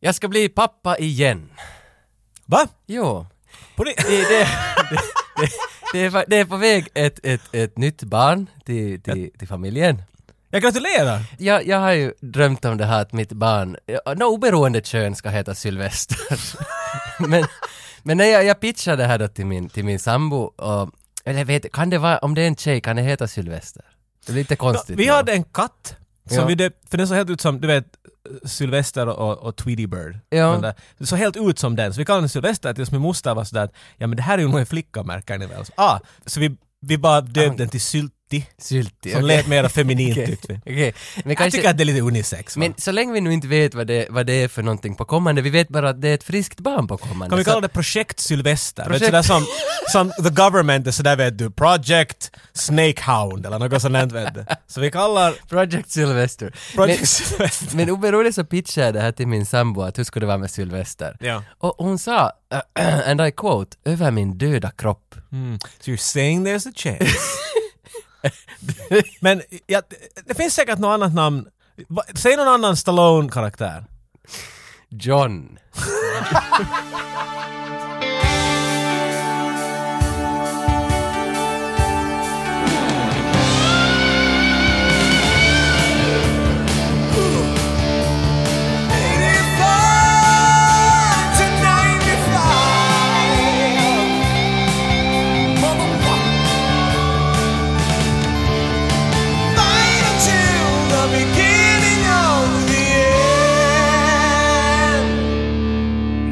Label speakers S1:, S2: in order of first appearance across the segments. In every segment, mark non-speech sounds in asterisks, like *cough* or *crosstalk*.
S1: Jag ska bli pappa igen.
S2: Va?
S1: Jo.
S2: På det?
S1: Det, det, det, det, det, är, på- det är på väg ett, ett, ett nytt barn till, till, till familjen.
S2: *laughs* Jag gratulerar!
S1: Jag, jag har ju drömt om det här att mitt barn, ja, nå, oberoende kön ska heta Sylvester. *laughs* men men när jag, jag pitchade det här då till min, till min sambo, och, eller jag vet, kan det vara, om det är en tjej, kan det heta Sylvester? Det blir lite konstigt.
S2: Vi
S1: då.
S2: hade en katt som
S1: Ja.
S2: vi döpte, för den såg helt ut som, du vet, Sylvester och, och Tweety Bird.
S1: Ja.
S2: Den där. Det såg helt ut som den, så vi kallade den Sylvester tills min moster var sådär att, ja men det här är ju nog en flicka märker ni väl? Så, ah, så vi, vi bara döpte den till Sylti,
S1: Sylti.
S2: som
S1: Ah. okej.
S2: lät mer feminint
S1: *laughs* Okej.
S2: tyckte vi.
S1: Okej. Men
S2: Jag
S1: kanske,
S2: tycker att det är lite unisex. va?
S1: men så länge vi nu inte vet vad det, vad det är för någonting på kommande, vi vet bara att det är ett friskt barn på kommande.
S2: Kan vi
S1: så-
S2: kalla det Projekt Sylvester? Projekt.
S1: Projekt-
S2: Sådär som, som the government är sådär vet du, Project Snakehound eller något sånt där, vet du. Så vi kallar
S1: Project Sylvester.
S2: Project
S1: Men- *laughs*
S2: Sylvester.
S1: Men oberoende så pitchade jag det här till min sambo att hur skulle det vara med Sylvester?
S2: Ja.
S1: Och hon sa, *clears throat* and I quote, över min döda kropp.
S2: Mm. So you're saying there's a chance. *laughs* Men ja, det finns säkert något annat namn. Va- Säg någon annan Stallone-karaktär.
S1: John.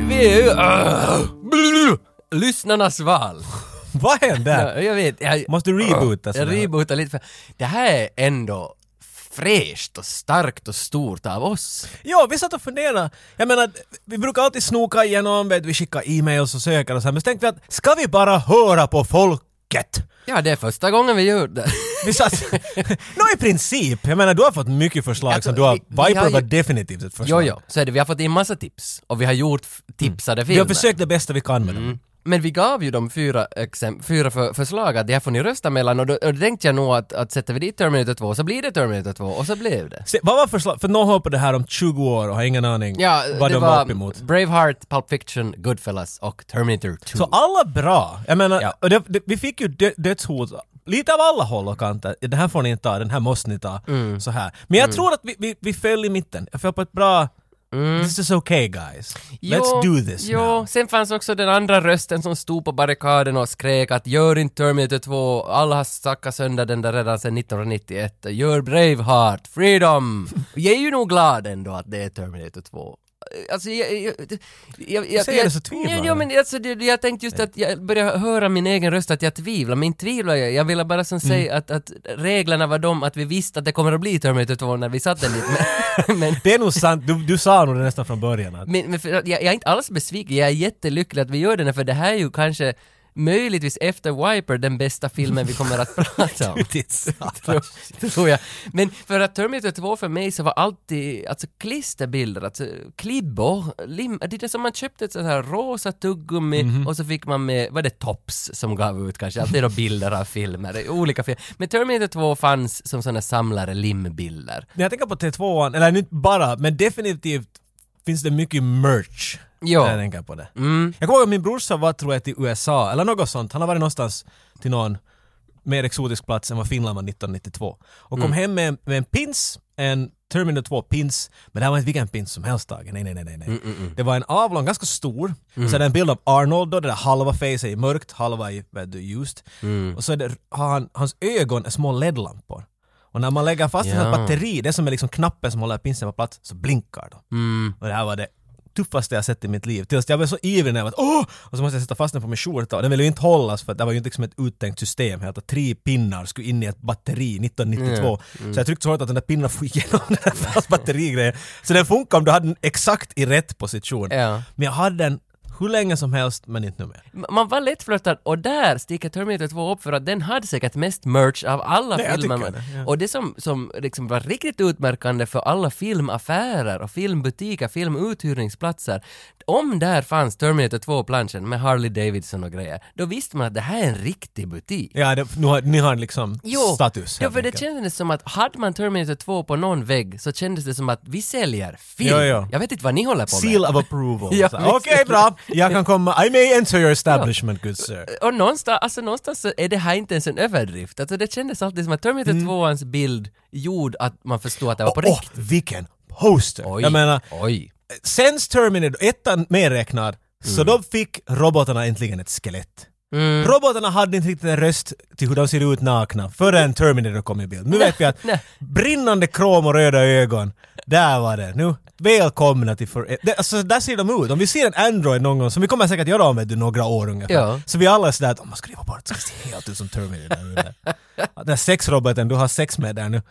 S1: Vi är ju... Blu! *clears throat* Lyssnarnas
S2: *laughs*
S1: val.
S2: Vad hände där?
S1: Ja, jag vet. Jag,
S2: Måste du reboota? sådär?
S1: jag rebootar lite för... Det här är ändå fräscht och starkt och stort av oss.
S2: Ja, vi satt och funderade. Jag menar, vi brukar alltid snoka igenom, vet, vi skickar e-mails och söker och så här, men så tänkte vi att ska vi bara höra på folket?
S1: Ja, det är första gången vi gör det. *laughs*
S2: Vi satt... *laughs* Nå i princip, jag menar du har fått mycket förslag
S1: Alltså,
S2: som du har...
S1: vi- vi har
S2: Viper
S1: ju-
S2: var definitivt ett
S1: Jo,
S2: förslag.
S1: jo, så är det. Vi har fått in massa tips och vi har gjort f- tipsade filmer.
S2: Mm. Vi har försökt det bästa vi kan med dem.
S1: Men vi gav ju dem fyra, exem- fyra för- förslag att det här får ni rösta mellan och då, och då tänkte jag nog att, att sätter vi dit Terminator 2 så blir det Terminator 2 och så blev det.
S2: Se, vad var förslag? För någon hoppade här om 20 år och har ingen aning
S1: Ja,
S2: vad
S1: det
S2: de var upp emot.
S1: var Braveheart, Pulp Fiction, Goodfellas och Terminator 2.
S2: Så alla bra. Jag menar,
S1: Ja.
S2: och det, det, vi fick ju dö, dödshot lite av alla håll och kanter. Den här får ni inte ta, den här måste ni ta.
S1: Mm.
S2: Så här. Men jag tror att vi, vi, vi föll i mitten. Jag föll på ett bra... This is okay guys. Let's do this
S1: Mm. jo,
S2: now.
S1: sen fanns också den andra rösten som stod på barrikaden och skrek att gör inte Terminator 2, alla har sackat sönder den där redan sedan 1991, gör Braveheart,
S2: *laughs*
S1: Freedom! jag är ju nog glad ändå att det är Terminator 2. Alltså jag... jag, jag, jag, jag
S2: säger det så tvivlande.
S1: Jo, jo, men alltså, det, jag tänkte just att jag började höra min egen röst att jag tvivlar, men inte tvivlar jag. Jag ville bara som
S2: Mm.
S1: säga att, att reglerna var de att vi visste att det kommer att bli Terminator 2 när vi satte den dit. *laughs* Men, men,
S2: Det är nog sant, du, du sa nog det nästan från
S1: *laughs*
S2: början. Att,
S1: men, men för, jag, jag är inte alls besviken, jag är jättelycklig att vi gör den här för det här är ju kanske möjligtvis efter Wiper den bästa filmen vi kommer att prata
S2: *laughs*
S1: om.
S2: Det är sant.
S1: tror, tror jag. Men för att Terminator 2 för mig så var alltid alltså klisterbilder, alltså klibbor, lim, det är det som man köpte ett sånt här rosa tuggummi och så fick man med, var det Tops som gav ut kanske, alltid då bilder av filmer, olika filmer. Men Terminator 2 fanns som såna samlare limbilder.
S2: När jag tänker på T2an, eller inte bara, men definitivt finns det mycket merch.
S1: Ja.
S2: När jag tänker på det. Jag kommer ihåg att min brorsa var tror jag till USA, eller något sånt. Han har varit någonstans till någon mer exotisk plats än vad Finland var 1992. Och kom hem med, med en pins, en Terminator 2 pins, men det här var inte vilken pins som helst Tage. Nej, nej, nej, nej. nej. Det var en avlång, ganska stor, så är det en bild av Arnold då, det där halva face är mörkt, halva är vet du, ljust. Och så är det, har han, hans ögon är små LED-lampor. Och när man lägger fast
S1: Ja.
S2: en batteri, det som är liksom knappen som håller pinsen på plats, så blinkar de. Och det här var det tuffaste jag sett i mitt liv. Tills jag blev så ivrig när jag var att, åh! Och så måste jag sätta fast den på min skjorta och den ville ju inte hållas för att det var ju inte liksom ett uttänkt system här. Att tre pinnar skulle in i ett batteri
S1: Mm,
S2: 1992. Så jag tryckte så hårt att den där pinnen får igenom *laughs* den där fast batterigrejen. Så den funkar om du hade den exakt i rätt position.
S1: Ja.
S2: Men jag hade den hur länge som helst, men inte nu mer.
S1: M- Man var lättflörtad och där sticker Terminator 2 upp för att den hade säkert mest merch av alla
S2: Nej, jag
S1: filmer.
S2: tycker det, ja.
S1: Och det som, som liksom var riktigt utmärkande för alla filmaffärer och filmbutiker, filmuthyrningsplatser, om där fanns Terminator 2-planschen med Harley Davidson och grejer, då visste man att det här är en riktig butik.
S2: Ja, det, nu har, ni har liksom status.
S1: ja,
S2: helt
S1: för det
S2: enkelt.
S1: kändes som att hade man Terminator 2 på någon vägg så kändes det som att vi säljer film.
S2: Ja, ja.
S1: Jag vet inte vad ni håller på med.
S2: Seal of *laughs* approval.
S1: Ja,
S2: Så här, Okej,
S1: visst.
S2: bra. Jag kan komma. I may enter your establishment, good sir.
S1: Och någonstans, alltså någonstans så är det här inte ens en överdrift. Alltså det kändes alltid som att Terminator 2-ans bild gjorde att man förstod att det var på
S2: Mm. Åh,
S1: riktigt.
S2: vilken Oh, poster!
S1: Oj,
S2: Jag menar, typ
S1: oj.
S2: sen Terminator 1 medräknad,
S1: Mm.
S2: så då fick robotarna äntligen ett skelett. Robotarna hade inte riktigt en röst till hur de ser ut nakna förrän Terminator kom i bild. Nu vet vi att
S1: nej.
S2: brinnande krom och röda ögon, där var det. Nu, välkomna till för... Det, alltså där ser de ut. Om vi ser en Android någon gång, som vi kommer säkert göra om vet du, några år ungefär,
S1: Ja.
S2: så vi alla är sådär att om man skriver bort så ser helt ut som Terminator. där ute." den där sexroboten du har sex med där nu,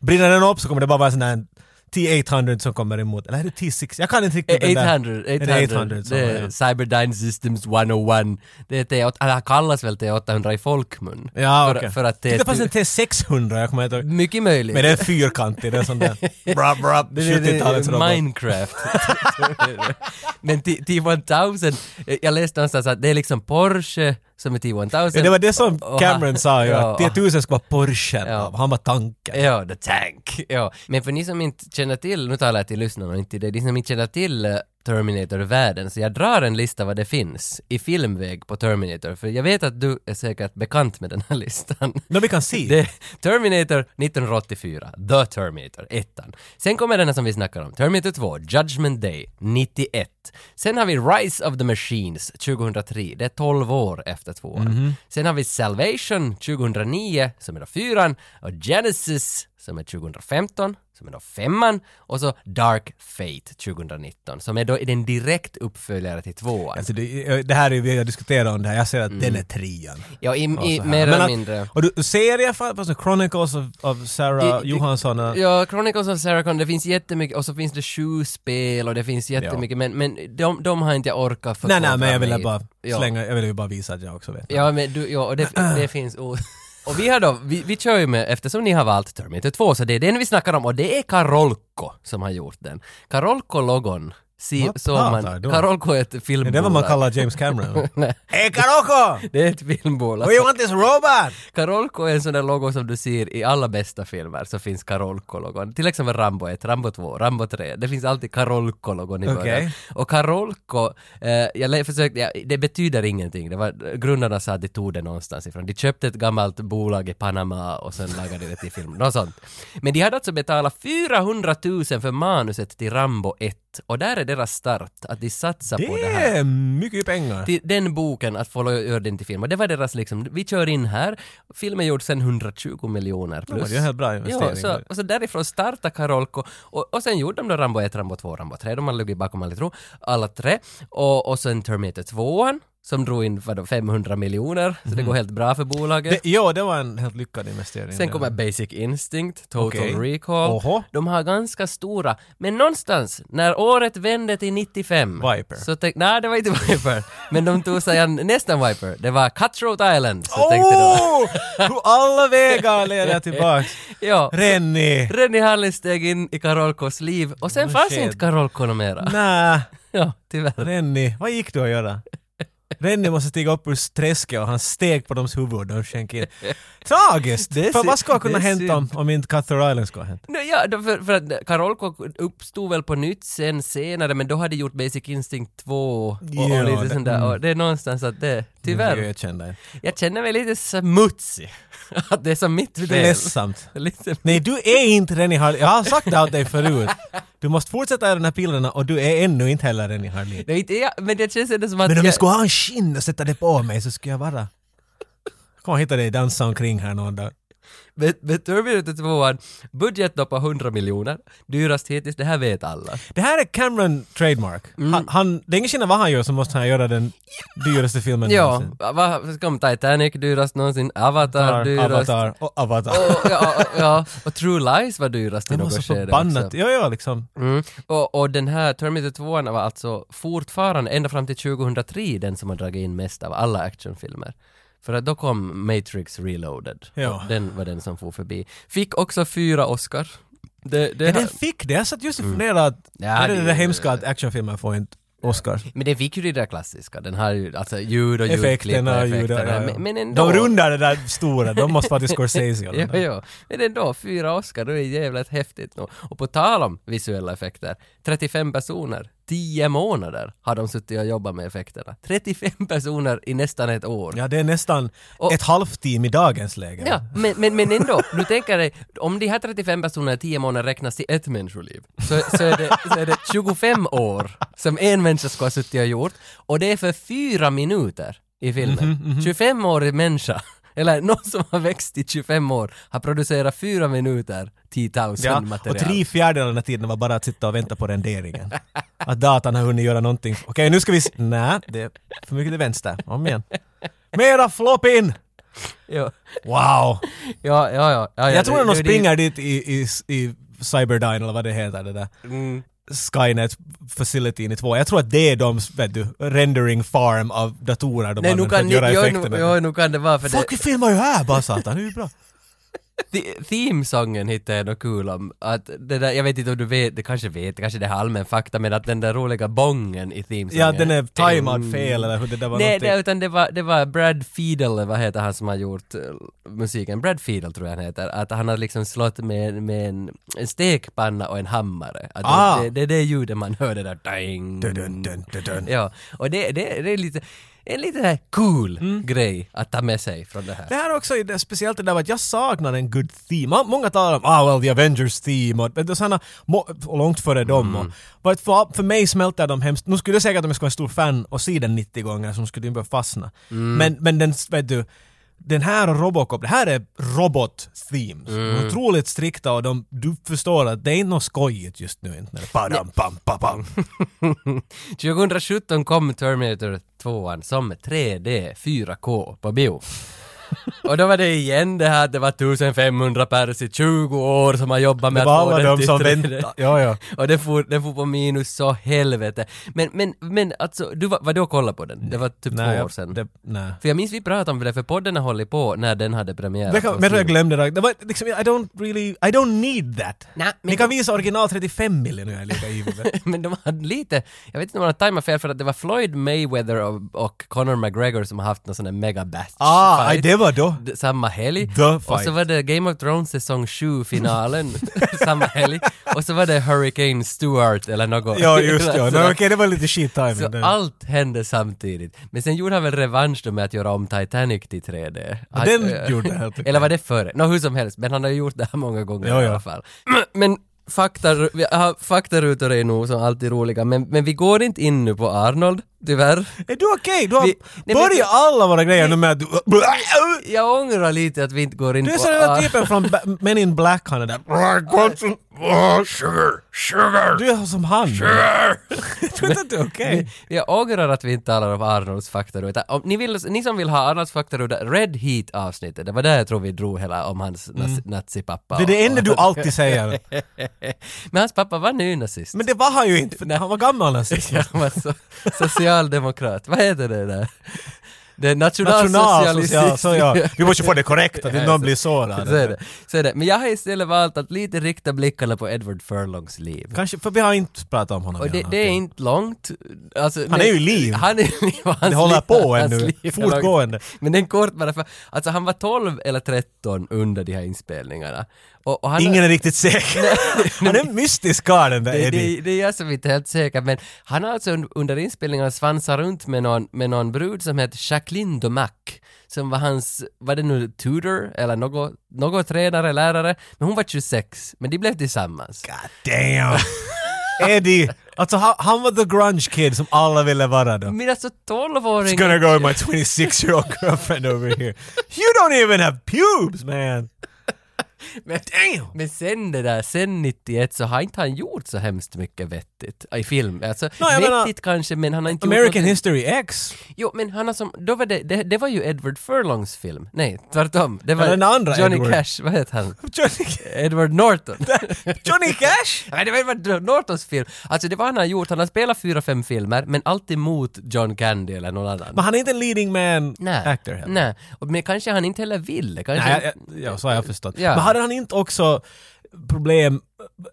S2: brinner den upp så kommer det bara vara en sån där T-800 som kommer emot. Eller är det T6? Jag kan inte riktigt
S1: Eh,
S2: den där.
S1: 800,
S2: Är
S1: 800,
S2: det 800 som
S1: det
S2: är
S1: är
S2: det?
S1: Cyberdyne Systems 101. Det är T8, eller det kallas väl T800 i folkmun?
S2: Ja,
S1: för,
S2: okej.
S1: för att det
S2: Det fanns en
S1: är
S2: T600, jag kommer inte ihåg.
S1: mycket möjligt.
S2: Men den är fyrkantig, den är sån där... Bra, bra,
S1: *laughs* Det är- det är
S2: 70-talets robot.
S1: Minecraft. *laughs* Men T- T1000, eh, jag läste någonstans att det är liksom Porsche som är T1000.
S2: Ja, det var det som
S1: och- och-
S2: Cameron sa ju,
S1: ja.
S2: att T1000 ska vara Porschen.
S1: Ja.
S2: Han var tanken.
S1: Ja, The Tank. Ja. Men för ni som inte känner till, nu talar jag till lyssnarna och inte till dig, ni som inte känner till eh, Terminator-världen, så jag drar en lista vad det finns i filmväg på Terminator, för jag vet att du är säkert bekant med den här listan.
S2: Men vi kan se.
S1: Det, Terminator 1984, The Terminator, ettan. Sen kommer den här som vi snackar om, Terminator 2, Judgment Day, 91. Sen har vi Rise of the Machines, 2003, det är 12 år efter tvåan.
S2: Mhm.
S1: Sen har vi Salvation, 2009, som är då fyran, och Genesis, som är 2015, som är då femman, och så Dark Fate 2019, som är då den direkt uppföljare till tvåan.
S2: Alltså det, det här är ju, vi har diskuterat om det här, jag säger att den är trean.
S1: Ja, i, Mm. i,
S2: så här.
S1: mer
S2: Men
S1: eller
S2: att-
S1: mindre.
S2: Och du, serier, fa- fast Chronicles of, of
S1: Det-
S2: Sarah
S1: det-
S2: Johansson. eh,
S1: Ja, Chronicles of Sarah Connor, det finns jättemycket, och så finns det sju spel och det finns jättemycket, men, men de, de har inte jag orkat
S2: Nej,
S1: förkovra
S2: nej, men jag ville
S1: mig i.
S2: bara
S1: Ja.
S2: slänga, jag ville ju bara visa att jag också vet.
S1: Ja, men du, ja, och det,
S2: *clears throat*
S1: det finns... Och, och vi har då, vi, vi kör ju med, eftersom ni har valt Terminator 2, så det är den vi snackar om, och det är Karolko som har gjort den. Karolko-logon, si,
S2: Vad
S1: såg
S2: pratar
S1: man...
S2: du om?
S1: Karolko är ett
S2: Det
S1: filmbolag.
S2: är det vad man kallar James
S1: *laughs*
S2: Cameron. Hej Karoko!
S1: Det är ett filmbolag.
S2: We want this robot!
S1: Karolko är en sån där logo som du ser i alla bästa filmer så finns Karolko-logon. Till exempel Rambo 1, Rambo 2, Rambo 3. Det finns alltid Karolko-logon i början.
S2: Okej.
S1: Och Karolko, eh, jag lä- försökte, ja, det betyder ingenting. Det var, grundarna sa att de tog det någonstans ifrån. De köpte ett gammalt bolag i Panama och sen lagade det till film. Något sånt. Men de hade alltså betalat 400 000 för manuset till Rambo 1 och där är deras start, att de satsar på
S2: Det
S1: det här
S2: är mycket pengar.
S1: till den boken att få lo- göra den till film. Och det var deras liksom, vi kör in här, filmen gjordes sen 120 miljoner
S2: Ja, men
S1: plus.
S2: Det är en helt bra
S1: Ja,
S2: investering.
S1: så, och så därifrån startade Karolko och, och sen gjorde de då Rambo 1, Rambo 2, Rambo 3, de har legat bakom alla, tro, alla tre. Och, och sen Terminator 2 som drog in vadå, 500 miljoner, så det
S2: Mhm.
S1: går helt bra för bolaget.
S2: det, ja, det var en helt lyckad investering.
S1: Sen kommer Basic Instinct, Total
S2: Okej.
S1: Recall.
S2: Oho.
S1: De har ganska stora, men någonstans när året vände till 95
S2: Viper.
S1: så tänkte, nej det var inte *laughs* Viper, men de tog sig an nästan Viper. Det var Cutthroat Island. Så tänkte de,
S2: Åh! Hur Oh! alla vägar
S1: *laughs*
S2: leder tillbaks.
S1: ja,
S2: Rennie!
S1: Rennie Harlin steg in i Karolkos liv och sen
S2: Vad
S1: fanns
S2: sked.
S1: inte Karolko något mera. *laughs*
S2: Nä,
S1: Ja, tyvärr.
S2: Rennie, vad gick du att göra? Rennie måste stiga upp ur träsket och han steg på deras huvud och sjönk in. Tragiskt!
S1: Det är
S2: För
S1: synd.
S2: vad skulle ha
S1: Det
S2: kunnat
S1: är synd.
S2: hända om, om inte Cutter Island skulle ha hänt?
S1: Nå, Ja, då för, för att Karolko uppstod väl på nytt sen senare, men då hade gjort Basic Instinct 2 och,
S2: Ja,
S1: och lite
S2: det- mm.
S1: sånt där. Och det är någonstans att det, tyvärr.
S2: Jag kände det.
S1: Jag känner mig lite smutsig. *laughs* Att det är som mitt fel.
S2: Det är ledsamt.
S1: *laughs* Lite-
S2: Nej, du är inte Rennie Harlin. Jag har sagt det åt dig förut. Du måste fortsätta i de här pillerna och du är ännu inte heller Rennie Harlin.
S1: Nej, inte jag, men det känns ändå som att...
S2: Men om
S1: jag,
S2: jag skulle ha en skinn och sätta det på mig så skulle jag vara... Jag kommer hitta dig dansa omkring här någon dag.
S1: Men, men Terminator 2, budget då på 100 miljoner, dyrast hittills, det här vet alla.
S2: Det här är Cameron Trademark. Han, han, det är ingen skillnad vad han gör så måste han göra den dyraste filmen
S1: Ja,
S2: någonsin.
S1: vad kom Titanic dyrast någonsin, Avatar, dyrast.
S2: Avatar och Avatar.
S1: Och, ja, ja, och True Lies var dyrast i
S2: Det var så
S1: något skede
S2: förbannat.
S1: också.
S2: Ja, ja, liksom.
S1: Mm. Och, och den här Terminator 2 var alltså fortfarande, ända fram till 2003, den som har dragit in mest av alla actionfilmer. För att då kom Matrix Reloaded.
S2: Ja.
S1: Och Den var den som for förbi. Fick också fyra Oscar. Det, det,
S2: Ja, den fick det. Jag satt just och funderade att
S1: Ja,
S2: är det,
S1: det-
S2: det hemska att actionfilmer får inte Oscar.
S1: Men den fick ju det där klassiska, den har ju alltså ljud och ljudklipp
S2: Effekterna,
S1: och
S2: ljud, ja,
S1: effekterna.
S2: ja.
S1: Men, men ändå.
S2: De rundar det där stora, de måste vara till Scorsese.
S1: *laughs*
S2: eller
S1: Ja,
S2: något.
S1: ja. Men ändå, fyra Oscar, det är jävligt häftigt. nog. Och på tal om visuella effekter, 35 personer, 10 månader har de suttit och jobbat med effekterna. 35 personer i nästan ett år.
S2: Ja, det är nästan
S1: Och-
S2: ett halvteam i dagens läge.
S1: Ja, men, men, men ändå, du tänker dig, om de här 35 personerna i 10 månader räknas till ett människoliv, så, så, är det, så är det 25 år som en människa ska ha suttit och gjort, och det är för fyra minuter i filmen.
S2: Mhm,
S1: 25-årig människa, eller någon som har växt i 25 år, har producerat fyra minuter 10 000
S2: Ja, och
S1: material.
S2: tre fjärdedelar av den här tiden var bara att sitta och vänta
S1: *laughs*
S2: på renderingen. Att datan har hunnit göra någonting. Okej, nu ska vi... s- Nej, det är för mycket till vänster. Om igen. Mera flop in!
S1: ja,
S2: Wow!
S1: ja, ja, ja, ja,
S2: Jag tror
S1: det-
S2: att de
S1: det-
S2: springer dit i, i, i Cyberdyne eller vad det heter, det där
S1: Mm.
S2: Skynet-facilityn i två. Jag tror att det är de, vet du, rendering farm av datorer de
S1: Nej, nu
S2: använder för
S1: kan,
S2: att
S1: ni,
S2: göra
S1: ja,
S2: effekterna.
S1: nu, ja, nu kan det vara för det,
S2: Fuck, vi filmar ju här bara satan, det är
S1: *laughs*
S2: ju bra.
S1: The- Themesången hittade jag något kul om. Att det där, jag vet inte om du vet, det kanske vet, kanske det här är allmän fakta, men att den där roliga bongen i themesången.
S2: Ja, den är tajmad fel eller hur det där var
S1: Nej,
S2: någonting.
S1: det, utan det var, det var Brad Fiedel, eller vad heter han som har gjort eh, musiken? Brad Fiedel tror jag han heter. Att han har liksom slått med, med en, en stekpanna och en hammare. Att det,
S2: Ah.
S1: det, det är det ljudet man hör, det där ding.
S2: Dun, dun, dun, dun, dun.
S1: Ja, och det, det, det är lite, en lite här cool
S2: Mm.
S1: grej att ta med sig från det här.
S2: Det här är också är det- speciellt det där med att jag saknar en good theme. Man- Många talar om ah well the Avengers theme och, och såna, må- och långt före dem.
S1: Mm.
S2: Och, but för, för mig smälter de hemskt. Nu skulle jag säkert om jag skulle vara en stor fan och se den 90 gånger så skulle den börja fastna.
S1: Mm.
S2: Men, men den, vet du, den här och Robocop, det här är robot-themes.
S1: Mm.
S2: De är Otroligt strikta och de, du förstår att det är inte något skojigt just nu. Inte när det padam, pam,
S1: *laughs*
S2: pam, pam.
S1: 2017 kom Terminator 2 som 3D 4K på bio. Och då var det igen det här att det var 1500 pers i 20 år som har jobbat med
S2: Det var
S1: att få
S2: alla
S1: den
S2: de
S1: till
S2: som
S1: 3D.
S2: väntar. Ja, ja.
S1: Och det for, det for på minus så helvete. Men, men, men alltså, du var, var du och kollade på den? Det var typ
S2: Nej,
S1: två
S2: jag-
S1: år sedan.
S2: det- nej.
S1: För jag minns vi pratade om det, för podden har hållit på när den hade premiär.
S2: Det kan,
S1: på
S2: men jag
S1: Steam.
S2: glömde det. det var, liksom, I don't really, I don't need that.
S1: Nej, men-
S2: Ni kan visa original 35 miljoner nu jag är lika ivrig. men-
S1: *laughs* men de hade lite, jag vet inte om de hade tajmat fel för att det var Floyd Mayweather och, och Conor McGregor som har haft någon sån där mega batch
S2: *laughs* Ah, aj, det var då.
S1: D- samma helg.
S2: The
S1: Och
S2: fight.
S1: så var det Game of Thrones säsong 7-finalen
S2: *laughs*
S1: samma helg. Och så var det Hurricane Stewart eller något.
S2: *laughs*
S1: *laughs*
S2: Ja, just det. Ja.
S1: Så-
S2: Nej, Okej, det var lite
S1: så
S2: shit timing. där.
S1: allt hände samtidigt. Men sen gjorde han väl revansch då med att göra om Titanic till 3D. Han,
S2: den
S1: eh,
S2: gjorde han,
S1: *laughs*
S2: tycker
S1: Eller var det före? Nå, hur som helst. Men han har ju gjort det här många gånger
S2: Ja,
S1: i
S2: ja.
S1: alla fall. *clears throat* Men fakta, vi har faktarutor är nog som alltid roliga. Men, men vi går inte in nu på Arnold, tyvärr.
S2: Är du okej? Du har
S1: Vi- Nej, men-
S2: börjat alla våra grejer nu med att du... *laughs*
S1: Jag ångrar lite att vi inte går in
S2: Du är
S1: på
S2: sån där
S1: Ar-
S2: typen från Ba- Men in *laughs* Black, Oh, han är där.
S3: Sugar, sugar,
S2: Du är som han.
S3: sugar.
S2: *laughs* Jag tror inte att du
S1: *laughs*
S2: är okej.
S1: Jag ångrar att vi inte talar om Arnolds faktaruta. Om ni, vill, ni som vill ha Arnolds faktaruta, Red Heat avsnittet, det var där jag tror vi drog hela om hans nazi, nazipappa.
S2: Mm. Det är det
S1: och-
S2: enda du
S1: *laughs*
S2: alltid säger.
S1: Men hans pappa var nynazist.
S2: Men det var han ju inte, för han var gammal nazist.
S1: Ja, *laughs* han var så, socialdemokrat. Vad heter det där? Det är
S2: Nationalsocialist.
S1: nationalsocialistisk.
S2: Så ja. Vi måste ju få det korrekt,
S1: *laughs*
S2: att
S1: Ja,
S2: inte
S1: så-
S2: någon
S1: *laughs*
S2: blir
S1: Så är
S2: sårad.
S1: det. Så är det. Men jag har istället valt att lite rikta blickarna på Edward Furlongs liv.
S2: Kanske, för vi har inte pratat om honom. i
S1: Och det,
S2: den här
S1: det är
S2: filmen.
S1: inte långt. Alltså,
S2: Han är ju i liv.
S1: Han är i liv. och hans
S2: Det håller
S1: liv-
S2: på
S1: hans
S2: ännu,
S1: liv är långt.
S2: fortgående.
S1: *laughs* Men den kort bara för, alltså han var 12 eller 13 under de här inspelningarna. Och, och han
S2: Ingen är riktigt säker. *laughs* Han är en mystisk karl den där
S1: det,
S2: Eddie.
S1: det, det är jag som inte är helt säker, men han har alltså un- under inspelningarna svansat runt med någon, med någon brud som hette Jacqueline de Mac, som var hans, var det nu tutor eller något, något tränare, lärare, men hon var 26, men de blev tillsammans.
S2: God damn! Eddie! Alltså han, han var the grunge kid som alla ville vara då.
S1: Men alltså
S2: It's
S1: 12-åring
S2: gonna go with my 26 year old girlfriend over here. You don't even have pubes man!
S1: *laughs* Men,
S2: Damn!
S1: men sen det där, sen 91 så har inte han gjort så hemskt mycket vettigt i film. Alltså,
S2: jag
S1: vettigt
S2: menar-
S1: kanske men han har inte gjort
S2: American
S1: någonting-
S2: History X!
S1: Jo, men han har som, då var det, det, det var ju Edward Furlongs film. Nej, tvärtom. Det var
S2: Ja, den andra
S1: Johnny
S2: Edward.
S1: Cash, vad heter han?
S2: Johnny,
S1: Edward
S2: *laughs*
S1: Norton.
S2: Johnny Cash!
S1: Nej, det var Edward Nortons film. Alltså det var han har gjort, han har spelat fyra, fem filmer, men alltid mot John Candy eller någon annan.
S2: Men han är inte en leading man
S1: Nej.
S2: actor heller.
S1: Nej, och, men kanske han inte heller ville. Kanske...
S2: Nej, jag, jag, ja, så har jag förstått.
S1: Ja.
S2: Men hade han inte också problem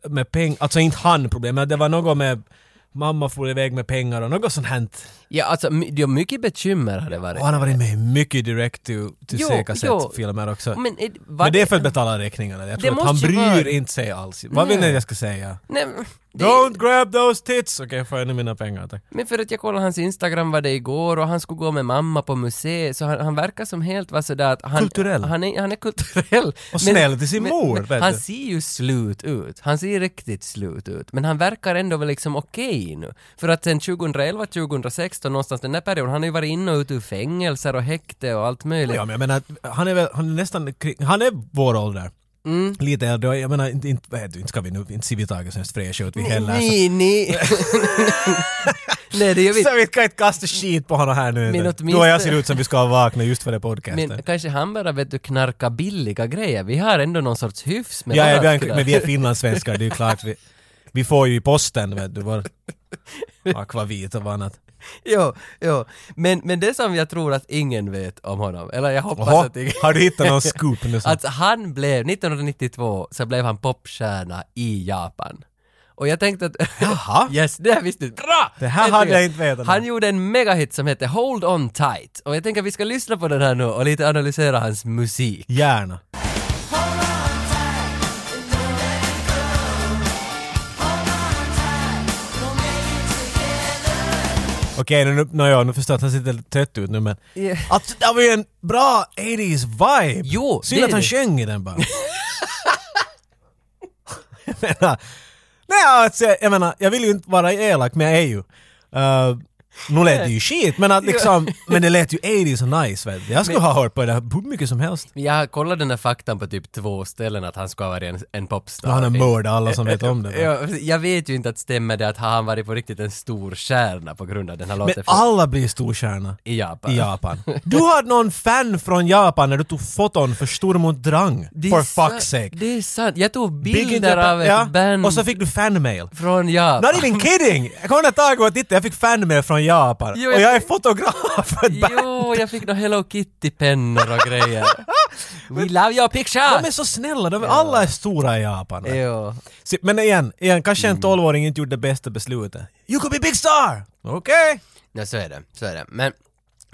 S2: med pengar, alltså inte han problem, men det var något med mamma for iväg med pengar och något sånt hänt.
S1: Ja, alltså my- det är mycket bekymmer har det varit.
S2: Och han har varit med i mycket direct to, to
S1: Jo,
S2: C-kassettfilmer också.
S1: Men, är- var
S2: Men det är för att betala räkningarna. Jag tror att han
S1: måste ju
S2: bryr
S1: vara-
S2: inte sig alls. Vad vill ni att jag ska säga?
S1: Nej, det,
S2: Don't grab those tits! Okej, får jag nu mina pengar tack.
S1: men för att jag kollade hans Instagram var det igår och han skulle gå med mamma på museet så han, han verkar som helt var sådär att han...
S2: Kulturell.
S1: Han är, han är kulturell. Men-
S2: snäll till sin mor,
S1: Men,
S2: vet
S1: han
S2: du.
S1: ser ju slut ut. Han ser riktigt slut ut. Men han verkar ändå vara liksom okej nu. För att sen 2011, 2016 någonstans den där perioden, han har ju varit inne och ut ur fängelser och häkte och allt möjligt.
S2: Ja, men jag menar, han är, väl, han är nästan kring, han är vår ålder.
S1: Mm.
S2: Lite äldre, och jag menar, inte, inte, vad heter det, inte ska vi nu, inte ser vi taget så hemskt fräscha ut vi heller. så-
S1: nej,
S2: *laughs*
S1: nej. nej, det gör vi inte.
S2: Så vi kan inte kasta skit på honom här nu.
S1: Men
S2: inte.
S1: åtminstone-
S2: Du och jag ser ut som vi ska vakna just för det podcasten.
S1: Men kanske han bara vet du knarka billiga grejer. Vi har ändå någon sorts hyfs med
S2: ja, ja, vi
S1: våra
S2: är,
S1: killar.
S2: men vi är finlandssvenskar, det är ju klart. Vi, vi får ju i posten, vet
S1: *laughs*
S2: du, vår akvavit och vad annat.
S1: Jo, jo. Men, men det som jag tror att ingen vet om honom, eller jag hoppas
S2: Oho,
S1: att ingen...
S2: har du hittat någon scoop nu? Som,
S1: Alltså han blev, 1992 så blev han popstjärna i Japan. Och jag tänkte att...
S2: Jaha.
S1: *laughs* Yes, det här visste du. Bra!
S2: Det här
S1: Äntligen.
S2: hade jag inte vetat.
S1: Han gjorde en megahit som heter Hold On Tight. Och jag tänker att vi ska lyssna på den här nu och lite analysera hans musik.
S2: Gärna. Okej, nu, nu, nå, ja, nu förstår jag att han sitter lite trött ut nu men...
S1: Ja.
S2: Alltså det var ju en bra 80s vibe!
S1: Jo, det
S2: Synd
S1: är
S2: att han
S1: det.
S2: sjöng
S1: *laughs*
S2: i den bara. jag menar, nej alltså, jag menar, jag vill ju inte vara elak men jag är ju. Uh, nu lät det ju skit men att
S1: *laughs*
S2: liksom, men det lät ju 80s och nice vet du. Jag skulle ha hört på det här hur mycket som helst.
S1: Jag kollade den här faktan på typ två ställen att han ska ha varit en, en popstar.
S2: Och han har mördat alla som vet om det. va?
S1: Ja, jag vet ju inte att stämmer det att har han varit på riktigt en stor stjärna på grund av den här
S2: Men
S1: låten från-
S2: alla blir storstjärna
S1: i Japan.
S2: i Japan.
S1: *laughs*
S2: Du har någon fan från Japan när du tog foton för Stormont Drang.
S1: Det är
S2: For
S1: sant-
S2: fuck's sake.
S1: Det är sant. Jag tog
S2: Big in
S1: bilder
S2: Japan-
S1: av ett
S2: ja,
S1: band
S2: Och så fick du fanmail.
S1: från Japan. *laughs*
S2: Not even kidding! Jag kommer ihåg när jag och tittade, jag fick fanmail från Japan.
S1: Jo, jag-
S2: Och jag är fotograf för ett band.
S1: Jo, jag fick några Hello Kitty-pennor och
S2: *laughs*
S1: grejer. We love your picture!
S2: De är så snälla, de är, alla är stora i Japan.
S1: Jo.
S2: Se, Men igen, igen, kanske
S1: Mm.
S2: en tolvåring inte gjorde det bästa beslutet. You could be big star! Okej!
S1: Ja, så är det. Så är det. Men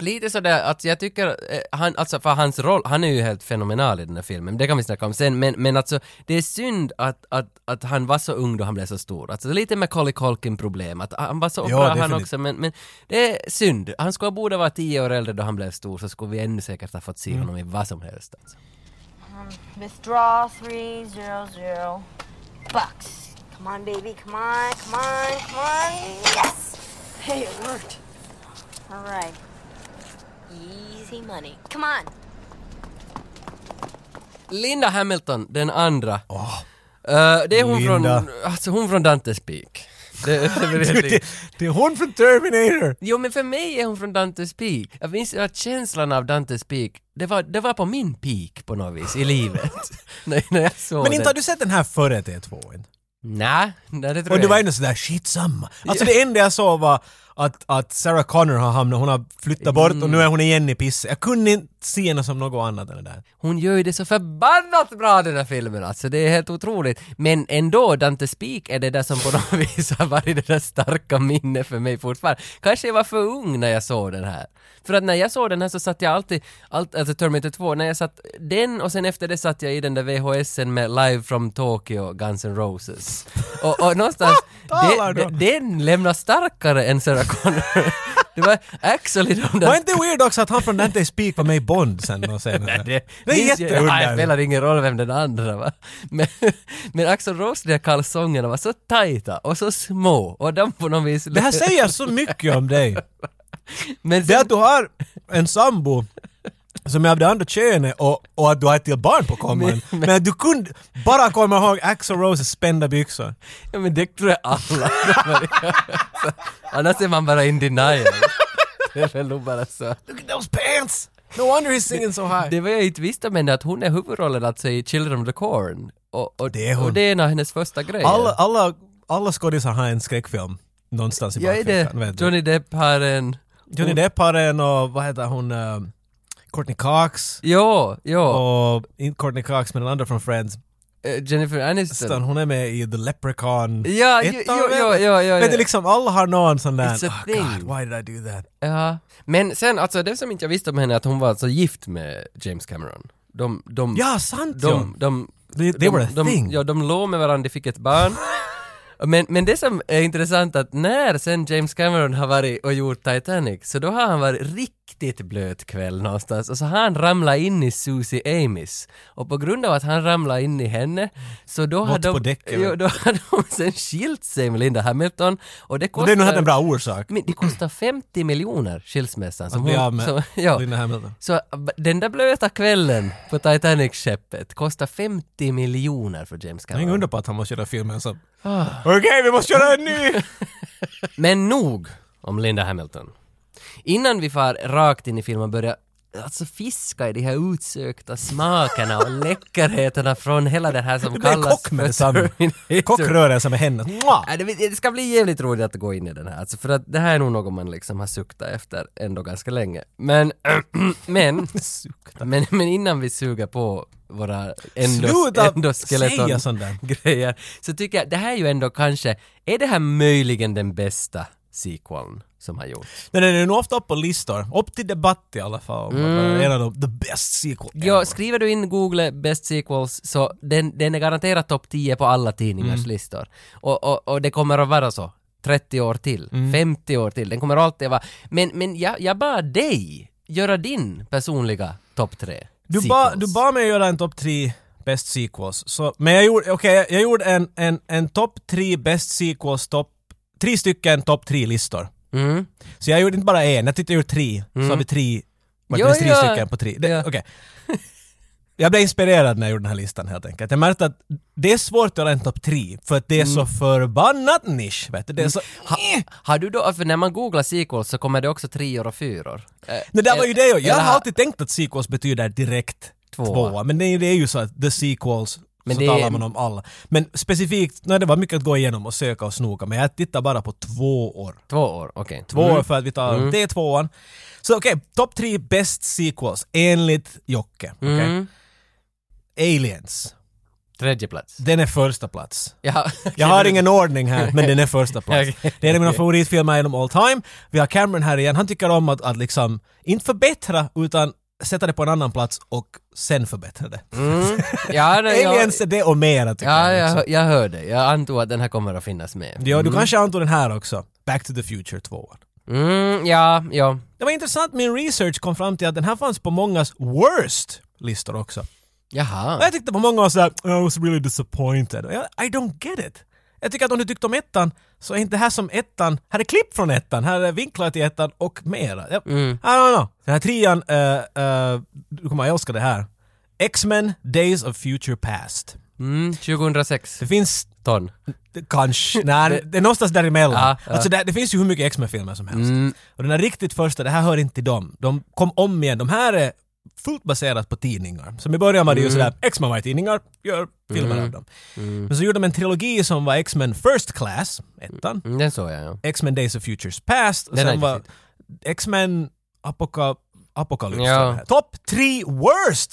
S1: lite sådär att jag tycker, eh, han, alltså för hans roll, han är ju helt fenomenal i den här filmen, det kan vi snacka om sen, men, men alltså det är synd att, att, att han var så ung då han blev så stor. Alltså lite Macaulay Culkin-problem, att han var så
S2: Ja,
S1: bra han
S2: definitivt.
S1: också, men, men det är synd. Han skulle borde vara tio år äldre då han blev stor, så skulle vi ännu säkert ha fått se
S2: Mm.
S1: honom i vad som helst. Alltså.
S3: Withdraw three zero zero bucks. Come on, baby. Come on. Come on. Come on. Yes.
S4: Hey, it worked.
S3: All right. Easy money. Come on.
S1: Linda Hamilton, den andra. Eh, det är hon
S2: Linda.
S1: från, alltså hon från Dantes Peak. Det, *laughs* det blir
S2: *laughs*
S1: helt
S2: Du, det, det är hon från Terminator!
S1: Jo men för mig är hon från Dantes Peak. Jag minns att känslan av Dantes Peak, det var, det var på min peak på något vis i
S2: *laughs*
S1: livet. när, när jag såg
S2: Men inte har
S1: den.
S2: du sett den här före T2? Inte?
S1: Nej, nej det tror
S2: Och
S1: jag
S2: det var
S1: inte.
S2: ändå sådär skitsamma. Alltså det enda jag såg var att, att Sarah Connor har hamnat, hon har flyttat bort och nu är hon igen i pisset. Jag kunde inte se henne som något annat än det där.
S1: Hon gör ju det så förbannat bra den här filmen alltså, det är helt otroligt. Men ändå, Dantes Peak är det där som på *laughs* något vis har varit det där starka minnet för mig fortfarande. Kanske jag var för ung när jag såg den här. För att när jag såg den här så satt jag alltid, allt, alltså Terminator 2, när jag satt den och sen efter det satt jag i den där VHSen med Live from Tokyo, Guns N' Roses. Och, och
S2: *laughs*
S1: någonstans,
S2: Talar
S1: den,
S2: du om?
S1: den, den lämnar starkare än Sarah Connor. *laughs* Det var actually de där
S2: Var inte det weird också att han från Dante's Peak var med i Bond sen och senare?
S1: *laughs* det,
S2: det är
S1: minns jag- Ja, Det
S2: jätteunderligt.
S1: spelar ingen roll vem den andra var. *laughs* Men, men Axel Rose kalsongerna var så tajta och så små och de på något vis...
S2: Det här säger så mycket om dig.
S1: men
S2: Det
S1: sen,
S2: att du har en sambo som är av det andra könet och, och att du har ett till barn på komman. men, du kunde bara komma ihåg Axl Roses spända byxor.
S1: Ja, men det tror jag alla kommer *laughs* göra. Så, Annars är man bara in denial. *laughs* Det är väl nog bara så.
S2: Look at those pants! No wonder he's singing so high.
S1: Det var jag inte visste om henne, att hon är huvudrollen alltså i Children of the Corn. Och, och,
S2: Det är hon.
S1: och det är en av hennes första grejer.
S2: Alla, alla, alla skådisar har en skräckfilm någonstans i
S1: ja, är
S2: bakfickan.
S1: det.
S2: vet du.
S1: Johnny Depp har en...
S2: Johnny Depp har en och vad heter hon, eh, Courtney Cox.
S1: Ja, ja.
S2: Och inte Courtney Cox men den andra från Friends.
S1: Eh, Jennifer Aniston.
S2: Stan, hon är med i The Leprechaun.
S1: Ja, jo,
S2: ettan,
S1: jo,
S2: väl?
S1: jo, jo, jo,
S2: Men det
S1: jo.
S2: är liksom, alla har någon sån där,
S1: It's a
S2: oh
S1: thing."
S2: god, why did I do that?
S1: Ja. Men sen, alltså det som inte jag visste om henne, är att hon var alltså gift med James Cameron. De, de,
S2: Ja, sant ja.
S1: de, de,
S2: They- they
S1: de,
S2: were a
S1: de,
S2: thing.
S1: Ja, de låg med varandra, de fick ett barn. *laughs* Men, men det som är intressant att när sen James Cameron har varit och gjort Titanic så då har han varit riktigt blöt kväll någonstans och så har han ramlat in i Susie Amis och på grund av att han ramlade in i henne så då har
S2: Mått
S1: de, *laughs*
S2: på däck, eller?
S1: jo, då har de sen skilt sig med Linda Hamilton och det
S2: Och det är nog
S1: kostar,
S2: hade en bra orsak.
S1: men det kostar 50 miljoner skilsmässan. som
S2: Att bli
S1: hon-
S2: av med
S1: som- *laughs* ja.
S2: Linda Hamilton.
S1: Så den där blöta kvällen på Titanic-skeppet kostar 50 miljoner för James
S2: Det är inget
S1: Cameron.
S2: under på att han måste göra filmen så...
S1: Ah.
S2: Okej, vi måste göra en ny!
S1: Men nog om Linda Hamilton. Innan vi far rakt in i filmen börjar alltså fiska i de här utsökta smakerna och *laughs* läckerheterna från hela det här som
S2: Du blir en
S1: kallas
S2: kock
S1: *laughs*
S2: med detsamma.
S1: Terminator.
S2: Kockrörelsen med henne. Mwah!
S1: Ja, Äh, det, det ska bli jävligt roligt att gå in i den här, alltså, för att det här är nog något man liksom har suktat efter ändå ganska länge. Men, *clears throat* men, men, men innan vi suger på våra ändå,
S2: Sluta
S1: ändå
S2: säga
S1: skeleton
S2: sånt där.
S1: grejer så tycker jag det här är ju ändå kanske, är det här möjligen den bästa sequeln som har gjorts?
S2: Men den är nog ofta upp på listor. Upp till debatt i alla fall. Mm. En av de the best sequel ever.
S1: Ja, skriver du in Google best sequels så den, den är garanterat topp 10 på alla tidningars
S2: Mm.
S1: listor. Och, och, och det kommer att vara så. 30 år till,
S2: Mm.
S1: 50 år till, den kommer alltid att vara... Men, men jag, jag bad dig göra din personliga topp 3
S2: Du ba- du bad mig göra en topp tre best sequels. Så, men jag gjorde, okej, jag gjorde en, en, en topp tre best sequels, topp... Tre stycken topp tre listor.
S1: Mm.
S2: Så jag gjorde inte bara en, jag tyckte jag gjorde tre. Så har vi tre, vart
S1: Jo,
S2: det tre
S1: ja.
S2: stycken på tre. Det,
S1: Ja.
S2: okej. Jag blev inspirerad när jag gjorde den här listan helt enkelt. Jag märkte att det är svårt att göra en topp tre, för att det är
S1: Mm.
S2: så förbannat nisch. Vet du? Det är så... Eh!
S1: Har du då, för när man googlar sequels så kommer det också treor och fyror. Eh,
S2: Det där var ju det jag. Jag
S1: eller
S2: har
S1: ha-
S2: alltid tänkt att sequels betyder direkt
S1: Tvåa.
S2: tvåa. Men det, är- det är ju så att the sequels
S1: Men
S2: så
S1: det är-
S2: talar man om alla. Men specifikt, nej, det var mycket att gå igenom och söka och snoka, men jag tittar bara på två år.
S1: Två år, okej.
S2: Två år för att vi tar
S1: Mm.
S2: det är tvåan. Så okej, topp tre best sequels enligt Jocke. okej?
S1: Mm.
S2: Aliens.
S1: Tredje plats.
S2: Den är första plats.
S1: Ja.
S2: Jag har ingen ordning här, men den
S1: *laughs*
S2: är första plats.
S1: Okej.
S2: Det är en av mina favoritfilmer genom all time. Vi har Cameron här igen, han tycker om att, att liksom, inte förbättra, utan sätta det på en annan plats och sen förbättra det.
S1: Mm. *laughs* ja, det, jag,
S2: Aliens är det och mera tycker
S1: ja, Mm.
S2: jag. Liksom.
S1: jag, jag hörde. Jag antog att den här kommer att finnas med.
S2: Ja, du kanske antog den här också. Back to the Future 2.
S1: Mm, ja, ja.
S2: Det var intressant, min research kom fram till att den här fanns på mångas worst listor också. Och
S1: Jaha.
S2: jag tyckte på många var såhär, "Oh, I was really disappointed. Och jag, I don't get it. Jag tycker att om du tyckte om ettan, så är inte det här som ettan, här är klipp från ettan, här är vinklar till ettan och mera. Jag, I don't know. Den här trean, eh, eh, du kommer att älska det här. X-Men Days of Future Past.
S1: Mm, 2006.
S2: Det finns
S1: Ton.
S2: *laughs* det- Kanske. Nej, det är någonstans däremellan.
S1: Ja, Mm. ja.
S2: Alltså det, det finns ju hur mycket X-Men-filmer som helst. Och den här riktigt första, det här hör inte till dem. De kom om igen. De här är fullt baserat på tidningar. Som i början var det ju
S1: Mm.
S2: sådär, X-Men var tidningar, gör filmer av dem. Men så gjorde de en trilogi som var X-Men First Class, ettan.
S1: Mm, den såg jag, ja.
S2: X-Men Days of Futures Past. Och
S1: Den har
S2: sen
S1: jag
S2: var
S1: inte
S2: X-Men Apoca- Apocalypse.
S1: Ja.
S2: tror jag. Top three worst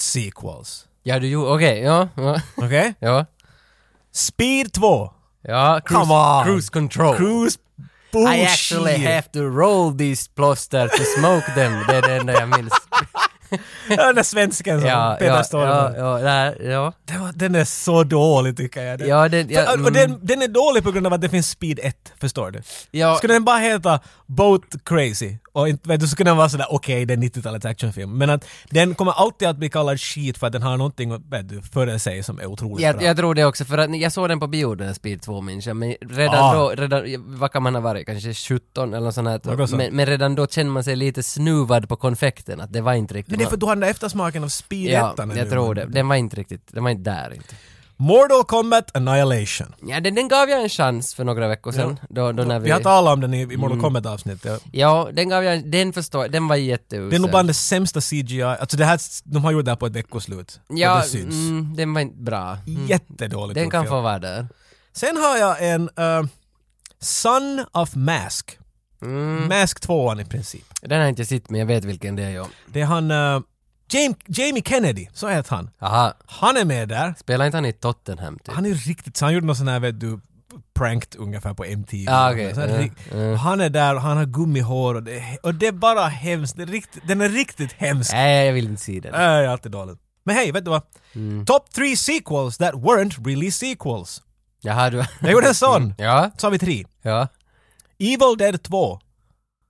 S1: *laughs*
S2: sequels.
S1: Ja, du gjorde... Okej, ja. Ja.
S2: Okej?
S1: Ja.
S2: Speed 2.
S1: ja cruise,
S2: Come on.
S1: cruise control.
S2: Cruise
S1: Oh. I actually
S2: bullshit.
S1: have to roll these plåster to smoke them. Det är det enda jag minns.
S2: *laughs* Ja, Den där svensken som
S1: Ja,
S2: Peter
S1: ja,
S2: står
S1: ja,
S2: med.
S1: ja, där, ja.
S2: Den var- Den är så dålig tycker jag. Den,
S1: Ja, den- ja,
S2: för, och
S1: mm.
S2: den, den är dålig på grund av att det finns Speed 1, förstår du?
S1: Ja.
S2: Skulle den bara heta Boat Crazy Och inte, vet du, så kunde den vara sådär okej, det är 90-talets actionfilm. Men att den kommer alltid att bli kallad skit för att den har någonting vet du, före sig som är otroligt
S1: Jag,
S2: bra.
S1: jag tror det också, för att jag såg den på bio den här Speed 2 minns jag, men redan
S2: Ah.
S1: då, redan, vad kan man ha varit, kanske 17 eller något sånt
S2: Något
S1: här.
S2: sånt.
S1: Men, men redan då kände man sig lite snuvad på konfekten, att det var inte riktigt...
S2: Men det är för att du har den där eftersmaken av Speed
S1: Ja,
S2: 1 nu.
S1: jag tror det. Den var inte riktigt, den var inte där inte.
S2: Mortal Kombat Annihilation.
S1: Ja, den, den gav jag en chans för några veckor sedan. Då, då när
S2: Vi,
S1: vi... Mm.
S2: har talat om den i, i Mortal Kombat avsnitt. Ja.
S1: Ja, den gav jag en, den förstår jag, den var jätteusel.
S2: Det är nog bland det sämsta CGI, alltså det här, de har gjort det här på ett veckoslut. och
S1: Ja,
S2: det syns.
S1: mm, den var inte bra.
S2: Jättedåligt
S1: Mm. Den
S2: gjord
S1: kan
S2: film.
S1: få vara där.
S2: Sen har jag en eh, Son of Mask.
S1: Mm.
S2: Mask 2 i princip.
S1: Den har jag inte sett men jag vet vilken det är jag.
S2: Det är han eh, Jam- Jamie Kennedy, så heter han.
S1: Aha,
S2: Han är med där.
S1: spelar inte han i Tottenham typ?
S2: Han är riktigt, så han gjorde någon sån här vet du, pranked ungefär på MTV.
S1: Ah, okej.
S2: Så här
S1: Ja,
S2: rikt- Han är där och han har gummihår och det, och det är bara hemskt. Det är riktigt, den är riktigt hemsk.
S1: Nej, jag vill inte se den.
S2: Äh, det är alltid dåligt. Men hej, vet du vad?
S1: Mm.
S2: Top 3 sequels that weren't really sequels.
S1: Jaha, du...
S2: Jag gjorde en sån!
S1: *laughs* Ja,
S2: Så har vi tre.
S1: ja.
S2: Evil Dead 2.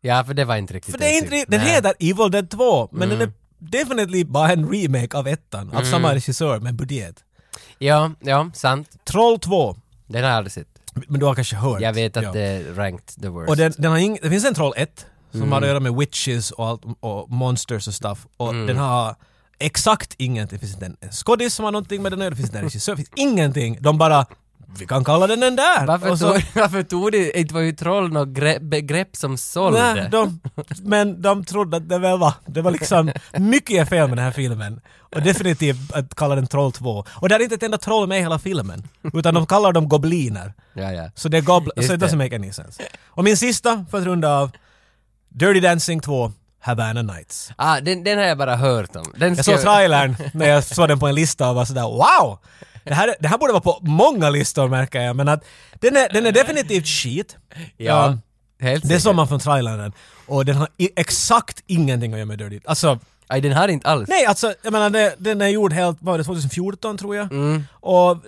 S1: Ja, för det var inte riktigt
S2: För det är
S1: ens
S2: inte,
S1: riktigt-
S2: den
S1: Nej. Mm.
S2: heter Evil Dead 2, men den är definitely bara en remake av ettan, av samma regissör, men budget.
S1: Ja, ja, sant.
S2: Troll 2,
S1: Den har jag aldrig sett.
S2: men du har kanske hört?
S1: Jag vet att
S2: Ja.
S1: det är ranked the worst.
S2: Och den, den har ing, det finns en Troll 1, som
S1: Mm.
S2: har att göra med witches och, allt, och monsters och stuff, och
S1: Mm.
S2: den har exakt ingenting. Det finns inte en, en skådis som har någonting med den att göra, det finns inte en regissör, det finns ingenting. De bara vi kan kalla den den där!
S1: Varför,
S2: Och så-
S1: tog, *laughs* varför tog det, inte var ju troll något gre- begrepp som sålde.
S2: Nej, de, men de trodde att det väl var, det var
S1: *laughs*
S2: liksom *laughs* mycket är fel med den här filmen. Och definitivt att kalla den Troll 2. Och det är inte ett enda troll med i hela filmen. Utan de kallar dem gobliner.
S1: Ja, ja.
S2: Så det är gobl-
S1: Just
S2: så it
S1: det.
S2: doesn't make any sense. Och min sista, för att runda av, Dirty Dancing 2, Havana Nights.
S1: Ah, den, den har jag bara hört om. Den
S2: Jag
S1: ska-
S2: såg trailern när jag såg den på en lista och var sådär wow! Det här, det här borde vara på många listor märker jag, men att den är, den är definitivt shit.
S1: Ja,
S2: Um,
S1: helt
S2: det
S1: säkert.
S2: såg man från trailern och den har i, exakt ingenting att göra med Dirty. Alltså,
S1: Aj, den har inte alls.
S2: nej alltså, jag menar det, den är gjord helt, vad var det, 2014 tror jag? Och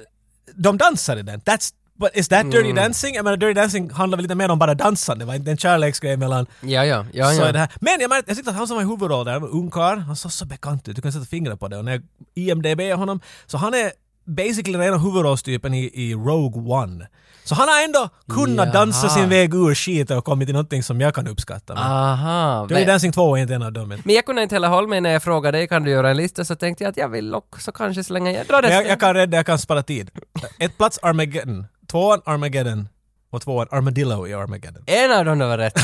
S2: de dansar i den. That's, but is that Dirty Dancing? Jag menar Dirty Dancing handlar väl lite mer om bara dansande, det var inte en kärleksgrej mellan
S1: Ja, ja, ja,
S2: så är
S1: ja.
S2: det här. Men jag, märkte, jag tyckte att han som var i huvudrollen, där, han var ungkarl, han såg så bekant ut, du kan sätta fingret på det. Och när jag IMDB är honom, så han är basically den ena huvudrollstypen i, i Rogue One. Så han har ändå kunnat
S1: Jaha.
S2: dansa sin väg ur skit och kommit till någonting som jag kan uppskatta. Men
S1: Aha.
S2: Dirty
S1: Ah, men,
S2: Dancing 2 är inte en av dem. Men
S1: men jag kunde inte heller hålla mig när jag frågade dig, kan du göra en lista? Så tänkte jag att jag vill också kanske slänga igen. Dra det.
S2: jag, jag kan rädda, jag kan spara tid. Ett plats Armageddon, tvåan Armageddon och tvåan Armadillo i Armageddon.
S1: En av dem där var
S2: *laughs*
S1: rätt.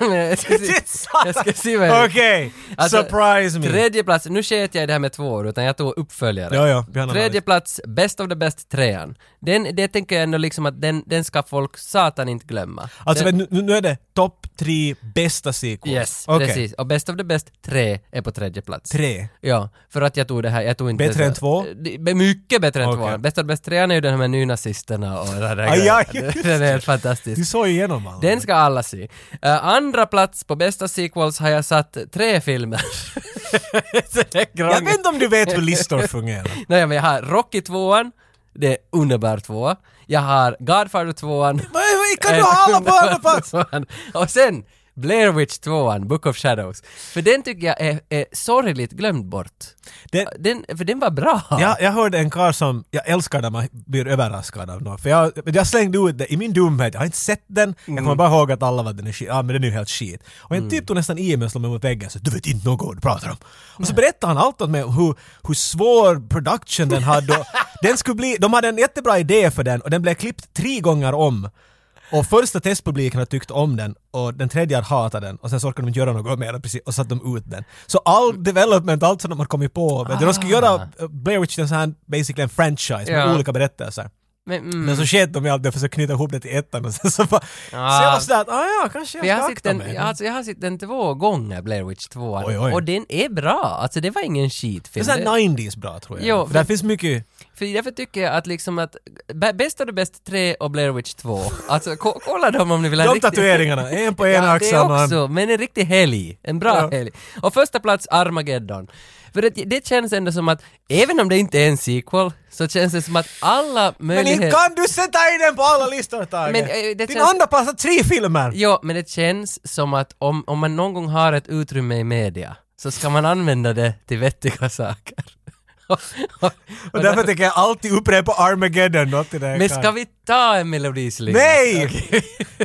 S1: Men jag ska se- *laughs* jag ska se vad jag-
S2: Okej,
S1: Alltså,
S2: surprise me!
S1: Tredje plats, nu sket jag i det här med tvåor utan jag tog uppföljare.
S2: Ja, ja, vi har en
S1: Tredje
S2: analys.
S1: plats, Best of the Best trean. Den, det tänker jag ändå liksom att den, den ska folk satan inte glömma.
S2: Alltså
S1: den,
S2: men nu, nu är det topp tre bästa sequels.
S1: Yes,
S2: Okej.
S1: precis. Och Best of the Best tre är på tredje plats.
S2: Tre.
S1: Ja, för att jag tog det här, jag tog inte...
S2: Bättre än två?
S1: Det- be- Mycket bättre än
S2: Okej.
S1: tvåan. Bäst av bäst trean är ju den här med nynazisterna och det där
S2: Aj,
S1: grejen.
S2: aj,
S1: Det- *laughs*
S2: just
S1: Den är helt
S2: Du
S1: fantastisk.
S2: såg igenom alla.
S1: Den ska alla se. Eh, andra plats på bästa sequels har jag satt tre filmer. *laughs* Så det är
S2: jag
S1: krångligt.
S2: vet inte om du vet hur listor
S1: *laughs*
S2: fungerar.
S1: Nej men jag har Rocky 2an, det är underbar tvåa. Jag har Godfather 2an.
S2: Men hur kan du ha
S1: *laughs*
S2: alla på alla plats?
S1: Eh, Och sen Blair Witch 2an, Book of Shadows. För den tycker jag är, är sorgligt glömd bort.
S2: Det,
S1: Den, för den var bra.
S2: jag, jag hörde en karl som, jag älskar när man blir överraskad av något. För jag, men jag slängde ut det i min dumhet, jag har inte sett den, jag kommer bara ihåg att alla var den är skit, ja men den är ju helt skit. Och en typ tog nästan i mig och slog mig mot väggen så du vet inte något du pratar om. Och så berättade han allt åt mig om hur, hur svår production den hade. och- den skulle bli, de hade en jättebra idé för den och den blev klippt tre gånger om. Och första testpubliken har tyckt om den och den tredje har hatat den och sen så orkade de inte göra något mer precis, och satte de ut den. Så all development, allt som de har kommit på, men de skulle göra eh, Blair Witch till en sån här, basically en franchise med
S1: Ah. Ja.
S2: olika berättelser.
S1: Men, mm.
S2: Men så sket de i allt det för att knyta ihop det till ettan och sen så bara... Så jag var sådär att, ah, ja, kanske jag
S1: För jag
S2: ska
S1: har sett
S2: akta
S1: den,
S2: mig.
S1: alltså jag har sett den två gånger, Blair Witch 2.
S2: Oj, oj.
S1: Och den är bra, alltså det var ingen
S2: Det är
S1: skitfilm.
S2: såhär
S1: Det-
S2: 90s bra tror jag.
S1: Jo,
S2: för där
S1: för-
S2: finns mycket...
S1: För därför tycker jag att liksom att Bä- Bäst av det bäst 3 och Blair Witch 2. Alltså ko- kolla dem om ni vill ha
S2: De
S1: riktigt-
S2: tatueringarna, en på ena
S1: Ja, det
S2: axeln och en...
S1: också, men en riktig helg. En bra
S2: Ja.
S1: helg. Och första plats Armageddon. För att det känns ändå som att, även om det inte är en sequel, så känns det som att alla
S2: Men
S1: möjligheter...
S2: inte kan du sätta in den på alla listor Tage!
S1: Men, eh, det
S2: Din
S1: känns-
S2: anda passar tre filmer!
S1: Ja, men det känns som att om, om man någon gång har ett utrymme i media så ska man använda det till vettiga saker. *laughs* Och- och-
S2: Och därför tänker jag alltid upprepa Armageddon då till den
S1: men ska vi ta en melodislinga? *laughs*
S2: Nej!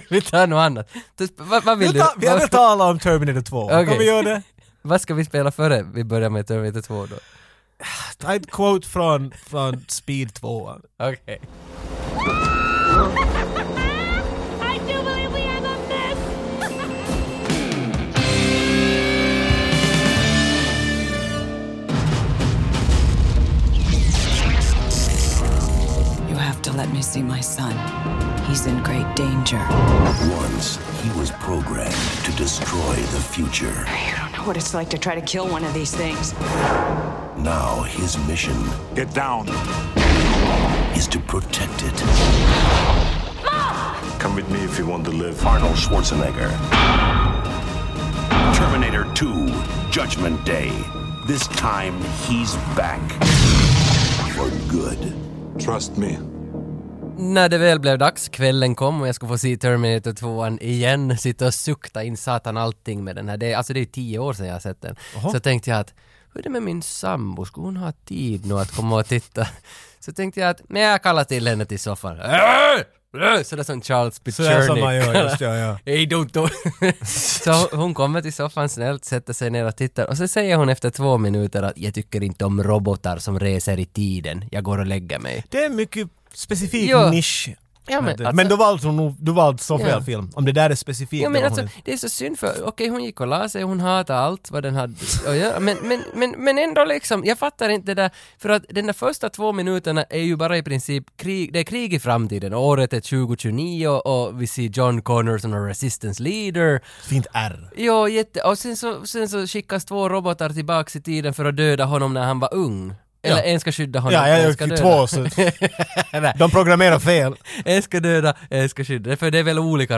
S1: Vi tar något annat. Du sp- Vad, vad vill
S2: Vi
S1: du?
S2: tar- vi hade
S1: Vad,
S2: talat om Terminator 2. Kan
S1: Okej.
S2: vi göra det?
S1: vad ska vi spela före vi börjar med Terminator 2 då?
S2: Ta ett quote från, från Speed 2.
S4: I
S1: Okej.
S4: do believe we have a miss!
S5: You have to let me see my son. He's in great danger.
S6: Once, he was programmed to destroy the future.
S5: You don't know what it's like to try to kill one of these things.
S6: Now, his mission
S7: Get down.
S6: is to protect it.
S7: Come with me if you want to live.
S6: Arnold Schwarzenegger. Terminator 2, Judgment Day. This time, he's back. For good.
S7: Trust me.
S1: När det väl blev dags, kvällen kom och jag ska få se Terminator 2 igen, sitta och sukta in satan allting med den här. Det, är- alltså det är tio år sedan jag har sett den. Så tänkte jag att, hur är det med min sambo, ska hon ha tid nu att komma och titta? Så tänkte jag att, men jag kallar till henne till soffan.
S2: Äh!
S1: Sådär som Charles
S2: Sådär som man gör,
S1: Pichurnik.
S2: just ja, ja.
S1: *laughs* Hej doktor!
S2: *laughs*
S1: så hon kommer till soffan snällt, sätter sig ner och tittar och så säger hon efter två minuter att jag tycker inte om robotar som reser i tiden, jag går och lägger mig.
S2: Det är en mycket specifik
S1: Ja.
S2: nisch.
S1: Ja, men
S2: Vet du.
S1: alltså-
S2: men du valde hon nog- du valde så fel
S1: Ja.
S2: film. Om det där är specifikt.
S1: Ja
S2: det
S1: men
S2: var
S1: alltså,
S2: hon inte.
S1: det är så synd för, okej hon gick och la sig, hon hatade allt vad den hade att göra, men, men, men, men ändå liksom, jag fattar inte det där, för att den där första två minuterna är ju bara i princip krig, det är krig i framtiden, och året är 2029 och, och vi ser John Connor som en resistance leader.
S2: Fint R.
S1: Ja, jätte, och sen så, sen så skickas två robotar tillbaks i tiden för att döda honom när han var ung. Eller
S2: Ja.
S1: en ska skydda honom, *laughs*
S2: Ja, jag
S1: en ska
S2: gick ju
S1: döda.
S2: två så...
S1: *laughs*
S2: De programmerar fel.
S1: En ska döda, en ska skydda. För det är väl olika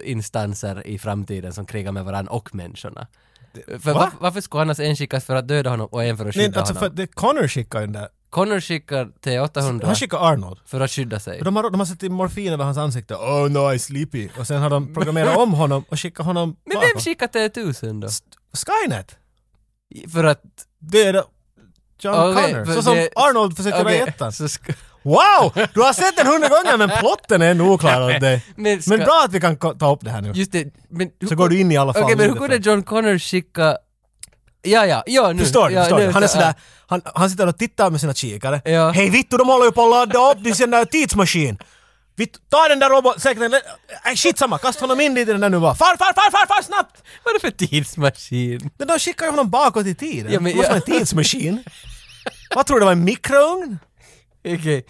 S1: robotinstanser i framtiden som krigar med varandra och människorna. För
S2: va?
S1: varför, varför skulle annars en skickas för att döda honom och en för att skydda
S2: Nej, alltså för
S1: honom?
S2: det Connor skickar den där.
S1: Connor skickar
S2: Han
S1: T800
S2: skickar Arnold.
S1: för att skydda sig.
S2: De har, de har satt in morfin över hans ansikte. Oh no, I'm sleepy. Och sen har de programmerat om honom och skickat honom
S1: Men vem
S2: bakåt.
S1: skickar T1000 då?
S2: Skynet!
S1: För att...
S2: Döda John
S1: Okej,
S2: Connor.
S1: för
S2: Så som
S1: det-
S2: Arnold försöker göra i
S1: Okej,
S2: ettan.
S1: så ska-
S2: Wow! Du har sett den hundra gånger men plotten är ännu oklar åt dig.
S1: Men ska-
S2: Men bra att vi kan ko- ta upp det här nu.
S1: Just det, men... hur-
S2: Så går du in i alla fall.
S1: Okej, men hur
S2: ungefär.
S1: kunde John Connor skicka... Ja, ja, ja nu.
S2: Förstår du?
S1: ja,
S2: förstår du?
S1: nu,
S2: Han är
S1: så-
S2: sådär, han, han sitter och tittar med sina kikare.
S1: Ja.
S2: Hej Vittu, de håller ju på att ladda upp din sån där tidsmaskin! Vittu, ta den där roboten, säkert den... Äh, shit samma, kasta honom in dit i den där nu bara. Far, far, far, far, far snabbt!
S1: Vad är det för tidsmaskin? *laughs*
S2: Men de skickar ju honom bakåt i tiden.
S1: Ja,
S2: Ja,
S1: men
S2: det måste
S1: jag-
S2: vara en tidsmaskin. Vad tror du, det var en mikrougn?
S1: Okej.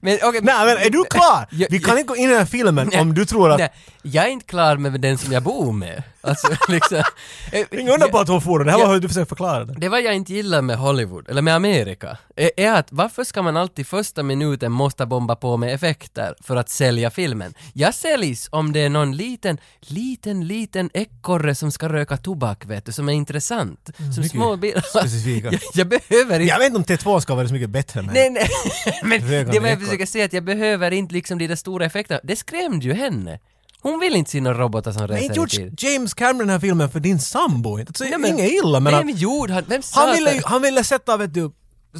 S1: Men okej...
S2: Nej men är du klar?
S1: Ja,
S2: Vi kan
S1: ja.
S2: inte gå in i den här filmen om du tror att...
S1: Nej, jag är inte klar med den som jag bor med. Alltså, *laughs* liksom, eh,
S2: Ingen undra på att hon for den. Det här
S1: Ja.
S2: var hur du försökte förklara det.
S1: det vad jag inte gillar med Hollywood, eller med Amerika, är, är att varför ska man alltid första minuten måste bomba på med effekter för att sälja filmen? Jag säljs om det är någon liten, liten, liten ekorre som ska röka tobak vet du, som är intressant. Som
S2: Mm, mycket
S1: små bilar. *laughs*
S2: specifika.
S1: Jag, jag behöver inte
S2: Jag vet inte om T2 ska vara så mycket bättre men...
S1: Nej, nej.
S2: *laughs*
S1: Men
S2: Rökande
S1: det var jag
S2: ekor.
S1: försöker säga att jag behöver inte liksom de där stora effekterna. Det skrämde ju henne. Hon vill inte se några robotar som
S2: Men inte
S1: reser i tid.
S2: gjort James Cameron den här filmen för din sambo inte. Alltså,
S1: Nej, men-
S2: inget illa men...
S1: Nej,
S2: att-
S1: men gjorde han? Vem sa
S2: Han ville, ju-
S1: att-
S2: han ville sätta, vet du,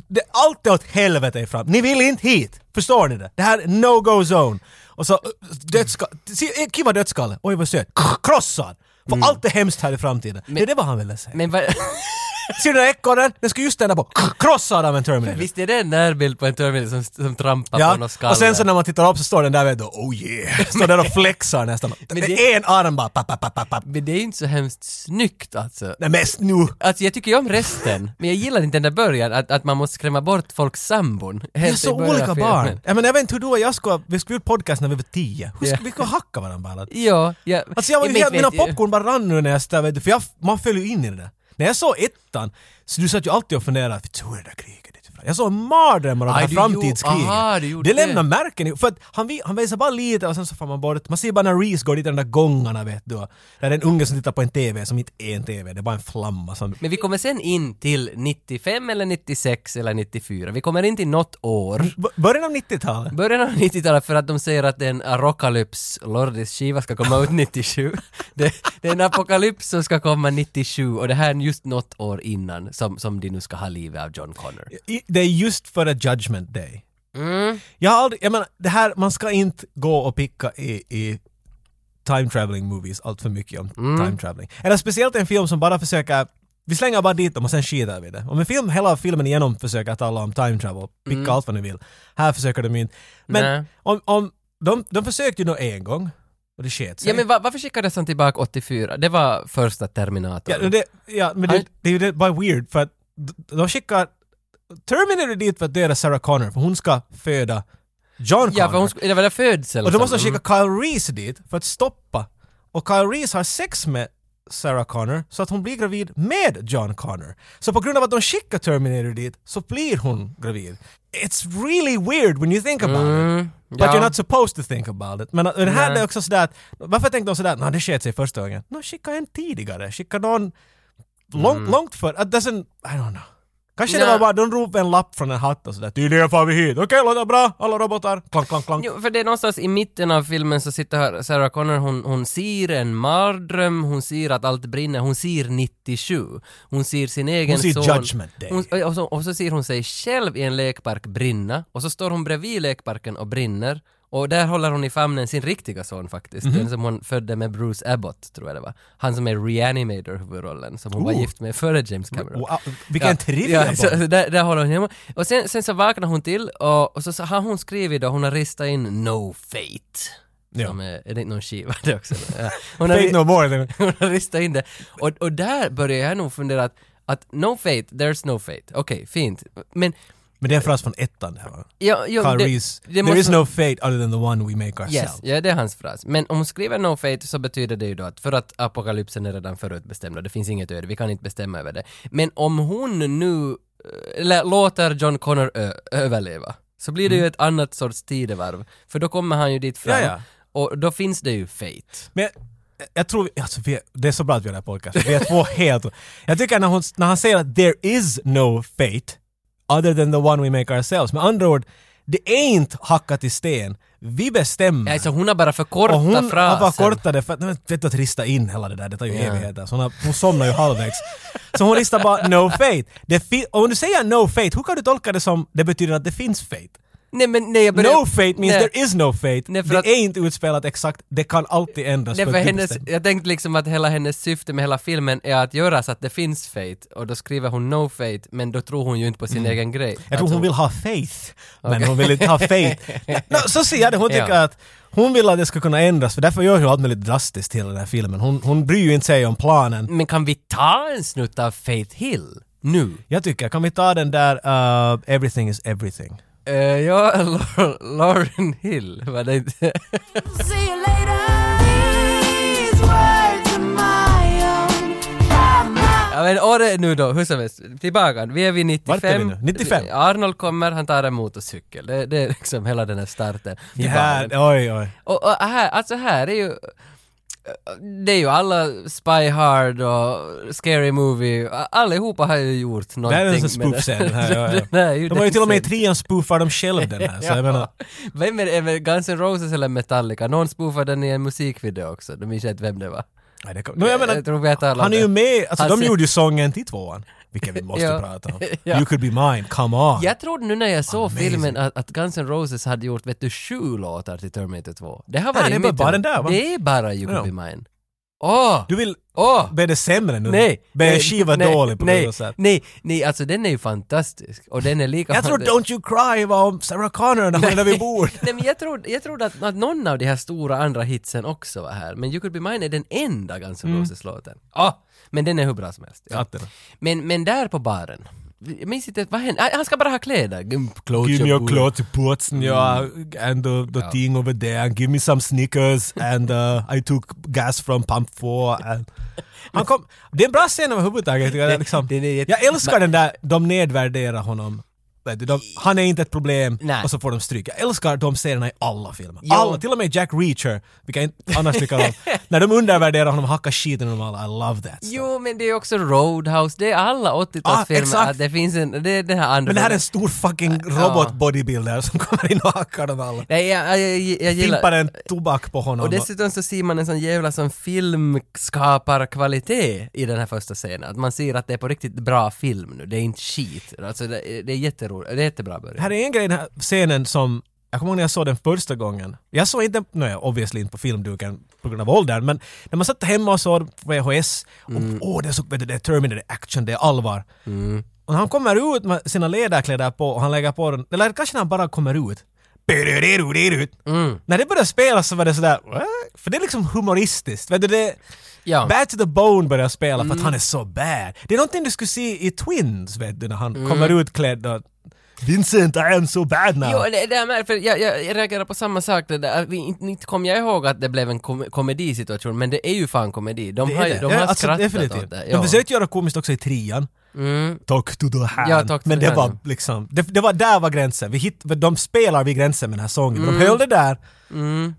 S2: det, allt är åt helvete fram. Ni vill inte hit! Förstår ni det? Det här är no-go zone. Och så äh, dödskalle, kiva dödskalle, oj vad söt, krossad! För allt är hemskt här i framtiden. det är det vad han ville säga.
S1: Men vad... *laughs*
S2: Ser du den där ekorren? Den ska just stanna på, krossad av en Terminator.
S1: Visst är det en närbild på en Terminator som, som trampar på någon skalle?
S2: och sen så när man tittar upp så står den där vet du, oh yeah, står där och
S1: *laughs*
S2: flexar nästan.
S1: Men
S2: Men
S1: det-
S2: det är en arm bara, papp, papp, papp, papp, papp.
S1: Men det är ju inte så hemskt snyggt alltså.
S2: Nej men nu!
S1: Alltså jag tycker ju om resten, men jag gillar inte den där början, att, att man måste skrämma bort folks sambon.
S2: Vi är
S1: Helt i
S2: så
S1: början av
S2: olika
S1: filmen.
S2: barn. Jag, men, jag vet inte hur du och jag skulle, vi skulle gjort podcast när vi var tio. Hur
S1: Ja.
S2: skulle vi kunna hacka varandra bara?
S1: Ja, ja.
S2: *laughs* Alltså jag var ju
S1: men
S2: helt, mina
S1: vet ju-
S2: popcorn bara rann nu när jag stod, vet du, för jag, man föll ju in i det där. När jag såg ettan, så du satt ju alltid och funderade, "Vet du, hur är det där kriget? jävlar. Jag såg mardrömmar av det
S1: Aj,
S2: här
S1: du gjorde-
S2: framtidskriget.
S1: aha, du gjorde
S2: det lämnar
S1: det.
S2: märken. i- För att han, vi- han visar bara lite och sen så får man bort. Man ser bara när Reese går dit i de där gångarna vet du. Där är en unge som tittar på en TV som inte är en TV. Det är bara en flamma som...
S1: Men vi kommer sen in till 95 eller 96 eller 94. Vi kommer in till något år.
S2: B- början av 90-talet.
S1: Början av 90-talet för att de säger att en Arocalypse Lordis skiva ska komma ut 97. Det, det är en apokalyps som ska komma 97 och det här är just något år innan som, som de nu ska ha livet av John Connor.
S2: I- Det är just före Judgment Day.
S1: Mm.
S2: Jag har aldrig, jag menar, det här, man ska inte gå och picka i, i time traveling movies allt för mycket om
S1: Mm.
S2: time traveling. Eller speciellt en film som bara försöker vi slänger bara dit dem och sen skiter vi i det. Om en film, hela filmen igenom försöker tala om time travel, picka allt vad ni vill. Här försöker de ju inte.
S1: Mm. Nej.
S2: Men om, om, de, de försökte ju nog en gång och det sket sig.
S1: Ja men va, varför skickades han tillbaka 84? Det var första Terminatorn.
S2: Ja, men det, ja, men det,
S1: Han-
S2: det är ju det- bara weird för att d- de skickar Terminator dit för att döda Sarah Connor för hon ska föda John Connor.
S1: Ja, för hon, sk- det var där födseln.
S2: och då måste de
S1: som-
S2: skicka Kyle Reese dit för att stoppa. Och Kyle Reese har sex med Sarah Connor så att hon blir gravid med John Connor. Så på grund av att de skickar Terminator dit så blir hon gravid. It's really weird when you think about it.
S1: Mm,
S2: But
S1: ja.
S2: you're not supposed to think about it. Men uh, det här
S1: Nej.
S2: är också sådär att, varför tänkte de sådär att "Nå, det sket sig första gången? Nå, skicka en tidigare, skicka någon långt, långt för. Att doesn't, I don't know. Kanske det
S1: Mm. Nej.
S2: var bara, de ropade en lapp från en hatt och sådär tydligen far vi hit, okej låter bra, alla robotar, klank, klank, klank.
S1: Jo, för det är någonstans i mitten av filmen så sitter här Sarah Connor, hon, hon ser en mardröm, hon ser att allt brinner, hon ser 97. Hon ser sin egen
S2: ser
S1: son.
S2: Judgment Day.
S1: Hon, och, så, och så ser hon sig själv i en lekpark brinna, och så står hon bredvid lekparken och brinner. Och där håller hon i famnen sin riktiga son faktiskt,
S2: Mhm.
S1: den som hon födde med Bruce Abbott, tror jag det var. Han som är reanimator huvudrollen, som hon var
S2: Ooh.
S1: gift med före James Cameron.
S2: Oh. Wow, ah, vilken trivia
S1: Ja,
S2: bara.
S1: så, där, där håller hon hemma. Och sen, sen så vaknar hon till och, och så, så har hon skrivit då, hon har ristat in No Fate.
S2: Ja.
S1: Som eh, är, är det inte någon skiva det
S2: *laughs*
S1: också? Ja. Hon, har,
S2: Fate no more. liksom. eller-
S1: *laughs* hon har ristat in det. Och, och där börjar jag nog fundera att, att No Fate, there's no fate. Okej, fint. Men
S2: Men det är en fras från ettan där va?
S1: Ja, jo,
S2: Kyle
S1: det-
S2: Reese,
S1: det
S2: there
S1: måste-
S2: is no fate other than the one we make
S1: Yes,
S2: ourselves.
S1: ja det är hans fras. Men om hon skriver No Fate så betyder det ju då att för att apokalypsen är redan förutbestämd och det finns inget öde, vi kan inte bestämma över det. Men om hon nu eh, eller låter John Connor ö- överleva så blir det ju ett annat sorts tidevarv. För då kommer han ju dit fram
S2: Mm. Ja, ja.
S1: och då finns det ju Fate.
S2: Men jag, jag tror, alltså, vi, det är så bra att vi har den här podcasten. Vi är två *laughs* helt... Jag tycker när, hon, när han säger att there is no fate other than the one we make ourselves. Med andra ord, det är inte hackat i sten. Vi bestämmer.
S1: Alltså hon har bara förkortat
S2: och hon
S1: frasen.
S2: har bara kortat det för att, nej, men vet du att rista in hela det där, det tar ju
S1: Ja.
S2: evigheter. Så hon, har, hon somnar ju halvvägs. Så hon ristar bara no fate. Det fi- och om du säger no fate, hur kan du tolka det som det betyder att det finns fate?
S1: Nej men nej jag börjar...
S2: no fate means
S1: nej.
S2: there is no fate.
S1: Nej, för
S2: det
S1: att-
S2: är inte utspelat exakt, det kan alltid ändras.
S1: Nej,
S2: på
S1: för
S2: ett
S1: hennes,
S2: bestämt-
S1: jag tänkte liksom att hela hennes syfte med hela filmen är att göra så att det finns fate och då skriver hon no fate men då tror hon ju inte på sin egen grej.
S2: Mm. Jag tror
S1: Alltså-
S2: hon vill ha faith, men hon vill
S1: *laughs*
S2: inte ha faith. no, så ser jag det, hon tycker
S1: Ja.
S2: att hon vill att det ska kunna ändras, för därför gör hon allt möjligt drastiskt till den här filmen. Hon, hon bryr ju inte sig om planen.
S1: Men kan vi ta en snutt av Faith Hill nu?
S2: Jag tycker, kan vi ta den där uh, “Everything is everything”?
S1: Eh, ja, Laur- Lauren Hill var det inte.
S8: See you later. These words are my own. Have my
S1: ja, men året nu då, hur som helst. Tillbaka, vi är vid 95.
S2: Vart är vi nu? 95?
S1: Arnold kommer, han tar en motorcykel. Det, det är liksom hela den här starten. i
S2: Det här,
S1: baren.
S2: oj oj.
S1: Och, och här, alltså här är ju det är ju alla Spy Hard och Scary Movie, allihopa har ju gjort
S2: Det
S1: någonting
S2: här är en sån
S1: med det. *laughs*
S2: spoof-scen. här, ja, ja.
S1: Den här är ju
S2: De har ju
S1: den
S2: till och med i
S1: scenen.
S2: trean spoofar dem själva den här, så Alltså, jag menar...
S1: Vem är det? Är det Guns N' Roses eller Metallica? Någon spoofade den i en musikvideo också, då minns jag inte vem det var.
S2: Nej, det kan, no, jag menar
S1: Jag tror vi har talat om
S2: han är
S1: det.
S2: ju med, alltså
S1: Han
S2: de
S1: ser-
S2: gjorde ju sången till tvåan, vilken vi
S1: *laughs*
S2: måste
S1: Ja.
S2: prata om.
S1: Ja.
S2: You could be mine, come on.
S1: Jag trodde nu när jag såg
S2: Amazing.
S1: filmen att, att Guns N' Roses hade gjort, vet du, sju låtar till Terminator 2. Det här var
S2: Nej, det är bara- bara den där, va?
S1: Det är bara You Could Be
S2: Ja.
S1: Mine. Åh!
S2: Du vill
S1: Åh!
S2: be det sämre nu?
S1: Nej!
S2: Be en
S1: nej,
S2: skiva
S1: nej,
S2: dålig på
S1: nej,
S2: något sätt?
S1: Nej, nej, alltså den är ju fantastisk. Och den är lika...
S2: Jag tror Don't You Cry var om Sarah Connor när hon är vid bord.
S1: *laughs* Nej men jag trodde, jag trodde att, att någon av de här stora andra hitsen också var här, men You Could Be Mine är den enda Guns N' Roses-låten. Ah, men den är hur bra som helst. Ja.
S2: Mm. Satte den.
S1: Men, men där på baren, jag minns inte, vad hände? Ah, Han ska bara ha kläder. Gump, clothes,
S2: Give me
S1: your
S2: your
S1: boots.
S2: clothes, putzen, ja, and the, the thing over there, and give me some Snickers, and uh, I took gas from pump 4. And... *laughs* Han kom, det är en bra scen överhuvudtaget. Jag, liksom,
S1: den är jätte-
S2: jag älskar den där, de nedvärderar honom. Vet du, de, han är inte ett problem
S1: Nej.
S2: och så får de stryk. Jag älskar de scenerna i alla filmer.
S1: Jo.
S2: Alla, till och med Jack Reacher, vilka jag inte annars tycker *laughs* om. När de undervärderar honom, hackar skiten ur honom alla. I love that. stuff.
S1: Jo, men det är också Roadhouse, det är alla 80-talsfilmer,
S2: Ah, exakt.
S1: att det finns en, det är den här andra...
S2: Men det här är en stor fucking robot-bodybuilder som kommer in och hackar dem alla.
S1: Nej, jag, jag, jag, jag gillar...
S2: Fimpar en tobak på honom.
S1: Och dessutom så ser man en sån jävla som filmskaparkvalitet i den här första scenen. Att man ser att det är på riktigt bra film nu, det är inte skit. Alltså det, det är jätteroligt, det är jättebra början.
S2: Här är en grej i den här scenen som jag kommer ihåg när jag såg den första gången. Jag såg inte, nej obviously inte på filmduken på grund av åldern, men när man satt hemma och såg på VHS, och
S1: Mm.
S2: åh det är så, vet du, det är Terminator action, det är allvar. Och när han kommer ut med sina ledarkläder på och han lägger på den, eller kanske när han bara kommer ut. Mm. När det började spelas så var det sådär, "What?" för det är liksom humoristiskt. Vet du, det,
S1: Ja.
S2: Bad to the Bone börjar spela
S1: Mm.
S2: för att han är så bad. Det är någonting du skulle se i Twins, vet du, när han
S1: Mm.
S2: kommer utklädd och Vincent, I am so bad now.
S1: Jo, det, det är med, för jag, jag, jag reagerar på samma sak. Det där. Vi, inte, inte kom jag ihåg att det blev en kom, komedisituation, men det är ju fan komedi. De
S2: Det är
S1: har, ju-
S2: det.
S1: De
S2: Ja,
S1: har
S2: alltså,
S1: skrattat
S2: definitivt.
S1: åt det. Mm.
S2: De försökte göra komiskt också i trean. Talk to the hand.
S1: Ja, talk to
S2: men
S1: the
S2: det var
S1: hand.
S2: liksom, det, det var där var gränsen. Vi hit, de spelar vid gränsen med den här sången.
S1: Mm.
S2: De höll det där.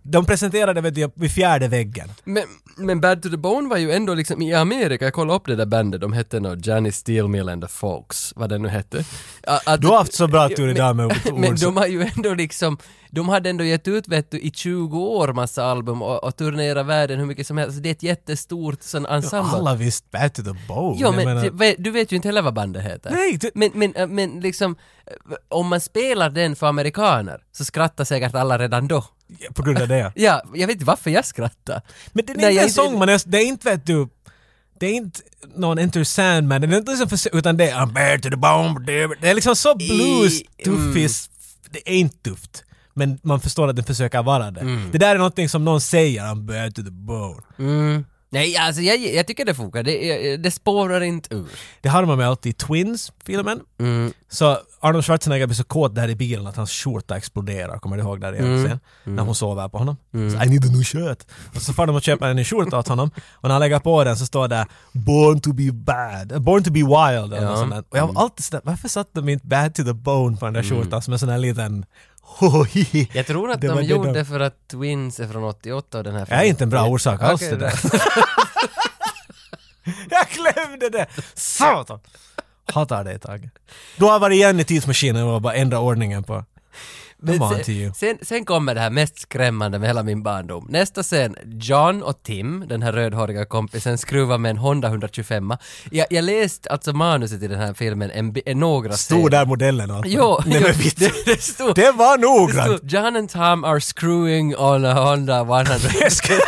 S2: De presenterade vet du, vid fjärde väggen.
S1: Men, men Bad to the Bone var ju ändå liksom i Amerika, jag kollade upp det där bandet, de hette nog Johnny Steelmill and the Folks, vad det nu hette. A- att-
S2: Du har haft så bra tur idag med ord.
S1: *laughs* Men de har ju ändå liksom, de hade ändå gett ut vet du i 20 år massa album och, och turnerat världen hur mycket som helst, det är ett jättestort sån ensemble.
S2: Alla visste Bad to the bone.
S1: Jo
S2: Jag
S1: men
S2: menar-
S1: du vet- du vet ju inte heller vad bandet heter.
S2: Nej, du-
S1: men, men, äh, men liksom, äh, om man spelar den för amerikaner så skrattar säkert alla redan då.
S2: på grund av det.
S1: Ja, jag vet inte varför jag skrattar.
S2: Men det är
S1: Nej,
S2: inte
S1: jag
S2: en
S1: inte-
S2: sång, man är, det är inte vet du, det är inte någon Enter Sandman, det är inte liksom för, utan det är I'm bare to the bomb, det är liksom så blues, tuffis, det är inte tufft. Men man förstår att den försöker vara det. Det där är någonting som någon säger, I'm bare to the bone.
S1: Nej, alltså jag, jag tycker det funkar. Det, det spårar inte ur.
S2: Det har man med alltid i Twins-filmen.
S1: Mm.
S2: Så Arnold Schwarzenegger blir så kåt där i bilen att hans skjorta exploderar, kommer du ihåg där i
S1: Mm.
S2: en scen? När hon sover på honom. Så, I need a new shirt. Och så får de och köper en ny skjorta åt honom. Och när han lägger på den så står det “Born to be bad”, Eh, “Born to be wild” eller något sånt där. Och
S1: Mm.
S2: jag har alltid sådär, varför satte de inte “bad to the bone” på den där skjortan som en sån här liten *laughs* hohohi?
S1: Jag tror att
S2: Det var
S1: de
S2: det
S1: gjorde
S2: de-
S1: för att Twins är från 88 och den här
S2: Det är inte en bra orsak alls
S1: Okej,
S2: det där.
S1: då.
S2: *laughs* jag glömde det! Satan! Hatar dig Tage. Du har varit igen i tidsmaskinen och bara ändrat ordningen på... Come on to you.
S1: sen, sen, sen kommer det här mest skrämmande med hela min barndom. Nästa scen, John och Tim, den här rödhåriga kompisen, skruvar med en Honda 125. Jag, jag läste alltså manuset i den här filmen en, bi- en några
S2: Stod där modellen och allt.
S1: Jo,
S2: Nej,
S1: jo,
S2: men
S1: *laughs*
S2: vitt.
S1: det, det stod...
S2: Det var
S1: det stod,
S2: noggrant!
S1: John and Tom are screwing on a Honda 100.
S2: *laughs* Jag ska-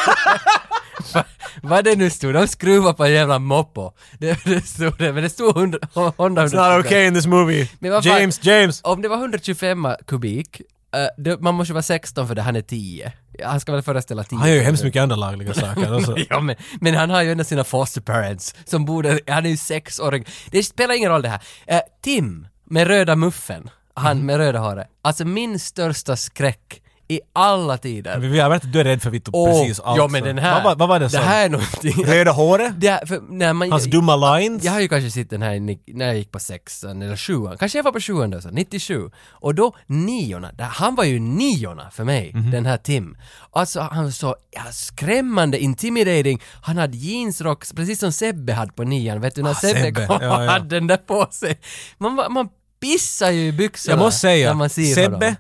S1: Vad det nu stod, de skruvar på en jävla moppo. Det, det stod det, men det stod 100, Honda 125.
S2: It's not okay in this movie.
S1: Men vad fan-
S2: James, James!
S1: Om det var 125 kubik, eh, det, man måste vara 16 för det, han är 10. Han ska väl föreställa 10.
S2: Han gör ju hemskt mycket andra lagliga saker också.
S1: *laughs* Ja, men, men han har ju ändå sina foster parents som borde, han är ju sexåring. Det spelar ingen roll det här. Eh, Tim med röda muffen, han
S2: Mhm.
S1: med röda håret, alltså min största skräck i alla tider.
S2: Vi har varit du är rädd för Vittu precis allt.
S1: ja men den här,
S2: Vad, var- vad var det som?
S1: här är någonting.
S2: *laughs* Röda håret?
S1: Det här, för när man,
S2: Hans dumma
S1: *laughs*
S2: lines?
S1: jag har ju kanske sett den här i- när jag gick på sexan eller sjuan, kanske jag var på sjuan då, så, 97. Och då niorna, där- han var ju niorna för mig,
S2: Mhm.
S1: den här Tim. Alltså han var så ja, skrämmande intimidating, han hade jeansrock, precis som Sebbe hade på nian, vet du när
S2: Ah,
S1: Sebbe,
S2: Sebbe,
S1: kom
S2: ja, ja.
S1: och hade den där på sig. Man, var- man pissar ju i byxorna
S2: Jag måste
S1: när
S2: säga,
S1: man ser Mm. honom.
S2: Sebbe,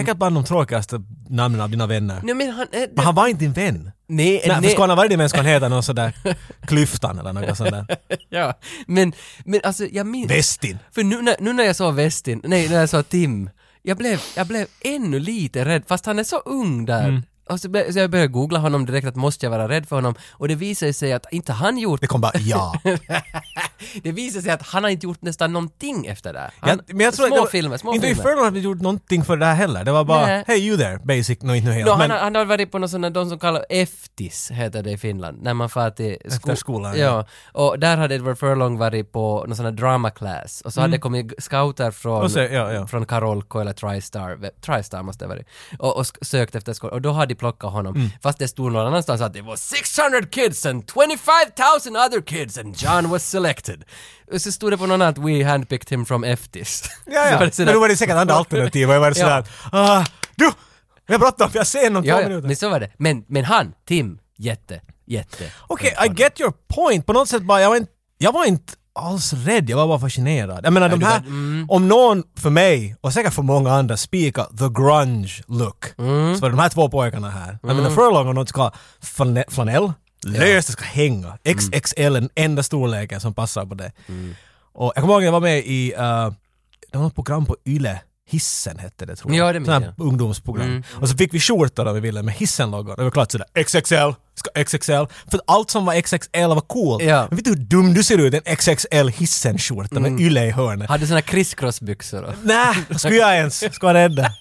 S2: säkert bland de tråkigaste namnen av dina vänner.
S1: Nej men han... eh,
S2: Men han var inte din vän.
S1: nej,
S2: Nej, för
S1: nej.
S2: skulle han ha varit din vän skulle han heta någon sådär Klyftan eller något sånt där.
S1: *laughs* Ja, men, men alltså jag minns...
S2: Västin.
S1: För nu när, nu när jag såg Westin, nej när jag såg Tim, jag blev, jag blev ännu lite rädd, fast han är så ung där.
S2: Mm.
S1: Och så, bör- så jag började googla honom direkt att måste jag vara rädd för honom? Och det visade sig att inte han gjort,
S2: *laughs* Det kom bara
S1: *laughs*
S2: ja.
S1: det visade sig att han har inte gjort nästan någonting efter det. Han,
S2: Jag, men jag tror att
S1: små
S2: det var-
S1: filmer, små
S2: Inte i
S1: filmer.
S2: Inferno hade vi gjort någonting för det här heller. Det var bara
S1: Nej.
S2: Hey you there, basic, no, inte nu helt.
S1: No,
S2: men
S1: han, har- han har varit på någon sån där, de som kallar Eftis, heter det i Finland, när man far till sko-
S2: Efter skolan,
S1: Ja. och Oh, där hade Edward Furlong varit på någon sån här drama class, och så hade det kommit scouter från,
S2: Mm. Och så- ja, ja.
S1: från Karolko eller Tristar, ve- Tristar måste det ha varit, och, och sk- sökt efter skolan, och då hade de plockat honom,
S2: Mm.
S1: fast det stod någon annanstans att det var 600 kids and 25 000 other kids and John was select.
S2: selected.
S1: Och så stod det på något annat “We handpicked him from Eftis”.
S2: Ja,
S1: *laughs*
S2: ja.
S1: Så var det sådär-
S2: Men då var det säkert andra alternativ och jag var det sådär ah, du! Jag har bråttom, jag ser en om två
S1: ja, ja,
S2: minuter.
S1: men så var det. Men, men han, Tim, jätte, jätte.
S2: Okej, I get your point. På något sätt bara, jag var inte, jag var inte alls rädd, jag var bara fascinerad. Jag menar de här,
S1: mm.
S2: om någon för mig och säkert för många andra spika the grunge look
S1: Mm.
S2: så var det de här två pojkarna här. Jag menar Furlong och något ska ha flane- flanell, löst, det ska
S1: Mm.
S2: hänga. XXL är den enda storleken som passar på det. Och jag kommer ihåg när jag var med i, uh, det var något program på Yle, Hissen hette det tror jag.
S1: Ja, det minns
S2: Sån här
S1: jag.
S2: ungdomsprogram. Och så fick vi skjortor om vi ville med Hissen-loggan. Det var klart sådär XXL, ska XXL. För att allt som var XXL var coolt.
S1: Ja.
S2: Men vet du hur dum du ser ut i en XXL Hissen-skjorta med ylle i hörnet?
S1: Hade såna crisscrossbyxor och...
S2: Nä, vad skulle jag ens? Ska jag rädda?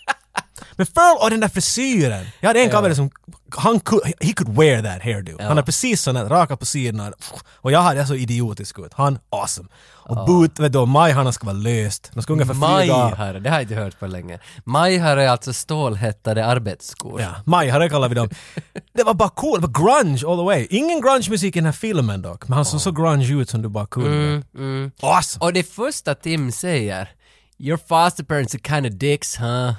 S2: Men Furl och den där frisyren. Jag hade en kavare som, han could, he could wear that hairdo. Han har precis sån här raka på sidorna. Och jag hade jag så idiotisk ut. Han, awesome. Och boot, vet du, och majhanar ska vara löst. De ska ungefär fyra dagar.
S1: Majhare, det har jag inte hört på länge. Majhare är alltså stålhättade arbetsskor.
S2: Ja, Majhare kallar vi dem. Det var bara cool, det var grunge all the way. Ingen grunge-musik i den här filmen dock, men han såg så grunge ut som du bara kunde. Awesome!
S1: Mm, Och det första Tim säger, “Your foster parents are kind of dicks, huh?”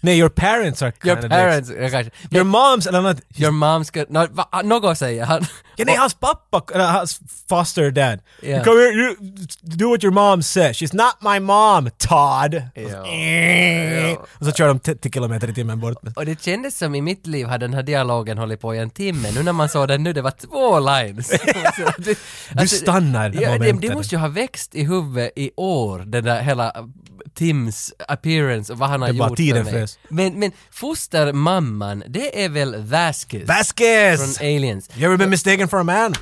S2: Nej, your parents are
S1: Your
S2: kinda dicks.
S1: parents, ja, kanske. Men
S2: Your moms, eller nåt.
S1: your mom ska... nå- va- Något säger han.
S2: Ja, nej, hans pappa, eller hans foster dad.
S1: Ja.
S2: You come here, you do what your mom says. She's not my mom, Todd.
S1: Ja.
S2: Och så kör de 10 kilometer i timmen bort.
S1: Och det kändes som i mitt liv hade den här dialogen hållit på i en timme. Nu när man såg den nu, det var två
S2: *laughs*
S1: lines. Så att det- alltså,
S2: Du stannar i det
S1: ja, det,
S2: momentet.
S1: det måste ju ha växt i huvudet i år, den där hela Tims appearance och vad han har
S2: Det är bara
S1: gjort
S2: tiden
S1: för mig.
S2: frös.
S1: Men, men fostermamman, det är väl Vasquez
S2: Vasquez!
S1: från Aliens.
S2: You ever been mistaken for a
S1: *laughs*
S2: man?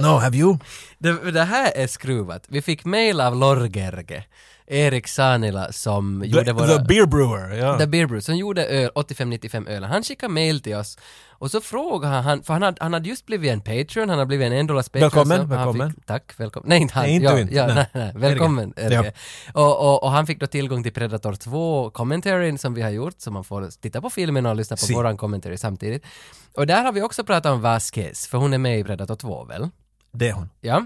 S2: no, have you?
S1: Det, det här är skruvat. Vi fick mail av Lorgerge, Erik Sanila som gjorde
S2: The,
S1: våra...
S2: the beer brewer, ja.
S1: The Beer Brew, som gjorde öl, 85-95 ölen, han skickade mail till oss och så frågade han, för han hade, han hade just blivit en Patreon, han hade blivit en 1 dollars Patreon.
S2: Välkommen,
S1: så han
S2: välkommen.
S1: Fick, tack, välkommen. Nej, inte han.
S2: Nej, inte
S1: ja,
S2: du inte.
S1: Ja,
S2: Nej.
S1: nej. Nej, välkommen
S2: Erika.
S1: Erika. Och, och, och han fick då tillgång till Predator 2 commentaryn som vi har gjort, så man får titta på filmen och lyssna på
S2: Si.
S1: våran commentary samtidigt. Och där har vi också pratat om Vasquez, för hon är med i Predator 2 väl?
S2: Det är hon.
S1: Ja.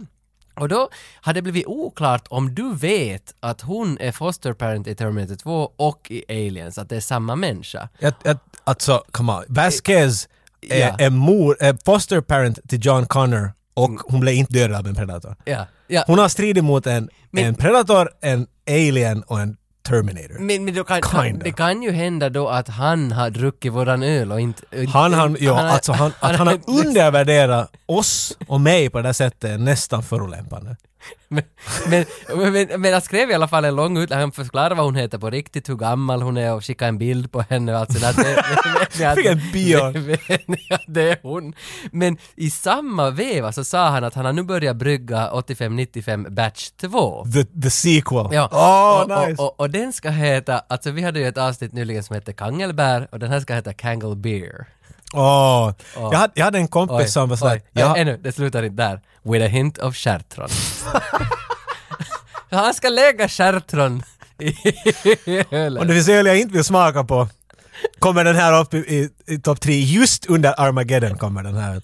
S1: Och då hade det blivit oklart om du vet att hon är fosterparent i Terminator 2 och i Aliens, att det är samma människa.
S2: Jag, jag, alltså, come on. Vasquez är,
S1: Eh, Ja.
S2: är mor, är foster parent till John Connor och hon blev inte dödad av en predator.
S1: Mm. Ja. ja.
S2: Hon har stridit mot en,
S1: Men-
S2: en predator, en alien och en terminator.
S1: men men då kan,
S2: Kinda.
S1: det kan ju hända då att han har druckit våran öl och inte... inte-
S2: han, han, ja,
S1: har-
S2: alltså han, att han har undervärderat oss och mig på det här sättet är nästan förolämpande.
S1: Men, men, men, men han skrev i alla fall en lång utläggning, han förklarade vad hon heter på riktigt, hur gammal hon är och skickade en bild på henne och allt sådär. Det-
S2: Fick en bion.
S1: vet ni att *laughs* det är hon. Men i samma veva så sa han att han har nu börjat brygga 85-95 batch 2.
S2: The, the sequel.
S1: Ja.
S2: Åh,
S1: och,
S2: nice!
S1: och, och, och den ska heta, alltså vi hade ju ett avsnitt nyligen som hette Kangelbär och den här ska heta Kangle Beer.
S2: Åh. Jag, hade, jag hade en kompis som var sådär...
S1: oj.
S2: jag-
S1: Ja, ännu, det slutar inte där. With a hint of kärtron. *laughs* Han ska lägga kärtron i ölen.
S2: Om det finns öl jag inte vill smaka på kommer den här upp i, i, i topp tre. Just under Armageddon kommer den här.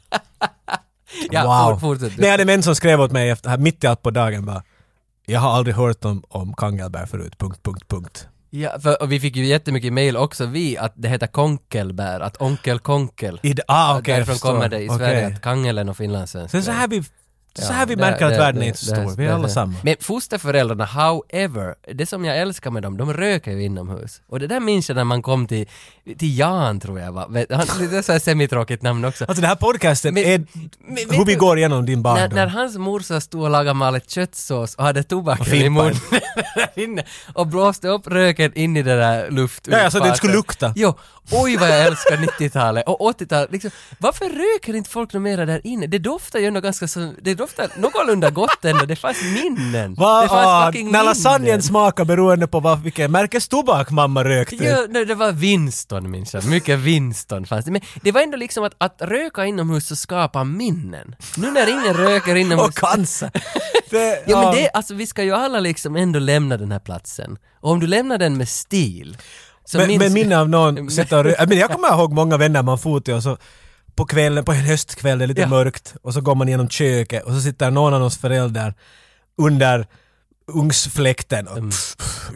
S1: Ja, wow. fortsätt.
S2: Nej, det är män som skrev åt mig efter, här, mitt i allt på dagen bara jag har aldrig hört om, om kangelbär förut, punkt, punkt, punkt.
S1: Ja, för, och vi fick ju jättemycket mail också, vi, att det heter konkelbär, att onkel konkel.
S2: I, d- ah, okay,
S1: Därifrån kommer det i Sverige, att kangelen och
S2: Så,
S1: finlandssvenskan.
S2: så här vi, så här vi
S1: Ja,
S2: märker
S1: det-
S2: att
S1: det-
S2: världen
S1: det-
S2: är inte så
S1: det-
S2: stor. Vi är
S1: det-
S2: alla
S1: det-
S2: samma.
S1: Men fosterföräldrarna, however, det som jag älskar med dem, de röker ju inomhus. Och det där minns jag när man kom till, till Jan tror jag va? Vet- han- Det är så här semitråkigt namn också.
S2: Alltså den här podcasten
S1: Men-
S2: är
S1: men vet
S2: hur vi
S1: du-
S2: går igenom din
S1: När,
S2: barndom.
S1: när hans morsa stod och lagade malet köttsås och hade tobaken i
S2: fimpan.
S1: munnen *laughs* där inne och blåste upp röken in i den där luft.
S2: Ja, ja, så att det inte skulle lukta.
S1: Jo, oj vad jag älskar 90-talet och 80-talet. Liksom, varför röker inte folk något mera där inne? Det doftar ju ändå ganska så, det doftar någorlunda gott ändå, det fanns minnen.
S2: Va?
S1: Det
S2: Ah,
S1: fanns
S2: när lasagnen smakar beroende på vad, vilken märkes tobak mamma rökte.
S1: Jo, nej, det var Winston minns jag. Mycket Winston fanns det. Men det var ändå liksom att, att röka inomhus så skapar minnen. Nu när ingen röker inomhus...
S2: Och cancer. *laughs* Det,
S1: Ja men
S2: ah.
S1: det, alltså vi ska ju alla liksom ändå lämna den här platsen. Och om du lämnar den med stil. Så
S2: men,
S1: alltså minns- Mm.
S2: men minne av någon sitta och rö- Men jag kommer ihåg många vänner man for till och så på kvällen, på en höstkväll, det är lite
S1: Ja.
S2: mörkt och så går man genom köket och så sitter någon av oss föräldrar under ugnsfläkten
S1: Mm.
S2: och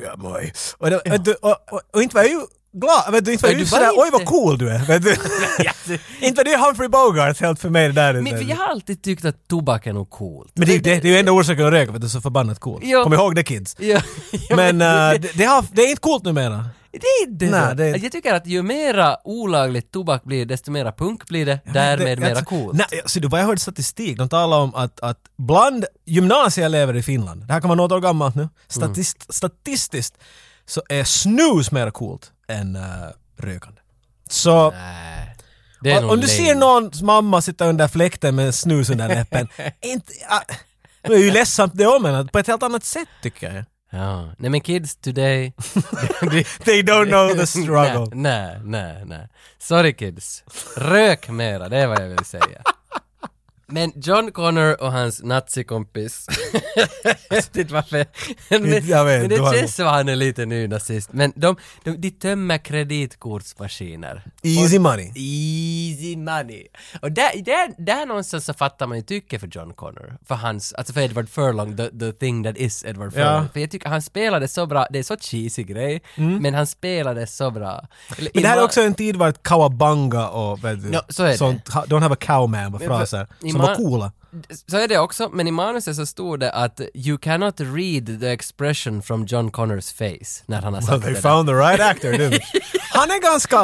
S2: ja moj. Och, det, vet du, och, och, och inte var jag ju glad, vet du, inte var
S1: Nej,
S2: jag ju
S1: du var
S2: sådär
S1: inte-
S2: oj vad cool du är. Vet
S1: *laughs*
S2: du? *laughs* inte var det Humphrey Bogart helt för mig det där.
S1: Men för jag har alltid tyckt att tobak är nog coolt.
S2: Men det, är ju det, det är ju enda orsaken att röka för att det är så förbannat coolt.
S1: Ja.
S2: Kom ihåg det kids.
S1: *laughs* Ja, ja,
S2: Men eh, det, det, har, det är inte coolt numera.
S1: det är inte
S2: Nej,
S1: så.
S2: det är-
S1: Jag tycker att ju mera olagligt tobak blir, desto mera punk blir det, därmed
S2: Det-
S1: mera
S2: alltså,
S1: coolt.
S2: Nej, alltså, du, vad jag hörde statistik, de talar om att, att bland gymnasieelever i Finland, det här kan vara något år gammalt nu, statist,
S1: Mm.
S2: statistiskt så är snus mer coolt än eh, rökande. Så
S1: Det är
S2: om,
S1: nog
S2: om du
S1: lame.
S2: ser någons mamma sitta under fläkten med snus
S1: *laughs*
S2: under läppen, inte... ah, det är ju ledsamt det om men på ett helt annat sätt tycker jag.
S1: Ja. Nej men kids today...
S2: They don't know the struggle.
S1: *laughs* Nej, nej, nej, nej. Sorry kids. Rök mera, det är vad jag vill säga. Men John Connor och hans nazikompis. jag *laughs* vet inte varför. Men,
S2: Jag vet,
S1: men
S2: du har-
S1: det känns som han är lite nynazist. Men de, de, de tömmer kreditkortsmaskiner.
S2: Easy money.
S1: Easy money. Och där, där, där någonstans så fattar man ju tycke för John Connor. För hans, alltså för Edward Furlong, the, the thing that is Edward Furlong. För jag tycker han spelade så bra, det är så cheesy grej, men han spelade så bra. Eller
S2: Mm. Men det här är
S1: Inma-
S2: också en tid vart cowabunga och vet du,
S1: Ja, så är det.
S2: sånt, ha- don't have a cowman var fraser,
S1: i
S2: som var
S1: ma-
S2: coola.
S1: Så är det också, men i manuset så stod det att you cannot read the expression from John Connors face när han har sagt
S2: Well,
S1: det
S2: they
S1: där.
S2: found the right actor,
S1: *laughs*
S2: du. Han är ganska...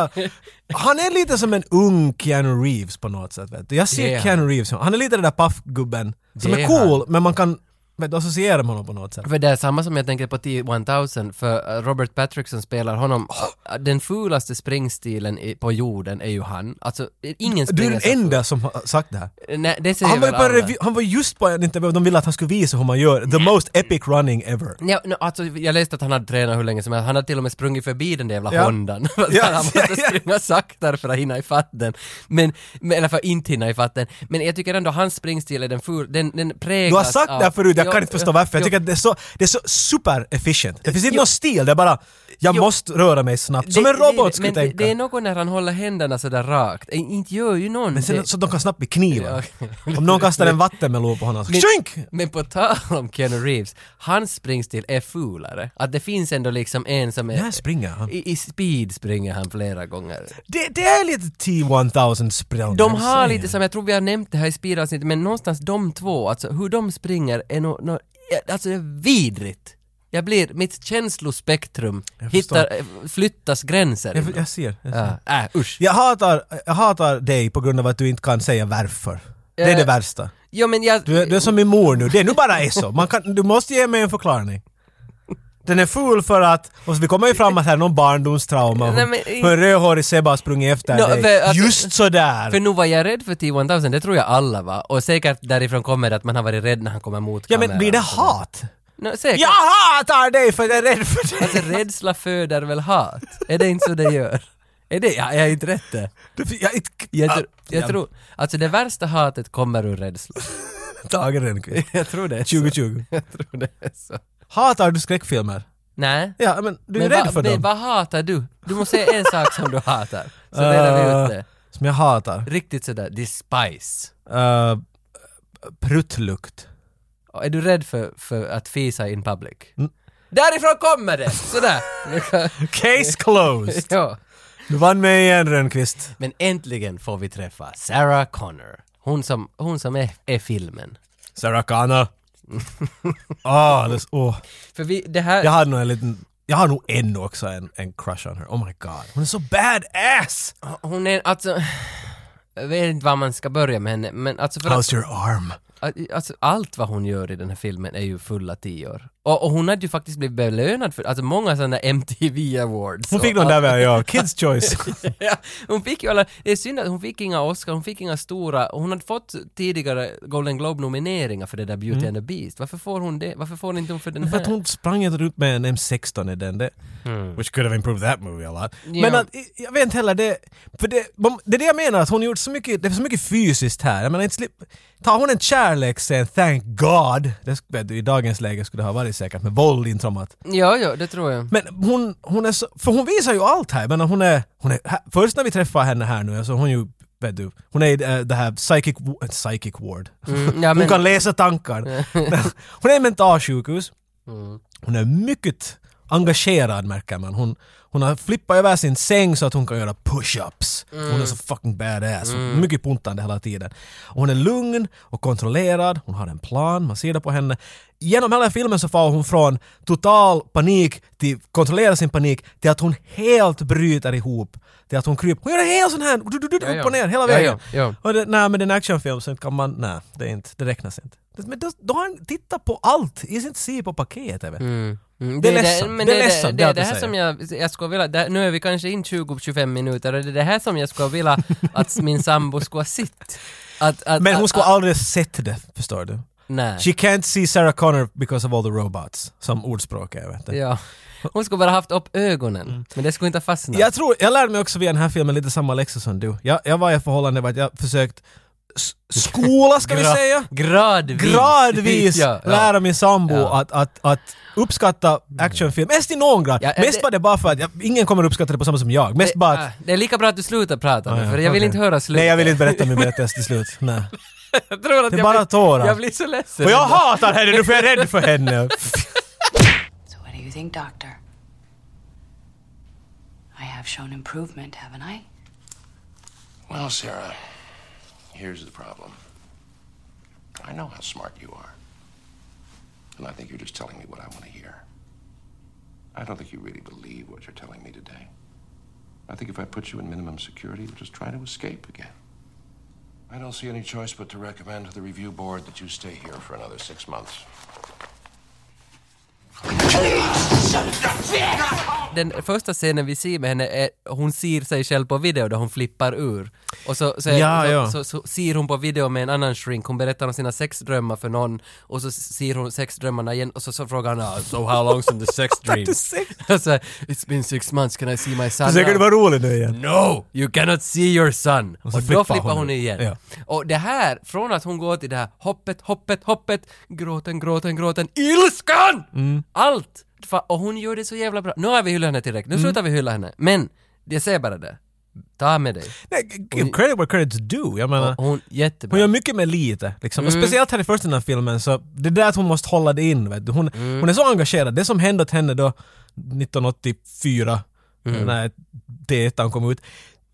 S2: Han är lite som en ung Keanu Reeves på något sätt. Vet du. Jag ser
S1: Det är han.
S2: Keanu Reeves, som- han är lite den där paffgubben som
S1: Det
S2: är
S1: är
S2: cool, men man kan vet, du, associera med honom på något sätt.
S1: För det är samma som jag tänker på T-1000, för eh, Robert Patrickson spelar honom, *gasps* den fulaste springstilen i, på jorden är ju han. Alltså, eh, ingen
S2: Du är
S1: springer
S2: den
S1: så
S2: enda som har sagt det här.
S1: fult. Nej, det säger
S2: Han var, ju
S1: väl
S2: på en
S1: alla.
S2: revy- han var just på en intervju, de ville att han skulle visa hur man gör the most epic running ever.
S1: Ja, no, alltså, jag läste att han hade tränat hur länge som helst, han hade till och med sprungit förbi den där jävla
S2: Ja.
S1: Hondan. *laughs* För att
S2: Ja,
S1: han måste
S2: ja, ja.
S1: springa saktare för att hinna ifatt den. Men, men, eller för att inte hinna ifatt den. Men jag tycker ändå hans springstil är den ful, den, den präglas
S2: Du har sagt
S1: av-
S2: det här förut, jag
S1: Jo,
S2: kan inte förstå
S1: jo,
S2: varför. Jag
S1: jo.
S2: tycker att det är så, det är så super efficient. Det finns inte någon stil, det är bara jag måste röra mig snabbt. Som
S1: Det-
S2: en robot
S1: det,
S2: skulle
S1: men det-
S2: tänka.
S1: Det är något när han håller händerna sådär rakt. Eh, Inte gör ju någon
S2: men sen,
S1: det.
S2: så att de kan snabbt bli knivar.
S1: Ja,
S2: Om någon kastar en vattenmelon på honom, så
S1: Men-
S2: Tjink!
S1: Men på tal om Keanu Reeves, hans springstil är fulare. Att det finns ändå liksom en som är...
S2: Där springer han.
S1: I, I speed springer han flera gånger.
S2: Det, det är lite T-1000 språng.
S1: De har lite som, jag tror vi har nämnt det här i speed-avsnittet, men någonstans de två, alltså hur de springer är nog, no, alltså det är vidrigt. Jag blir, mitt känslospektrum
S2: förstår.
S1: hittar, eh, flyttas gränser.
S2: Jag,
S1: inom.
S2: jag ser. Jag, ser.
S1: ja. Äh, usch.
S2: jag, hatar, jag hatar dig på grund av att du inte kan säga varför. Det är
S1: Eh,
S2: det värsta.
S1: Jo men jag...
S2: Du, är- du är som min mor nu, det är nu bara är så. Man kan, du måste ge mig en förklaring. Den är ful för att, och vi kommer ju fram att här är någon barndomstrauma.
S1: Nej,
S2: Hon,
S1: men-
S2: hur en rödhårig Sebbe har sprungit efter
S1: Nå,
S2: dig.
S1: för att-
S2: Just sådär!
S1: För nog var jag rädd för T-1000, det tror jag alla var. Och säkert därifrån kommer det att man har varit rädd när han kommer mot
S2: ja men
S1: kameran.
S2: blir det hat?
S1: Nå, säkert.
S2: Jag hatar dig för jag är rädd för dig!
S1: Alltså rädsla föder väl hat? Är det inte så det gör? Är det, ja, jag är inte rätt det.
S2: Du- Jag, jag,
S1: Jag, tr- jag
S2: Ah, ja.
S1: tror, alltså det värsta hatet kommer ur rädsla.
S2: Tage Rönnqvist.
S1: *laughs* Jag tror det är så.
S2: 2020.
S1: *laughs* Jag tror det är så.
S2: Hatar du skräckfilmer?
S1: Nej.
S2: Ja men du är
S1: men
S2: rädd
S1: va-
S2: för
S1: men
S2: dem.
S1: vad hatar du? Du måste säga en sak som du hatar. Så reder
S2: Ah.
S1: vi ut det.
S2: Som jag hatar.
S1: Riktigt sådär, the spice.
S2: Eh, pruttlukt.
S1: Och Är du rädd för, för att fisa in public?
S2: Mm.
S1: Därifrån kommer det! Sådär!
S2: Case closed!
S1: *laughs* ja.
S2: Du vann mig igen Rönnqvist.
S1: Men äntligen får vi träffa Sarah Connor. Hon som, hon som är, är filmen. *laughs*
S2: Sarah Connor. Ah, det, oh.
S1: För vi, det här...
S2: Jag har nog en liten... Jag har nog ännu också en, en crush on her. Oh my god. Hon är så badass!
S1: Hon är alltså... Jag vet inte var man ska börja med henne, men alltså för att,
S2: How's your arm?
S1: alltså allt vad hon gör i den här filmen är ju fulla tior. Och, och hon hade ju faktiskt blivit belönad för, alltså många sådana MTV Awards.
S2: Hon fick
S1: Och
S2: någon
S1: allt- *laughs*
S2: där med, ja. Kids choice.
S1: ja, hon fick ju alla, det är synd att hon fick inga Oscar, hon fick inga stora, och hon hade fått tidigare Golden Globe-nomineringar för det där Beauty and the Beast. Varför får hon det? Varför får inte hon Mm. för den
S2: För
S1: här?
S2: att hon sprang inte ut med en M16 i den där. Which could have improved that movie a lot. Men
S1: Mm. Ja.
S2: att, jag vet inte heller, det, för det, man- det är det jag menar, att hon gjort så mycket, det är så mycket fysiskt här. Jag menar, inte slip, tar hon en kärleksscen, thank God, det sk- vet du, i dagens läge skulle det ha varit säkert med våld intrommat.
S1: Ja, ja, det tror jag.
S2: Men hon, hon är så, för hon visar ju allt här. Men hon är, hon är här, först när vi träffar henne här nu, alltså hon är ju vet du, hon är i äh, det här psychic, w- psychic ward.
S1: Mm, ja,
S2: Hon
S1: men,
S2: kan
S1: *laughs*
S2: läsa tankar. hon är i mentalsjukhus.
S1: Mm.
S2: Hon är mycket engagerad märker man. Hon, hon har flippat över sin säng så att hon kan göra push-ups. Hon är så
S1: Mm.
S2: fucking badass. Hon är Mycket puntande hela tiden. Och hon är lugn och kontrollerad. Hon har en plan, man ser det på henne. Genom hela filmen så far hon från total panik till kontrollera sin panik till att hon helt bryter ihop. Till att hon kryper. Hon gör en hel sån här du, du, du,
S1: Ja, ja.
S2: upp och ner hela
S1: Ja,
S2: vägen.
S1: ja, ja.
S2: Och det, nej men det är en actionfilm så kan man, nej det, är inte, det räknas inte. Det- Men då, då har han tittat på allt, jag ska inte se på paketet. vet du.
S1: mm,
S2: det är ledsamt.
S1: men
S2: Det är
S1: det,
S2: ledsamt,
S1: det,
S2: det
S1: det,
S2: är
S1: det här
S2: att
S1: som jag, jag skulle vilja, det, nu är vi kanske in 20-25 minuter och det är det här som jag skulle vilja
S2: *laughs*
S1: att min sambo skulle ha sett. Att, att,
S2: Men hon
S1: att,
S2: skulle
S1: att,
S2: aldrig sett det, förstår du.
S1: nej.
S2: She can't see Sarah Connor because of all the robots, som ordspråk är. Vet du.
S1: Ja. Hon skulle bara haft upp ögonen. Men det skulle inte ha fastnat.
S2: Mm. Jag tror, jag lärde mig också via den här filmen lite samma läxa som du. Jag, jag var i ett förhållande där jag försökt s- skola, ska vi
S1: Gra-
S2: säga,
S1: Gradvis. *laughs*
S2: gradvis
S1: Ja, ja.
S2: lära min sambo
S1: Ja.
S2: att, att, att uppskatta actionfilm. Mest i någon grad.
S1: Ja,
S2: Mest
S1: det-
S2: var det bara för att jag, ingen kommer uppskatta det på samma som jag. Mest bara att
S1: Ah, Det är lika bra att du slutar prata nu,
S2: Ja,
S1: för jag vill
S2: okej.
S1: inte höra slutet.
S2: Nej, jag vill inte berätta min berättelse till slut. Nej.
S1: *laughs* jag tror att
S2: Det är
S1: jag
S2: bara
S1: blir,
S2: tårar.
S1: Jag blir så ledsen.
S2: Och jag hatar henne nu för jag är rädd för henne!
S5: So, what do you think, Doctor? I have shown improvement, haven't I?
S9: Well, Sarah, here's the problem. I know how smart you are. And I think you're just telling me what I want to hear. I don't think you really believe what you're telling me today. I think if I put you in minimum security, you'll just try to escape again. I don't see any choice but to recommend to the review board that you stay here for another six months.
S1: Den första scenen vi ser med henne är hon ser sig själv på video då hon flippar ur. Och så, så, är-
S2: Ja,
S1: så,
S2: ja.
S1: Så, så ser hon på video med en annan shrink, hon berättar om sina sexdrömmar för någon och så ser hon sexdrömmarna igen och så, så frågar han "Ah, “So how long's in the
S2: *laughs*
S1: sex dream?” *laughs* Alltså, “It's been six months, can I see my son?”
S2: *laughs* Försöker
S1: now?"
S2: du vara rolig nu igen?
S1: No! Oh, You cannot see your son! Och,
S2: så
S1: då
S2: flippar
S1: flippar hon,
S2: hon ut.
S1: igen.
S2: Ja.
S1: Och det här, från att hon går till det här hoppet, hoppet, hoppet, gråten, gråten, gråten, ilskan!
S2: Mm.
S1: Allt! Fa- Och hon gör det så jävla bra. Nu har vi hyllat henne tillräckligt,
S2: Mm.
S1: nu slutar vi hylla henne. Men, jag säger bara det. Ta med dig.
S2: Nej, g- g- credit where credit's due. Jag menar,
S1: Och hon, jättebra.
S2: hon gör mycket med lite.
S1: Mm.
S2: Liksom. Och speciellt här i första den här filmen så det är där att hon måste hålla det in. Vet du. Hon,
S1: Mm.
S2: hon är så engagerad. Det som hände åt henne då 1984
S1: Mm.
S2: när T1 kom ut.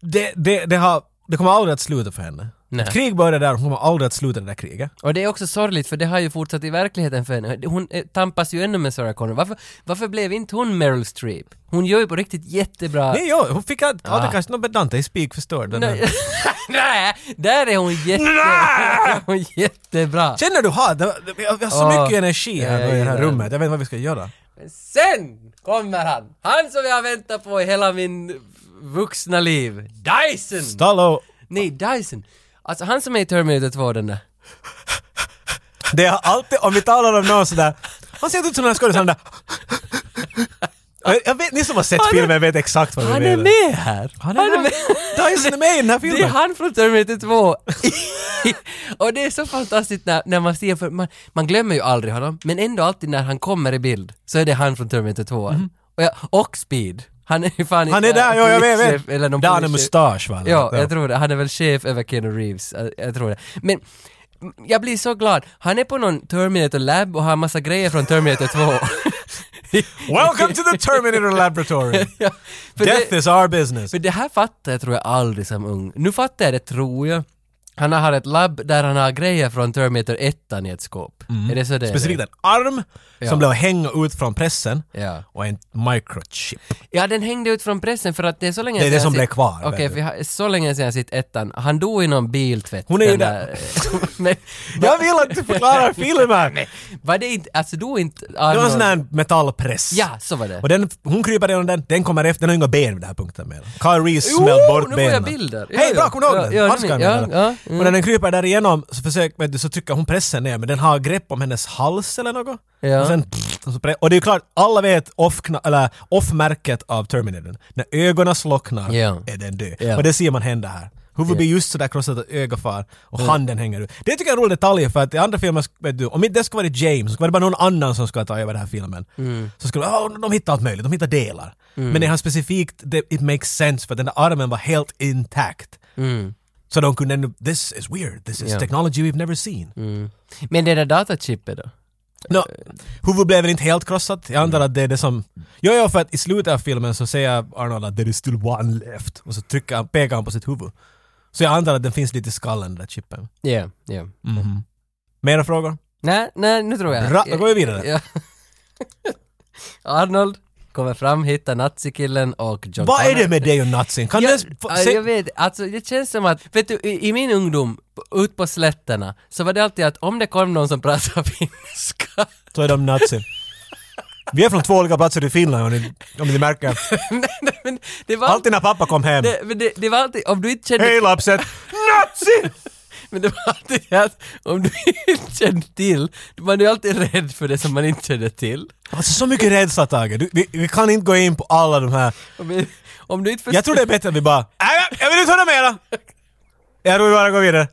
S2: Det, det, det, har, det kommer aldrig att sluta för henne.
S1: Nej.
S2: Ett krig började där, hon kommer aldrig att sluta det där kriget.
S1: Och det är också sorgligt för det har ju fortsatt i verkligheten för henne. Hon eh, tampas ju ännu med Sarah Connor. Varför, varför blev inte hon Meryl Streep? Hon gör ju på riktigt jättebra...
S2: Nej, ja, hon fick aldrig aldrig kanske någon bedante i spik förstörd. den här-
S1: Nej, *laughs* Nej, där är hon, jätte, där är *laughs* hon jättebra.
S2: Känner du hat? Det- det- Vi har vi har så
S1: Ja.
S2: mycket energi här
S1: Ah. Ja, jag
S2: i det här
S1: gillar det.
S2: rummet. Jag vet inte vad vi ska göra.
S1: Sen kommer han! Han som jag har väntat på i hela min vuxna liv. Dyson!
S2: Stallo!
S1: Nej, Dyson. Alltså han som är i Terminator 2 den där.
S2: Det är alltid, om vi talar om någon sådär, han ser inte ut som den här skådisen,
S1: *laughs*
S2: han där. Jag- Jag vet, ni som har sett
S1: Han är-
S2: filmen vet exakt vad vi
S1: Han
S2: menar.
S1: är med här!
S2: Han är med! Dyson är med i den här
S1: Det är
S2: filmen!
S1: han från Terminator 2! *laughs* och det är så fantastiskt när, när man ser, för man, man glömmer ju aldrig honom, men ändå alltid när han kommer i bild så är det han från Terminator 2. Och, jag, och Speed. Han är ju fan
S2: Mhm. Han är
S1: inte-
S2: där, ja jag vet,
S1: polischef
S2: vet.
S1: Eller någon
S2: Där han har
S1: polischef.
S2: mustasch va?
S1: Ja, jag tror det. Han är väl chef över Keanu Reeves. Jag, jag tror det. Men m- jag blir så glad. Han är på någon Terminator Lab och har massa grejer från Terminator
S2: *laughs*
S1: 2.
S2: Welcome to
S1: *laughs*
S2: the Terminator Laboratory!
S1: ja, för,
S2: Death
S1: det,
S2: is our business!
S1: för det här fattar jag tror jag aldrig som ung. Nu fattar jag det tror jag. Han har ett labb där han har grejer från Terminator 1 i ett skåp. Är det så det är?
S2: Mm. Specifikt en arm
S1: Ja.
S2: som blev hänga ut från pressen
S1: Ja.
S2: och en microchip.
S1: Ja, den hängde ut från pressen för att det är så länge
S2: Det är det
S1: sedan
S2: som
S1: jag
S2: blev
S1: sett-
S2: kvar,
S1: Okej,
S2: vet
S1: för
S2: du.
S1: jag har- så länge sedan jag sett ettan. Han dog i någon biltvätt.
S2: Hon är ju
S1: den
S2: där.
S1: *laughs* Men-
S2: Jag vill att du
S1: *laughs*
S2: förklarar filmen!
S1: Var det inte, alltså då inte...
S2: Det var en sån här metallpress.
S1: Ja, så var det.
S2: Och den, hon kryper igenom den, den kommer efter, den har inga ben vid den här punkten mer. Kyle Reese
S1: Jo,
S2: smällde bort
S1: nu
S2: benen.
S1: får jag bilder. Ja,
S2: Hej,
S1: ja.
S2: bra, kommer du
S1: Ja,
S2: ihåg
S1: ja,
S2: den? Handskarna
S1: ja,
S2: där.
S1: ja, mm.
S2: Och när den kryper där igenom så, försöker, vet du, så trycker hon pressen ner, men den har grepp om hennes hals eller något.
S1: Ja.
S2: Och, sen, pff, och, så pre- och det är ju klart, alla vet off-kna- eller off-märket av Terminator. När ögonen slocknar
S1: Ja.
S2: är den död.
S1: Ja.
S2: Och det ser man hända här. Huvudet blir just sådär krossat att ögat far och handen hänger ut. Det tycker jag är en rolig detalj för att i andra filmer, vet du, om inte det skulle varit James, skulle det vara någon annan som skulle ta över den här filmen.
S1: Mm.
S2: Så skulle oh, de hitta allt möjligt, de hittar delar. Men det här specifikt, det, it makes sense för den där armen var helt intakt. Så de kunde ännu, this is weird, this is
S1: Mm. Ja.
S2: technology we've never seen.
S1: Men det där datachippet då? Eh.
S2: Nå, huvudet blev väl inte helt krossat. Jag antar att det är det som... Jo, jo, för att i slutet av filmen så säger Arnold att there is still one left. Och så trycker han, pekar han på sitt huvud. Så jag antar att den finns lite i skallen, den där chippen.
S1: Ja, ja.
S2: Mm. Mera frågor?
S1: Nej, nej, nu tror jag.
S2: Bra, då går vi vidare.
S1: Eh, Ja. Arnold kommer fram, hittar nazikillen och John
S2: Vad är
S1: Connor.
S2: det med dig och nazin? Kan du ens... få-
S1: Ja,
S2: se-
S1: jag vet, alltså det känns som att, vet du, i, i min ungdom, ut på slätterna, så var det alltid att om det kom någon som pratade *laughs* finska,
S2: Så är de nazin. Vi är från två olika platser i Finland om ni, om ni märker.
S1: men det var
S2: Alltid när pappa kom hem.
S1: det, men det, det var alltid, om du inte kände,
S2: Hej lapset! Nazi!
S1: men det var alltid det att om du *laughs* inte kände till, man är ju alltid rädd för det som man inte kände till.
S2: Alltså så mycket rädsla Tage. Du, vi, vi kan inte gå in på alla de här.
S1: Om, om du inte förstår...
S2: Jag tror det är bättre att vi bara... Nej, jag- jag vill inte höra mera! Jag tror vi bara går vidare.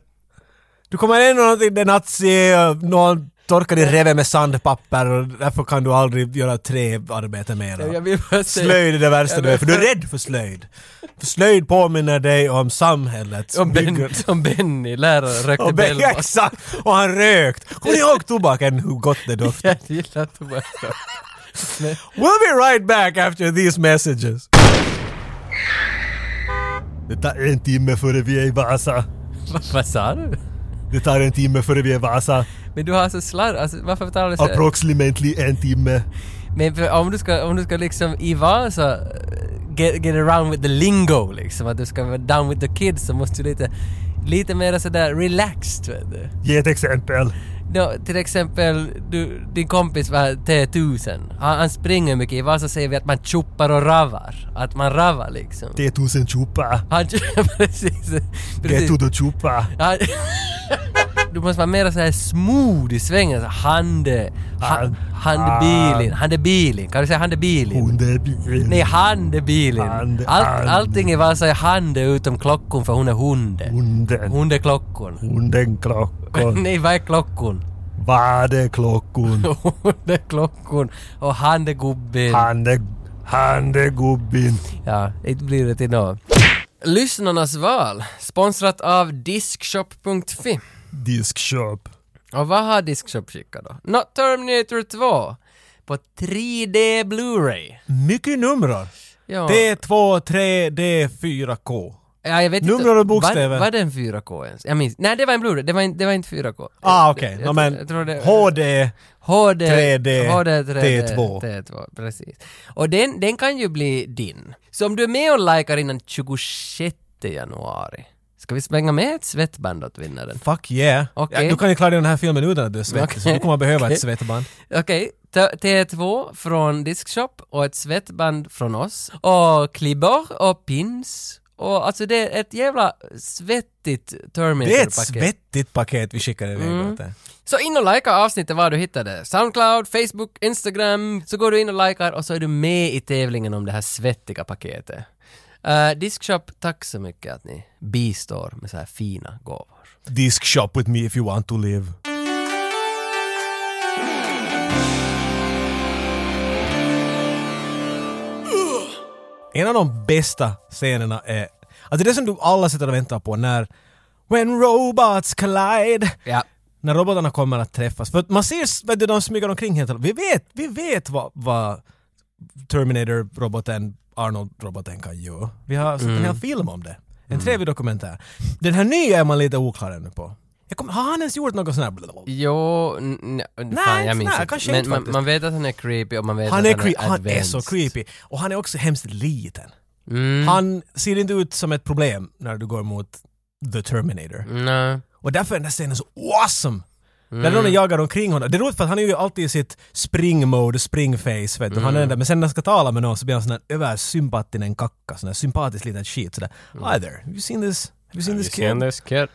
S2: Du kommer in och någonting, det är nazi, och någon torkar din reve med sandpapper och därför kan du aldrig göra tre arbeten
S1: Jag
S2: mera.
S1: vill bara säga-
S2: Slöjd är det värsta du är, för du är rädd för slöjd. För slöjd påminner dig om samhället som
S1: Om, ben,
S2: bygger...
S1: *laughs* om Benny, läraren, rökte
S2: Och ben, ja,
S1: Bellbox.
S2: *laughs* exakt! Och han rökt! Kommer ni ihåg tobaken, hur gott det
S1: *laughs*
S2: doftar?
S1: Jag gillar tobaksrök.
S2: We'll be right back after these messages. Det tar en timme före vi är i Vasa.
S1: Vad- Vad sa du?
S2: Det tar en timme före vi är i Vasa.
S1: Men du har så slarv, alltså, varför talar du så? här?
S2: Approximately en timme.
S1: Men för om du ska, om du ska liksom i Vasa eh, get, get around with the lingo liksom, att du ska vara down with the kids så måste du lite, lite mer sådär relaxed vet du.
S2: Ge ett exempel.
S1: Nå, till exempel, du, din kompis var T1000. Han, han springer mycket. I Vasa säger vi att man choppar och ravar. Att man ravar liksom.
S2: Det är tusen chupa.
S1: Han, *laughs* precis.
S2: Det
S1: precis.
S2: är chupa.
S1: Han, *laughs* du måste vara mer så här smooth i svängen. Så hande, ha,
S2: Han-
S1: handbilin, handbilin. Kan du säga handbilin?
S2: Hundebil.
S1: Nej, handebilen.
S2: Hande-
S1: Allt,
S2: hande.
S1: allting är bara så här hande utom klockon för hon är hunde.
S2: Hunden.
S1: Hunde klockon.
S2: Hunden klockor.
S1: *laughs* Nej, vad är klockon? *laughs*
S2: Vadeklockon.
S1: Hunde klockon och hande gubben.
S2: Hande... Handegubbin.
S1: Ja, det blir det till nå. Lyssnarnas val, sponsrat av Diskshop.fi.
S2: Diskshop.
S1: Och vad har Diskshop skickat då? Nå, Terminator 2 på 3D Blu-ray.
S2: Mycket numrar.
S1: Ja,
S2: T2, 3, D4K.
S1: ja, jag vet
S2: nummer och bokstäver.
S1: Var, var det en 4K ens? Jag minns. Nej, det var en Blu-ray. Det var, in, det var inte 4K.
S2: Ah
S1: Jag-
S2: okej,
S1: jag-
S2: Nå, men
S1: jag tror det-
S2: HD...
S1: HD,
S2: 3D,
S1: HD 3D,
S2: T2.
S1: T2, precis. Och den, den kan ju bli din. Så om du är med och likar innan 26 januari, ska vi slänga med ett svettband åt vinnaren?
S2: Fuck yeah!
S1: Okej.
S2: Ja, du kan ju klara den här filmen utan att du är svettig, så
S1: Okej.
S2: du kommer behöva
S1: Okej.
S2: ett svettband.
S1: Okej, t- T2 från Diskshop och ett svettband från oss. Och klibbor och pins. Och alltså det är ett jävla svettigt
S2: Det är ett
S1: Terminator-paket.
S2: svettigt paket vi skickar iväg
S1: Mm.
S2: åt dig.
S1: Så in och likea avsnittet var du hittade. Soundcloud, Facebook, Instagram. Så går du in och likar och så är du med i tävlingen om det här svettiga paketet. Uh, Diskshop, tack så mycket att ni bistår med så här fina gåvor.
S2: Disc shop with me if you want to live. En av de bästa scenerna är... Alltså det som du alla sitter och väntar på när... When robots collide.
S1: Ja.
S2: när robotarna kommer att träffas. För att man ser vet du, de smyger omkring helt Vi vet, vi vet vad, vad Terminator-roboten, Arnold-roboten kan göra. Vi har sett en hel film om det. En trevlig dokumentär. Den här nya är man lite oklar ännu på. Jag kommer- har han ens gjort något sånt här?
S1: Jo, n- n- fan
S2: inte
S1: jag minns
S2: sådär,
S1: inte.
S2: kanske
S1: Men
S2: inte
S1: man,
S2: faktiskt.
S1: man vet att han är creepy och man vet
S2: Han
S1: att
S2: är, cre- han är så
S1: advanced.
S2: creepy. Och han är också hemskt liten. Han ser inte ut som ett problem när du går mot The Terminator.
S1: Nej.
S2: Och därför är den här scenen så awesome! När
S1: Mm.
S2: någon jagar omkring honom. Det är roligt för att han är ju alltid i sitt spring-mode, spring-face. Vet du. Han är
S1: Mm.
S2: den där. Men sen när han ska tala med någon så blir han sån här översympatinen kacka, sån här sympatisk liten shit. Sådär.
S1: Mm.
S2: Hi there, have you seen this? Have you seen this kid?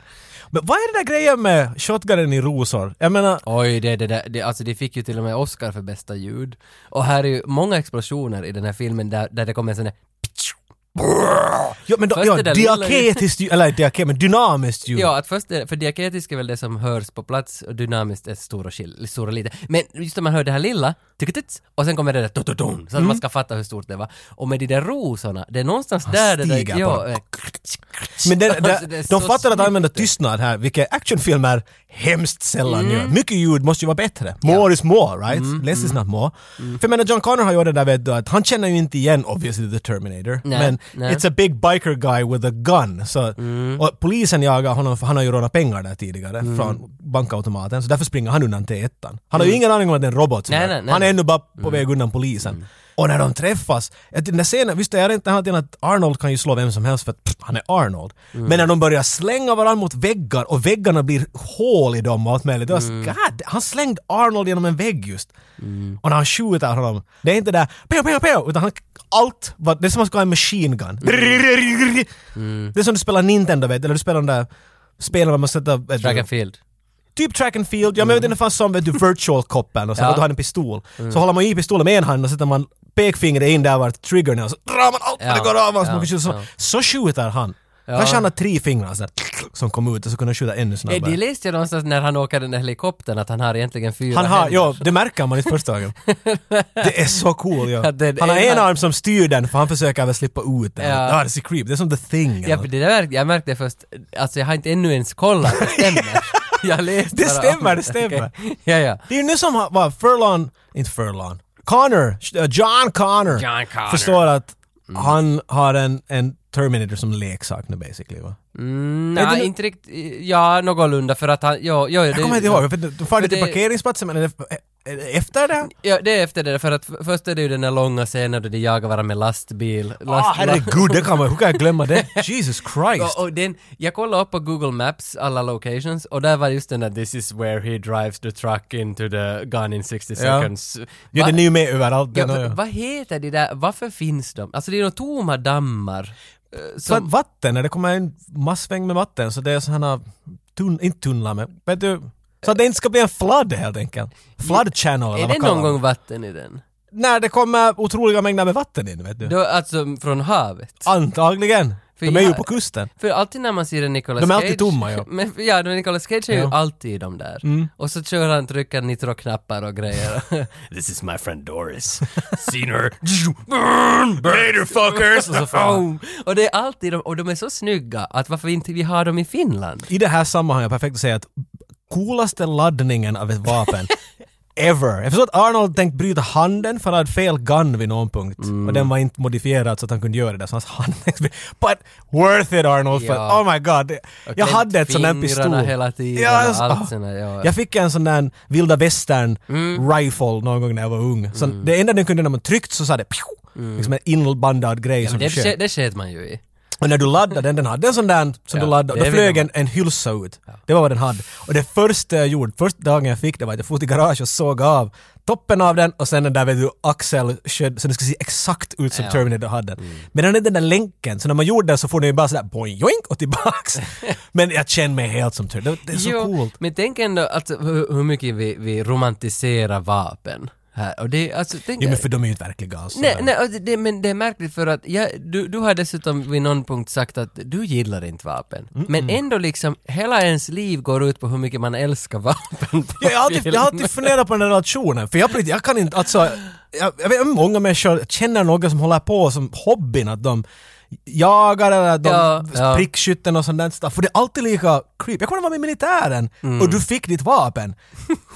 S2: Men vad är den där grejen med shotgunen i rosor? Jag menar,
S1: Oj, det, det, det, det, alltså det fick ju till och med Oscar för bästa ljud. Och här är ju många explosioner i den här filmen där, där det kommer en sån där
S2: Ja, men då,
S1: Först
S2: ja,
S1: det där lilla
S2: diaketiskt ljud, eller diaket, men dynamiskt ljud.
S1: Ja, att först, det- för diaketisk är väl det som hörs på plats och dynamiskt är stora skill, stora lite. Men just när man hör det här lilla, tikitits, och sen kommer det där tututun, så att
S2: Mm.
S1: man ska fatta hur stort det var. Och med de där rosorna, det är någonstans där det
S2: stiger
S1: där...
S2: bara.
S1: eh,
S2: Men det,
S1: Alltså,
S2: det,
S1: det är så
S2: de fattar att
S1: snyggt.
S2: använda tystnad här, vilket actionfilmer hemskt sällan gör.
S1: Mm.
S2: Mycket ljud måste ju vara bättre. More is more, right? Less is not more.
S1: Mm.
S2: För jag menar, John Connor har gjort det där vet du, att han känner ju inte igen obviously the Terminator.
S1: Nej,
S2: men
S1: nej. Mm.
S2: it's a big biker guy with a gun. Så, Och polisen jagar honom, för han har ju rånat pengar där tidigare från bankautomaten. Så därför springer han undan till ettan. Han har ju ingen aning om att det är en robot som
S1: Mm. Nej,
S2: är-
S1: nej, nej,
S2: Han är
S1: nej.
S2: ännu bara på väg undan polisen. Och när de träffas, att den där scenen, visst är det inte annat än att Arnold kan ju slå vem som helst för att pff, han är Arnold. Men när de börjar slänga varandra mot väggar och väggarna blir hål i dem och allt möjligt. Det var, God, han slängde Arnold genom en vägg just. Och när han skjuter honom, det är inte där pew, pew, pew, utan han, allt, var, det är som att man ska ha en machine gun. Det är som du spelar Nintendo vet du, eller du spelar de där spelen där man sätter... vet du,
S1: Dragonfield.
S2: typ track and field, jag menar det fanns som vet du, virtual coppen och så
S1: Ja. Mm.
S2: att du hade en pistol. Så håller man i pistolen med en hand och sätter man pekfingret in där vart triggern är och så drar man allt vad det
S1: Ja,
S2: går av hans
S1: ja,
S2: man kan skjuta så,
S1: ja.
S2: så skjuter han. Kanske han har tre fingrar så här, som kom ut och så kunde han skjuta ännu
S1: Eh, Det
S2: snabbare.
S1: läste jag någonstans när han åker den där helikoptern att han har egentligen fyra
S2: Han har,
S1: händer.
S2: ja, det märker man i första
S1: *laughs*
S2: ögonen. Det är så cool ja.
S1: Ja, det är
S2: Han har
S1: en
S2: en
S1: hand.
S2: arm som styr den för han försöker väl slippa ut den.
S1: Ja.
S2: Ja, det ser creep, det är som the thing.
S1: Ja, för det där, jag märkte först, alltså jag har inte ännu ens kollat, det *laughs* stämmer. Jag läste
S2: Det
S1: bara om
S2: stämmer, det stämmer.
S1: Okej. Ja, ja.
S2: Det är ju nu som har- vad Furlon, inte Furlon, Connor, eh, John Connor,
S1: John Connor.
S2: förstår att han har en, en Terminator som leksak nu basically va? Är det
S1: Mm, Nej,
S2: nu-
S1: inte riktigt, ja, någorlunda för att han, ja, ja,
S2: Jag kommer inte ihåg, för de far
S1: för
S2: till
S1: det-
S2: parkeringsplatsen men är det, är det efter det?
S1: Ja, det är efter det där, för att f- först är det ju den där långa scenen då de jagar varandra med lastbil.
S2: Ah,
S1: Last-
S2: herregud, det kan man, hur kan jag glömma det? Jesus
S1: *laughs*
S2: Christ!
S1: Och, och den, jag kollade upp på Google Maps alla locations och där var just den där “This is where he drives the truck into the gun in 60 seconds”.
S2: Ja,
S1: Va-
S2: den är ju med överallt.
S1: ja,
S2: den har
S1: för,
S2: jag.
S1: Vad heter det där, varför finns de? Alltså det är nog tomma dammar. eh,
S2: Så att
S1: Som,
S2: vatten, när det kommer en massväng med vatten så det är sådana, tun, inte tunnlar men, vet du, så att det inte ska bli en flood helt enkelt. Flood channel eller
S1: är
S2: vad
S1: det
S2: kallar
S1: någon
S2: man det?
S1: gång vatten i den?
S2: När det kommer otroliga mängder med vatten in, vet du.
S1: Då, alltså från havet?
S2: Antagligen.
S1: För
S2: de är ju
S1: jag-
S2: på kusten.
S1: För alltid när man ser en Nicolas Cage...
S2: De är alltid tomma, ja.
S1: *laughs* Men, ja, men Nicolas Cage är ju
S2: Ja. Mm.
S1: alltid i de där. Och så kör han, trycker nitroknappar och
S2: *laughs*
S1: grejer. This is my friend Doris. Seen her. Burn! Later fuckers! och, så får han- och det är alltid de, och de är så snygga att varför inte vi har dem i Finland?
S2: I det här sammanhanget är perfekt att säga att coolaste laddningen av
S1: *laughs*
S2: ett vapen ever. Jag förstår att Arnold tänkt bryta handen för han hade fel gun vid någon punkt.
S1: Mm.
S2: Och den var inte modifierad så att han kunde göra det där. Så hans hand... *laughs* But worth it Arnold! För,
S1: Ja.
S2: oh my god! det-
S1: Och
S2: Jag
S1: klämt
S2: hade ett sån där
S1: fingrarna
S2: pistol.
S1: hela tiden och
S2: jag-
S1: allt
S2: ah.
S1: sån där, ja. Mm.
S2: Jag fick en sån där vilda västern rifle någon gång när jag var ung. Så Det enda den kunde när man tryckte så sa det pju, liksom en inbandad grej som
S1: Mm. Det,
S2: sköt.
S1: ske- det sket man ju i.
S2: Och när du laddade den, den hade en sån där som
S1: Ja,
S2: du laddade,
S1: det
S2: då
S1: vill
S2: flög
S1: man.
S2: en, en hylsa ut. Det var vad den hade. Och det första jag gjorde, första dagen jag fick det var att jag for till garage och såg av toppen av den och sen den där vet du, axel så den skulle se exakt ut som
S1: Ja. Mm.
S2: Terminator hade. Men den hade den där länken, så när man gjorde den så får den ju bara sådär boing joink
S1: *laughs*
S2: och tillbaks. Men jag känner mig helt som Terminator. Det, det är så
S1: Jo,
S2: coolt.
S1: Men tänk ändå alltså, hur, hur mycket vi, vi romantiserar vapen här. Och det, är, alltså, tänk,
S2: Jo men för de är ju inte verkliga alltså.
S1: Nej, nej och det- det, men det är märkligt för att jag, du, du har dessutom vid någon punkt sagt att du gillar inte vapen. Men ändå liksom, hela ens liv går ut på hur mycket man älskar vapen. på
S2: *laughs* Jag har alltid,
S1: film.
S2: jag har alltid funderat på den här relationen, för jag, på riktigt, jag kan inte, alltså, jag, jag vet många människor jag känner några som håller på som hobbyn, att de jagar eller de
S1: Ja, ja.
S2: prickskytten och sånt där stuff. För det är alltid lika creep. Jag kommer vara med i militären
S1: Mm.
S2: och du fick ditt vapen.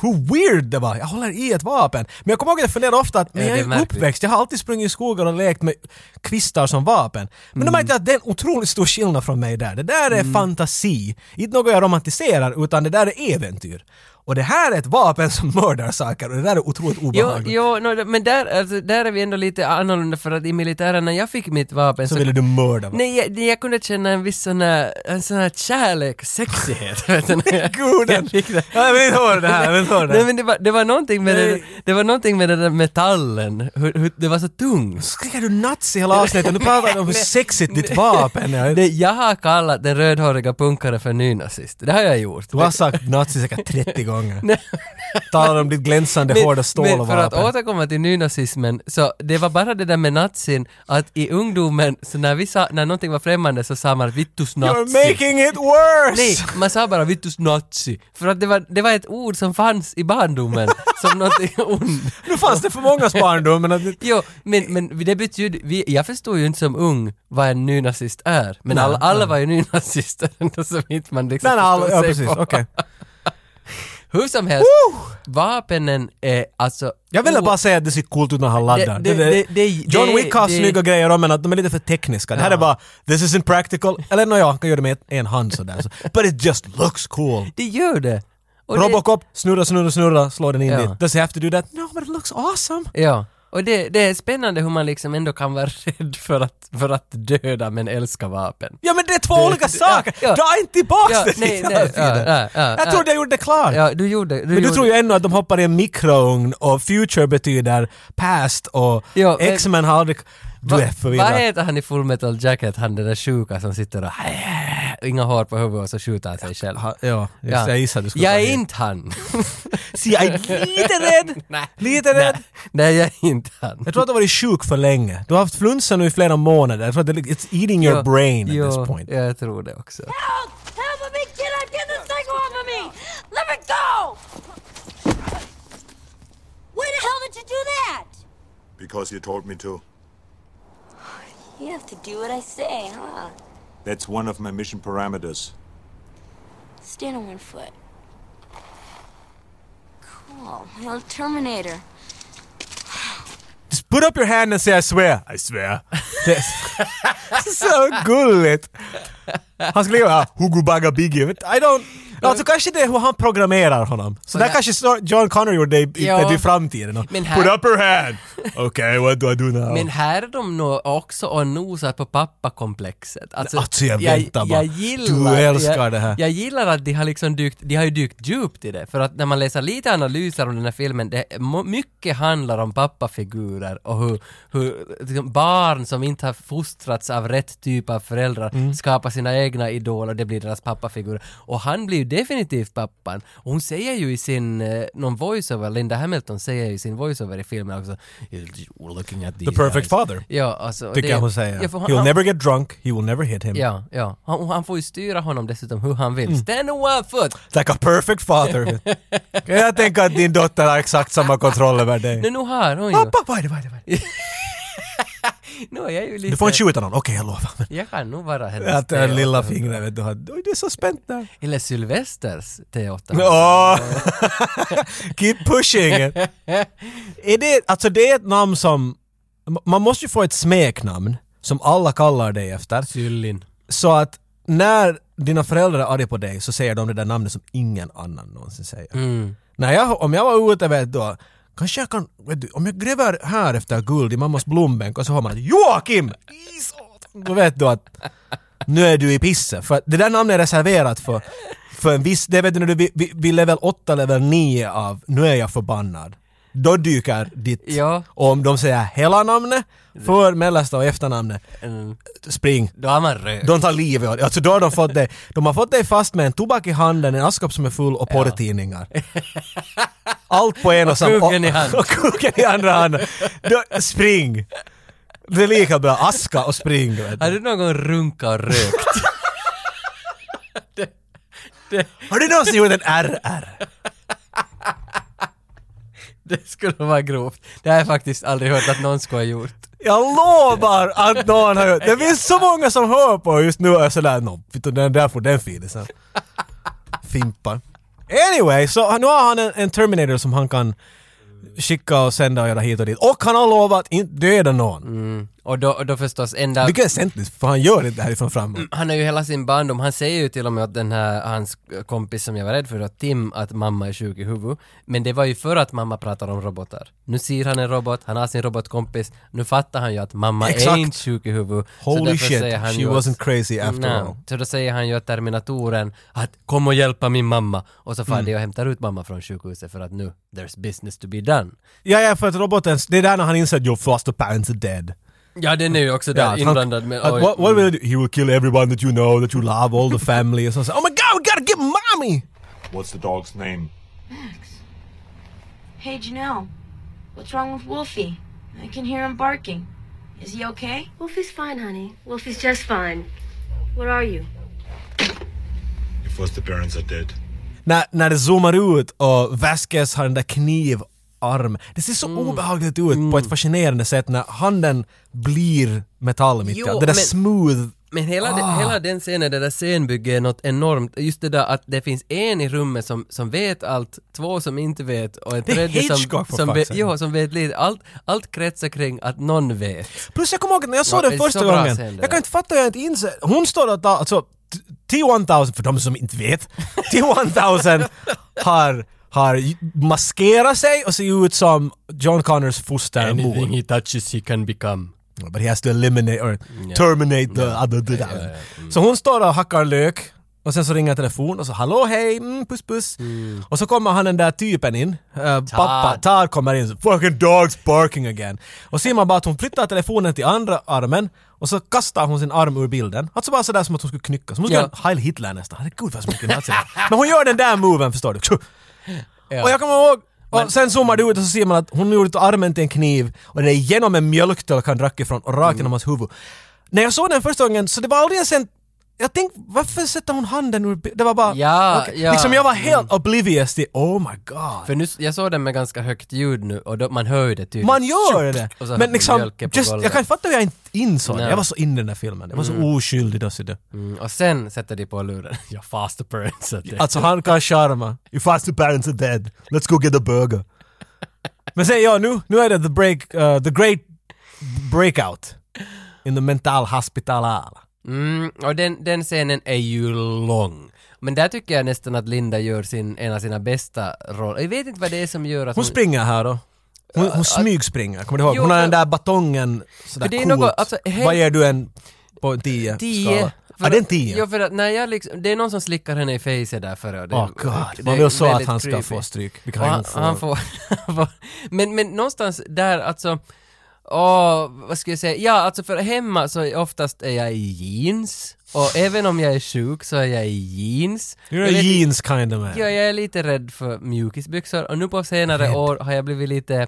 S2: Hur weird det var! Jag håller i ett vapen. Men jag kommer ihåg att jag funderade ofta att
S1: *laughs*
S2: men
S1: Ja,
S2: jag
S1: det är
S2: är ju
S1: märkligt.
S2: uppväxt, jag har alltid sprungit i skogen och lekt med kvistar som vapen. Men
S1: Mm.
S2: då märkte jag att det är en otroligt stor skillnad från mig där. Det där är fantasi. Inte något jag romantiserar utan det där är äventyr. Och det här är ett vapen som mördar saker och det där är otroligt
S1: Jo,
S2: obehagligt.
S1: jo no, men där, alltså, där är vi ändå lite annorlunda för att i militären när jag fick mitt vapen
S2: Så ville du mörda mig.
S1: Nej, jag, nej, jag kunde känna en viss sån här, en sån här kärlek, sexighet. *laughs* vet du, när jag-
S2: Guden!
S1: jag fick det.
S2: Ja, Jag vill inte höra det här, jag vill inte höra det
S1: Nej
S2: här.
S1: men det var, det var någonting med
S2: Nej.
S1: den, det var någonting med den där metallen, hur, hur, det var så tungt.
S2: Skriker du nazi hela avsnittet? Nu pratar du om hur sexigt ditt vapen är.
S1: Det, jag har kallat den rödhåriga punkaren för nynazist. Det har jag gjort.
S2: Du har sagt nazi säkert 30 gånger. Talar om ditt glänsande hårda stål
S1: men
S2: och
S1: för att
S2: vapen.
S1: återkomma till nynazismen, så det var bara det där med nazin att i ungdomen, så när när vi sa, när någonting var främmande så sa man vittus
S2: You're
S1: nazi.
S2: making it worse!
S1: Nej, man sa bara vittus nazi. För att det var, det var ett ord som fanns i
S2: *laughs*
S1: barndomen som någonting ont.
S2: Nu fanns det för många barndom, men att det...
S1: Jo, men, men det betyder, vi, jag förstod ju inte som ung vad en nynazist är. Men alla, alla var ju nynazister *laughs* ändå som inte man liksom
S2: Nej, nej, all,
S1: förstod
S2: ja,
S1: sig
S2: precis,
S1: på.
S2: okej.
S1: *laughs* Hur som helst, vapenen är alltså...
S2: Jag ville
S1: o-
S2: bara säga att det ser coolt ut när han laddar.
S1: Det- det-
S2: Det- det-
S1: det- det-
S2: John
S1: det-
S2: Wick har
S1: det-
S2: snygga grejer om, men att de är lite för tekniska. Det här är bara, this isn't practical. Eller nåja, han kan göra det med ett- en hand sådär. Så. But it just looks cool.
S1: Det gör det! Och det-
S2: Robocop, snurra, snurra, snurra, slå den in
S1: Ja.
S2: dit. Does he have to do that? No, but it looks awesome.
S1: Ja, och det, det är spännande hur man liksom ändå kan vara *laughs* rädd för att, för att döda men älska vapen.
S2: Ja men det är två olika
S1: det-
S2: saker!
S1: ja, ja.
S2: Dra inte tillbaks
S1: Ja,
S2: det
S1: nej,
S2: hela
S1: nej, ja,
S2: tiden.
S1: ja, ja,
S2: Jag
S1: ja.
S2: trodde jag gjorde det klart.
S1: Ja, du gjorde... Du
S2: Men du
S1: gjorde,
S2: tror ju ändå att de hoppar i en mikrougn och future betyder past och
S1: Ja, men-
S2: X-Men har aldrig... Du
S1: Va-
S2: är förvirrad.
S1: Vad heter han i Full Metal Jacket, han den där sjuka som sitter och... *laughs* Inga hår på huvudet och så skjuter han sig själv.
S2: Ha- Ja, just, det, jag gissade du skulle
S1: Jag
S2: ta
S1: är
S2: det.
S1: inte
S2: *laughs*
S1: han.
S2: Se,
S1: *laughs*
S2: jag är lite rädd!
S1: Nej.
S2: Lite rädd!
S1: Nej, nej, jag är inte han.
S2: Jag tror att du har varit sjuk för länge. Du har haft flunsa nu i flera månader. Jag tror att det, it's eating your
S1: Ja,
S2: brain
S1: ja,
S2: at this point.
S1: jag tror det också.
S4: Help! Help me, kid! I Get this thing off of me! Let me go! Where the hell did you do that?
S7: Because you told me to.
S3: You have to do what I say, huh?
S7: That's one of my mission parameters.
S3: Stand on one foot. Cool. Well, Terminator.
S2: Just put up your hand and say I swear. I swear. Det är *laughs* så gulligt! Han skulle göra Hugo Baga Biggie. Jag vet- I don't... Alltså kanske det är hur han programmerar honom. Så där kanske snart John Connor gjorde det i,
S1: Ja.
S2: i framtiden.
S1: Men här-
S2: Put up your hand! okay, what do I do now?
S1: Men här är de nog också och nosar på pappakomplexet.
S2: Alltså, jag väntar bara.
S1: jag gillar,
S2: Du älskar
S1: jag,
S2: det här.
S1: Jag gillar att de har liksom dykt, de har ju dykt djupt i det. För att när man läser lite analyser om den här filmen, det, må- mycket handlar om pappafigurer och hur, hur liksom barn som inte har fostrats av rätt typ av föräldrar
S2: Mm.
S1: skapar sina egna idoler, det blir deras pappafigurer. Och han blir ju definitivt pappan. Och hon säger ju i sin, eh, någon voiceover, Linda Hamilton säger ju i sin voiceover i filmen också, "You're looking at these
S2: The perfect
S1: guys."
S2: father.
S1: Ja, alltså,
S2: Tycker
S1: det-
S2: jag hon säger.
S1: Ja, för han,
S2: He'll
S1: han,
S2: never get drunk, he will never hit him.
S1: ja, ja. Han, han får ju styra honom dessutom hur han
S2: Mm.
S1: vill. Stand on one foot!
S2: It's like a perfect father. kan jag tänka att din dotter har exakt samma kontroll över dig? Ah,
S1: Men nu har hon ju...
S2: Pappa, vad är det, vad är det, vad är det?
S1: Nu är jag ju lite...
S2: Du får inte skjuta någon, okej jag lovar. Men
S1: Jag kan nog vara hennes
S2: Att det här
S1: Theo.
S2: lilla fingret vet du, har- oj det är så spänt där.
S1: Eller Sylvesters T8.
S2: Åh! *laughs* Keep pushing it. Är det, alltså det är ett namn som, man måste ju få ett smeknamn som alla kallar dig efter.
S1: Syllin.
S2: Så att när dina föräldrar är arga på dig så säger de det där namnet som ingen annan någonsin säger. När jag, om jag var ute vet du, kanske jag kan, vet du, om jag gräver här efter guld i mammas blombänk och så har man att Joakim! I satan! Då vet du att nu är du i pisse. För att det där namnet är reserverat för, för en viss, det vet du när du är vid- vid vid level 8, level 9 av nu är jag förbannad. Då dyker ditt,
S1: Ja.
S2: och om de säger hela namnet, för, mellersta och efternamnet, spring.
S1: Då har man röd.
S2: De tar livet av dig. Alltså då har de fått dig, de har fått dig fast med en tobak i handen, en askkopp som är full och porrtidningar. Allt på en och samma...
S1: kuken i hand.
S2: Och kuken i andra handen. Då, spring! Det är lika bra, aska och spring. Vet
S1: Har
S2: du.
S1: du någon gång runkat och rökt? *laughs*
S2: Har du någonsin gjort en RR?
S1: det skulle vara grovt. Det har jag faktiskt aldrig hört att någon skulle ha gjort.
S2: Jag lovar att någon har gjort det. finns så många som hör på just nu och är sådär, no, vet du, den där får den filisen. Fimpa. Anyway, så nu har han en, en Terminator som han kan skicka och sända och göra hit och dit. Och han har lovat att inte döda någon.
S1: Mm. Och då, och då förstås enda...
S2: Vilken sentence, för han gör inte härifrån framåt.
S1: han är ju hela sin barndom, han säger ju till och med att den här, hans kompis som jag var rädd för då, Tim, att mamma är sjuk i huvudet. Men det var ju för att mamma pratar om robotar. Nu ser han en robot, han har sin robotkompis, nu fattar han ju att mamma
S2: Exakt.
S1: är inte sjuk i huvudet.
S2: Holy
S1: därför
S2: shit,
S1: säger
S2: she
S1: ju
S2: wasn't crazy after
S1: Nej.
S2: all.
S1: Så då säger han ju att Terminatoren, att kom och hjälpa min mamma. Och så far de och hämtar ut mamma från sjukhuset för att nu, there's business to be done.
S2: Ja, ja, för att roboten, det är där när han inser att your foster parents are dead.
S1: Ja, den är ju också
S2: Ja,
S1: där
S2: att han-
S1: inblandad med...
S2: att
S1: oj, Mm.
S2: what, what will he do? He will kill everyone that you know, that you love, all the family. Och så, så, oh my god, we gotta get mommy!
S7: What's the dog's name?
S3: Hey, Janelle. What's wrong with Wolfie? I can hear him barking.
S4: Is he okay?
S10: Wolfie's fine, honey. Wolfie's just fine. Where are you?
S7: Your foster parents are dead.
S2: När, när det zoomar ut och Vasquez har den där knivarm. Det ser så
S1: Mm.
S2: obehagligt ut på ett fascinerande sätt när handen blir metall mitt i
S1: Jo,
S2: allt. Det där
S1: men-
S2: smooth.
S1: Men hela,
S2: Ah.
S1: de, hela den scenen, det där scenbygget är något enormt. Just det där att det finns en i rummet som, som vet allt, två som inte vet och en
S2: Det är
S1: tredje som,
S2: Hitchcock för
S1: som,
S2: fuck's
S1: vet,
S2: sake.
S1: jo, som vet lite. Allt, allt kretsar kring att någon vet.
S2: Plus jag kommer ihåg att när jag såg
S1: Ja,
S2: den
S1: det är
S2: första
S1: så bra
S2: gången,
S1: scen det
S2: jag kan
S1: där.
S2: inte fatta hur jag inte inser. Hon står och tar, alltså t- T-1000, för de som
S1: *laughs*
S2: inte vet, T-1000 har, har maskerat sig och ser ut som John Connors fostermor.
S1: he touches he can become.
S2: But he has to eliminate or terminate the other. the- Så hon står och hackar lök och sen så ringer telefon och så hallå hej, mm, puss puss. Och så kommer han den där typen in, eh, pappa, Todd kommer in, så, fucking dogs barking again. Och ser man bara att hon flyttar telefonen till andra armen och så kastar hon sin arm ur bilden. Alltså bara sådär som att hon skulle knycka, som hon skulle
S1: Ja.
S2: göra en Heil Hitler nästan. Herregud vad smycken alltså. Men hon gör den där moven förstår du. Tju. Och jag kommer ihåg och sen zoomar du ut och så ser man att hon gjorde armen till en kniv och det är genom en mjölktölk han drack ifrån och rakt
S1: Mm.
S2: genom hans huvud. När jag såg den första gången så det var aldrig ens en... Jag tänkte, varför sätter hon handen ur... bi- Det var bara...
S1: Ja,
S2: okej.
S1: ja. Mm.
S2: Liksom jag var helt oblivious till, oh my god.
S1: För nu, s- jag såg den med ganska högt ljud nu och då, man hör ju det tydligt.
S2: Man gör det!
S1: Och så
S2: Men liksom,
S1: mjölken på
S2: just,
S1: golvet.
S2: jag kan inte fatta hur jag inte insåg det.
S1: Nej.
S2: Jag var så inne i den där filmen. Jag var så oskyldig då. så det-
S1: Mm, och sen sätter de på luren. ja, fast parents att det.
S2: *laughs* Alltså han kan charma. Your foster parents are dead. Let's go get a burger. *laughs* Men sen ja, nu, nu är det the, break, uh, the great breakout. In the mental hospital.
S1: Mm, och den, den scenen är ju lång. Men där tycker jag nästan att Linda gör sin, en av sina bästa roller. Jag vet inte vad det är som gör att
S2: Hon springer här då. Hon, hon smygspringer, kommer du ihåg?
S1: alltså- Jo,
S2: Hon har
S1: men-
S2: den där batongen sådär
S1: För det är
S2: coolt.
S1: något- alltså, hel-
S2: Vad ger du en på en 10
S1: Tio.
S2: Ja, det är en 10.
S1: Ja, för att när jag liksom, det är någon som slickar henne i face där före. och det-
S2: Åh
S1: det
S2: god,
S1: är
S2: man vill så att
S1: väldigt
S2: han ska
S1: creepy.
S2: få stryk. Vilket
S1: Och
S2: han
S1: han,
S2: inte
S1: han får. *laughs* han får- men, men någonstans där alltså, åh, vad ska jag säga? Ja, alltså för hemma så är oftast är jag i jeans. Och även om jag är sjuk så är jag i jeans.
S2: You're
S1: Jag
S2: a
S1: vet-
S2: jeans kind of man.
S1: Ja, jag är lite rädd för mjukisbyxor och nu på senare år har jag blivit lite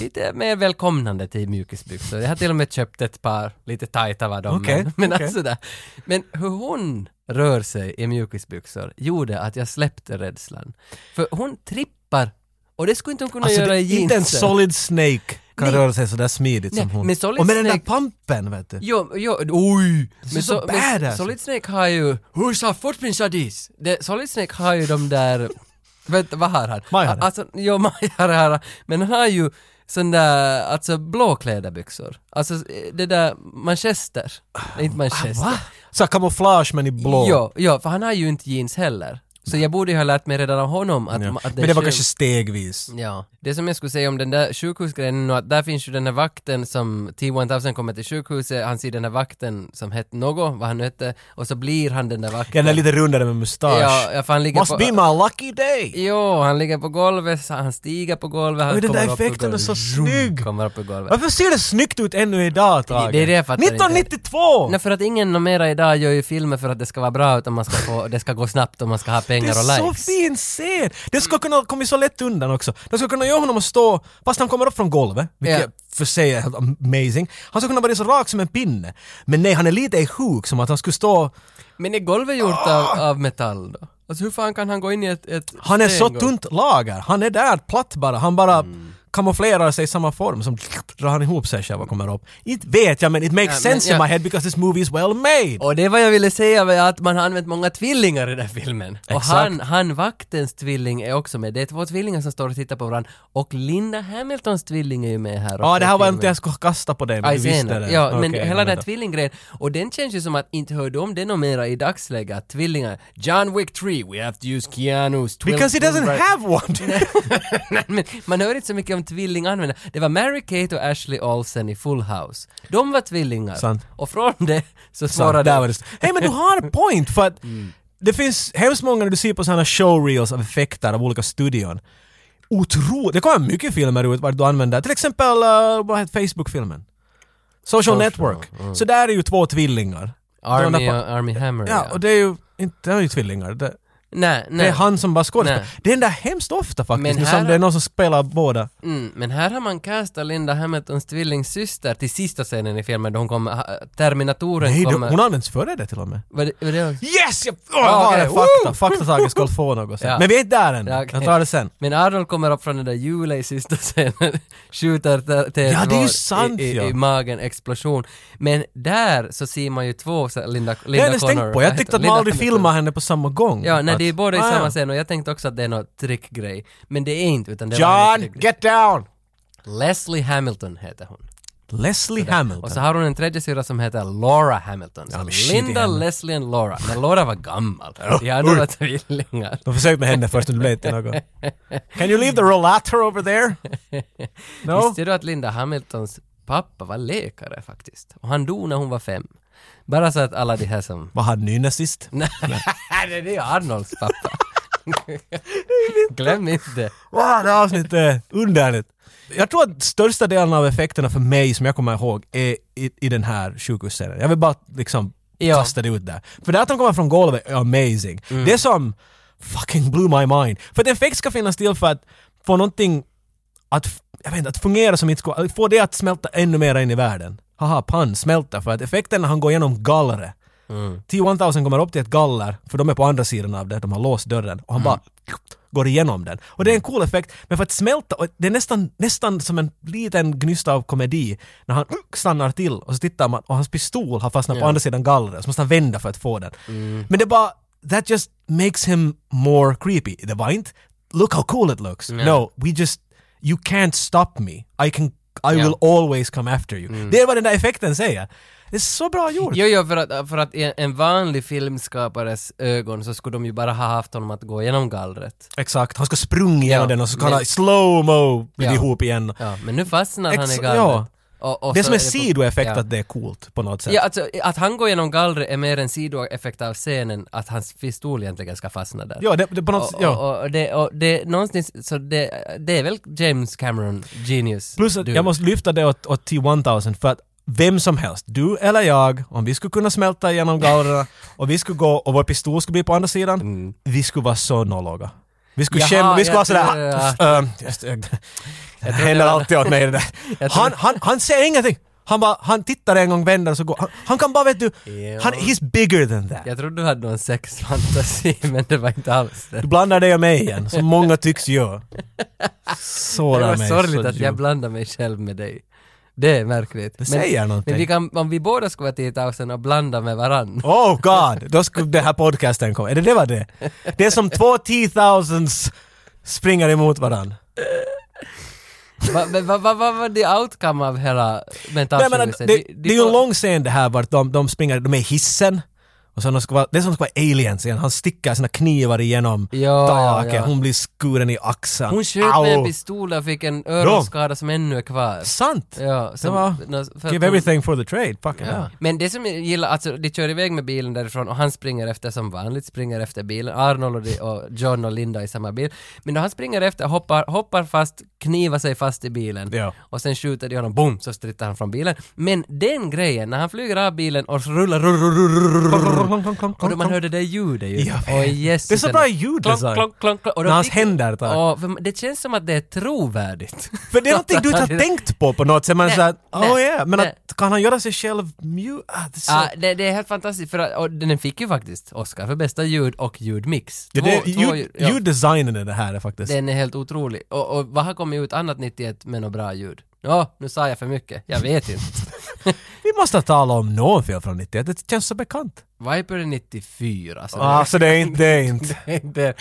S1: lite mer välkomnande till mjukisbyxor. Jag har till och med köpt ett par lite tajta var de
S2: Okej,
S1: men, *laughs* men
S2: okej.
S1: alltså där. Men hur hon rör sig i mjukisbyxor gjorde att jag släppte rädslan. För hon trippar och det skulle inte hon kunna
S2: Alltså,
S1: göra
S2: det,
S1: i jeansen.
S2: inte en solid snake kan
S1: Nej.
S2: röra sig sådär smidigt som
S1: Nej,
S2: hon.
S1: men Solid
S2: Och med den där
S1: Snake-
S2: pampen vet du.
S1: Jo, jo, oj!
S2: är så bad, alltså.
S1: Solid Snake har ju... Hur sa footprints det, Solid Snake har ju de där... *laughs* Vänta, vad har han?
S2: Maj har det.
S1: Alltså, jo, Maj har det här. Men han har ju sån där, alltså blå kläderbyxor. Alltså eh, det där manchester. Nej, inte manchester.
S2: Ah, Va? Så kamouflage men i blå.
S1: Jo, jo, för han har ju inte jeans heller. Så jag borde ju ha lärt mig redan av honom att,
S2: Ja.
S1: att är
S2: Men det var
S1: skönt.
S2: kanske stegvis.
S1: Ja, det som jag skulle säga om den där sjukhusgrejen är nog att där finns ju den här vakten som T-1000 kommer till sjukhuset, han ser den här vakten som hette något, vad han nu hette, och så blir han den där
S2: Ja,
S1: vakten.
S2: den är lite rundare med mustasch.
S1: Ja, ja, för han ligger
S2: Must
S1: på-
S2: be my lucky day!
S1: Jo, han ligger på golvet, så han stiger på golvet, han
S2: Oj, den där
S1: kommer upp på
S2: effekten är
S1: golvet.
S2: så
S1: Zoom,
S2: snygg.
S1: Kommer upp på golvet.
S2: Varför ser det snyggt ut ännu idag Tage?
S1: Det- det är det jag fattar inte.
S2: 1992!
S1: Nej, för att ingen numera idag gör ju filmer för att det ska vara bra, utan man ska få, det ska gå snabbt och man ska ha
S2: Det
S1: pengar och
S2: är så
S1: likes.
S2: fin scen! Det skulle kunna ha kommit så lätt undan också. De skulle kunna göra honom att stå, fast han kommer upp från golvet, vilket
S1: Ja.
S2: för sig är helt amazing. Han skulle kunna vara så rak som en pinne. Men nej, han är lite sjuk, som att han skulle stå...
S1: Men är golvet gjort av, av metall då? Alltså hur fan kan han gå in i ett... ett
S2: Ah! Han är så
S1: stengolv?
S2: tunt lager, han är där platt bara, han bara
S1: Mm.
S2: kamouflerar sig i samma form som drar han ihop sig själv och kommer upp. Inte vet jag men it makes
S1: Ja, men
S2: sense in
S1: jag-
S2: my head because this movie is well made!
S1: Och det är vad jag ville säga med att man har använt många tvillingar i den här filmen. Och
S2: Exakt.
S1: han, han vaktens tvilling är också med. Det är två tvillingar som står och tittar på varandra. Och Linda Hamiltons tvilling är ju med här också.
S2: Ja, det här var
S1: i
S2: inte
S1: filmen.
S2: jag skulle kasta på dig men
S1: Aj,
S2: du visste
S1: senare.
S2: det.
S1: Ja, men
S2: Okej,
S1: hela den här
S2: vänta.
S1: tvillinggrejen. Och den känns ju som att inte hör de om det något mera i dagsläget. Att Tvillingar. John Wick 3, we have to use Keanu's twill-
S2: Because he doesn't
S1: twin-
S2: have one!
S1: Nej, *laughs* men man hör inte så mycket om tvillinganvändare. Det var Mary-Kate och Ashley Olsen i Full House. De var tvillingar.
S2: Sant.
S1: Och från det så
S2: Bara
S1: svarade...
S2: där var det st- Hej
S1: *laughs*
S2: men du har en point för att
S1: Mm.
S2: det finns hemskt många när du ser på sådana showreels av effekter av olika studion. Otroligt, det kommer mycket filmer ut vart du använder, till exempel uh, vad heter Facebook-filmen? Social, Network. Så där är ju två tvillingar.
S1: Army,
S2: De där på-
S1: Army Hammer,
S2: Ja, och det är ju inte, de är ju tvillingar. Det,
S1: Nej, nej.
S2: Det är han som bara skådespelar.
S1: Nej.
S2: Det händer hemskt ofta faktiskt,
S1: Men
S2: nu
S1: här-
S2: som det är någon som spelar båda.
S1: Mm, men här har man castat Linda Hamiltons tvillingsyster till sista scenen i filmen då hon kommer, ha- Terminatoren
S2: Nej, du,
S1: kommer...
S2: hon används före det till och med.
S1: Vad det, vad det,
S2: Yes! Jag, oh,
S1: Ja,
S2: okay.
S1: okej.
S2: fakta,
S1: Woo! *laughs*
S2: faktataget skulle få något sen.
S1: Ja.
S2: Men vi är inte där än.
S1: Ja, okej.
S2: Jag tar det sen.
S1: men Arnold kommer upp från den där hjulet i sista scenen, *laughs* skjuter T- T2
S2: Ja, det är ju sant,
S1: i, i,
S2: ja.
S1: i magen, explosion. Men där så ser man ju två så här Linda,
S2: Det har
S1: Linda
S2: jag inte ens tänkt på.
S1: vad
S2: Jag
S1: heter
S2: tyckte att
S1: hon?
S2: man
S1: Linda
S2: aldrig
S1: Hamilton.
S2: filmar henne på samma gång.
S1: Ja, nej
S2: Att-
S1: det är båda i
S2: Ah,
S1: samma
S2: ja.
S1: scen och jag tänkte också att det är någon trickgrej. Men det är inte, utan det var en
S2: John,
S1: riktig grej.
S2: get down!
S1: Leslie Hamilton heter hon.
S2: Leslie Hamilton.
S1: Och så har hon en tredje syrra som heter Laura Hamilton. Så
S2: Ja, men shit i
S1: Linda,
S2: henne.
S1: Leslie och Laura. Men Laura var gammal. De hade några tvillingar.
S2: De försökte med henne först, men det blev inte
S1: *laughs*
S2: något. Can you leave the rollator over there? No?
S1: Visste du att Linda Hamiltons pappa var läkare faktiskt? Och han dog när hon var fem. Bara så att alla de här
S2: *laughs*
S1: som...
S2: Vad hade ni nazist?
S1: Nej, det är ju Arnolds
S2: *laughs*
S1: pappa. Glöm inte.
S2: Wow, det här avsnittet är underligt. Jag tror att största delen av effekterna för mig som jag kommer ihåg är i, i den här sjukhusscenen. Jag vill bara liksom
S1: Ja. Mm.
S2: kasta det ut där. För det att de kommer från golvet är amazing. Det som fucking blew my mind. För att en effekt ska finnas till för att få någonting att, f- jag vet inte, att fungera som inte ska, att få det att smälta ännu mer in i världen. Haha, pann, smälta. För att effekten när han går igenom gallret T-1000 kommer upp till ett galler, för de är på andra sidan av det, de har låst dörren och han bara går igenom den. Och det är en cool effekt, men för att smälta, och det är nästan, nästan som en liten gnista av komedi när han *clears throat* stannar till och så tittar man och hans pistol har fastnat på andra sidan gallret så måste han vända för att få den. Men det är bara, that just makes him more creepy. Det var inte, look how cool it looks. No, we just, you can't stop me. I can, I will always come after you.
S1: Mm.
S2: Det är vad den där effekten säger. Det är så bra gjort.
S1: Jo, jo, för att, för att i en vanlig filmskapares ögon så skulle de ju bara ha haft honom att gå igenom gallret.
S2: Exakt, han ska sprunga igenom
S1: Ja,
S2: den och så kan
S1: men-
S2: han slow-mo bli
S1: Ja.
S2: ihop igen.
S1: Ja, men nu fastnar han i
S2: Ex-
S1: gallret.
S2: ja.
S1: Och, och
S2: det är
S1: så
S2: som en
S1: på-
S2: sidoeffekt
S1: ja.
S2: att det är coolt på något sätt.
S1: Ja, alltså att han går genom gallret är mer en sidoeffekt av scenen att hans pistol egentligen ska fastna där.
S2: Ja, det, det på något sätt,
S1: och,
S2: ja.
S1: och, och, det, och det, någonstans, så det, det är väl James Cameron genius.
S2: Plus att
S1: du.
S2: jag måste lyfta det åt, åt T-1000 för att vem som helst, du eller jag, om vi skulle kunna smälta
S1: *laughs*
S2: igenom gallren och vi skulle gå och vår pistol skulle bli på andra sidan, vi skulle vara så nolloga. Vi skulle
S1: Mm. Jaha,
S2: skämma, vi skulle vara
S1: jag
S2: sådär...
S1: tror att-
S2: "Ah, pff, *laughs* ehm, Det händer alltid åt mig det
S1: *laughs*
S2: där. Han, han, han säger ingenting! Han, bara, han tittar en gång, vänder och så går han. Han kan bara, vet du, han, he's bigger than that.
S1: Jag trodde du hade någon sexfantasi, *laughs* men det var inte alls det.
S2: Du blandar dig och mig igen, som många
S1: *laughs*
S2: tycks göra.
S1: Det
S2: Såra
S1: var
S2: mig.
S1: sorgligt
S2: så
S1: att jag
S2: djupt.
S1: blandar mig själv med dig. Det är märkligt. Det
S2: säger någonting.
S1: Men vi kan, om vi båda skulle vara 10 000 och blanda med varann. *laughs*
S2: Oh god, då skulle den här podcasten komma. Är det det var det? Det är som två T-thousands springer emot varandra.
S1: Vad va, va, va, va var the outcome av hela
S2: Nej, men,
S1: mentalsjukhuset?
S2: det, det, är ju en lång scen det här vart de, de springer, de är i hissen. Och så de ska vara, det är som ska vara aliens igen, han stickar sina knivar igenom
S1: Ja,
S2: taket,
S1: ja, ja.
S2: hon blir skuren i axeln.
S1: Hon sköt med en
S2: Au.
S1: pistol och fick en öronskada som ännu är kvar.
S2: Sant!
S1: Ja, som,
S2: var-
S1: nå- för att
S2: Give
S1: hon-
S2: everything for the trade, fucking hell.
S1: Men det som jag gillar, alltså de kör iväg med bilen därifrån och han springer efter som vanligt, springer efter bilen. Arnold och, de, och John och Linda i samma bil. Men när han springer efter, hoppar, hoppar fast, knivar sig fast i bilen.
S2: Ja.
S1: Och sen skjuter de honom, boom, så strittar han från bilen. Men den grejen, när han flyger av bilen och rullar, rull, rull, rull, rull, rull, rull, rull, och då man hör det där ljudet ju.
S2: Jag vet.
S1: Oj, Jesus,
S2: Det är så
S1: den-
S2: bra ljuddesign.
S1: Klonk, klonk, klonk, klonk. Och då
S2: När hans
S1: fick-
S2: händer tar.
S1: Ja, för det känns som att det är trovärdigt.
S2: *laughs* För det är någonting du inte
S1: *laughs*
S2: har tänkt på på något sätt. Man
S1: Nej,
S2: är såhär, oh
S1: nej,
S2: yeah. Men
S1: nej.
S2: att, kan han göra sig själv mjuk? Ah, det är så...
S1: Ja, det, det är helt fantastiskt, för att, och den fick ju faktiskt Oscar för bästa ljud och ljudmix.
S2: det,
S1: Två-
S2: det,
S1: två
S2: ljud,
S1: ja.
S2: ljuddesignen i det här är faktiskt...
S1: Den är helt otrolig. Och, och vad har kommit ut annat 91 med något bra ljud? Ja, nu sa jag för mycket. Jag vet
S2: *laughs*
S1: inte.
S2: Vi måste tala om någon film från 91, det känns så bekant.
S1: Viper är 94, så
S2: Ah, så det är inte, det är inte.
S1: det- det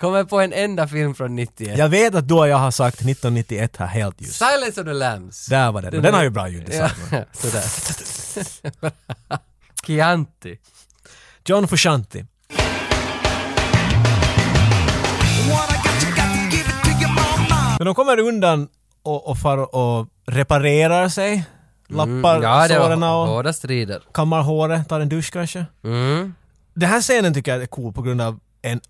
S1: kommer på en enda film från 91.
S2: Jag vet att du och jag har sagt 1991 här helt just.
S1: Silence of the Lambs.
S2: Där var det. Men den har ju bra ljuddesign.
S1: Ja, *laughs* sådär. *laughs* Chianti.
S2: John Fuscianti. Men de kommer undan och, och far och reparerar sig. Lappar
S1: Mm, Ja, det
S2: såren
S1: var
S2: och...
S1: hårda strider.
S2: kammar håret, tar en dusch kanske.
S1: Mm.
S2: Den här scenen tycker jag är cool på grund av en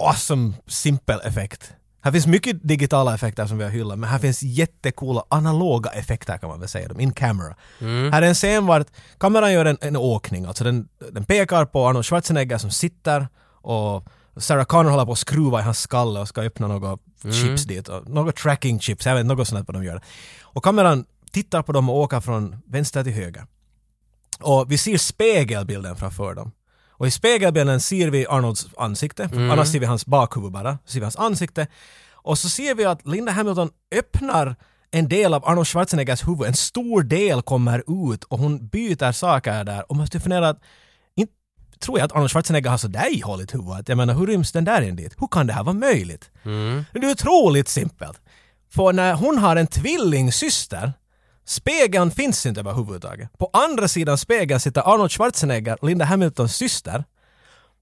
S2: awesome simpel effekt. Här finns mycket digitala effekter som vi har hyllat, men här finns jättecoola analoga effekter kan man väl säga, de in camera. Här är en scen var kameran gör en, en åkning, alltså den, den pekar på Arnold Schwarzenegger som sitter och Sarah Connor håller på att skruva i hans skalle och ska öppna några chips dit. Och något tracking chips, jag vet inte, något sånt där vad de gör. Och kameran tittar på dem och åker från vänster till höger. Och vi ser spegelbilden framför dem. Och i spegelbilden ser vi Arnolds ansikte, annars ser vi hans bakhuvud bara, så ser vi hans ansikte. Och så ser vi att Linda Hamilton öppnar en del av Arnold Schwarzeneggers huvud, en stor del kommer ut och hon byter saker där. Och man måste fundera att, inte tror jag att Arnold Schwarzenegger har sådär ihåligt huvud. Att Jag menar, hur ryms den där in dit? Hur kan det här vara möjligt? Det är otroligt simpelt. För när hon har en tvillingsyster, spegeln finns inte överhuvudtaget. På andra sidan spegeln sitter Arnold Schwarzenegger, Linda Hamiltons syster.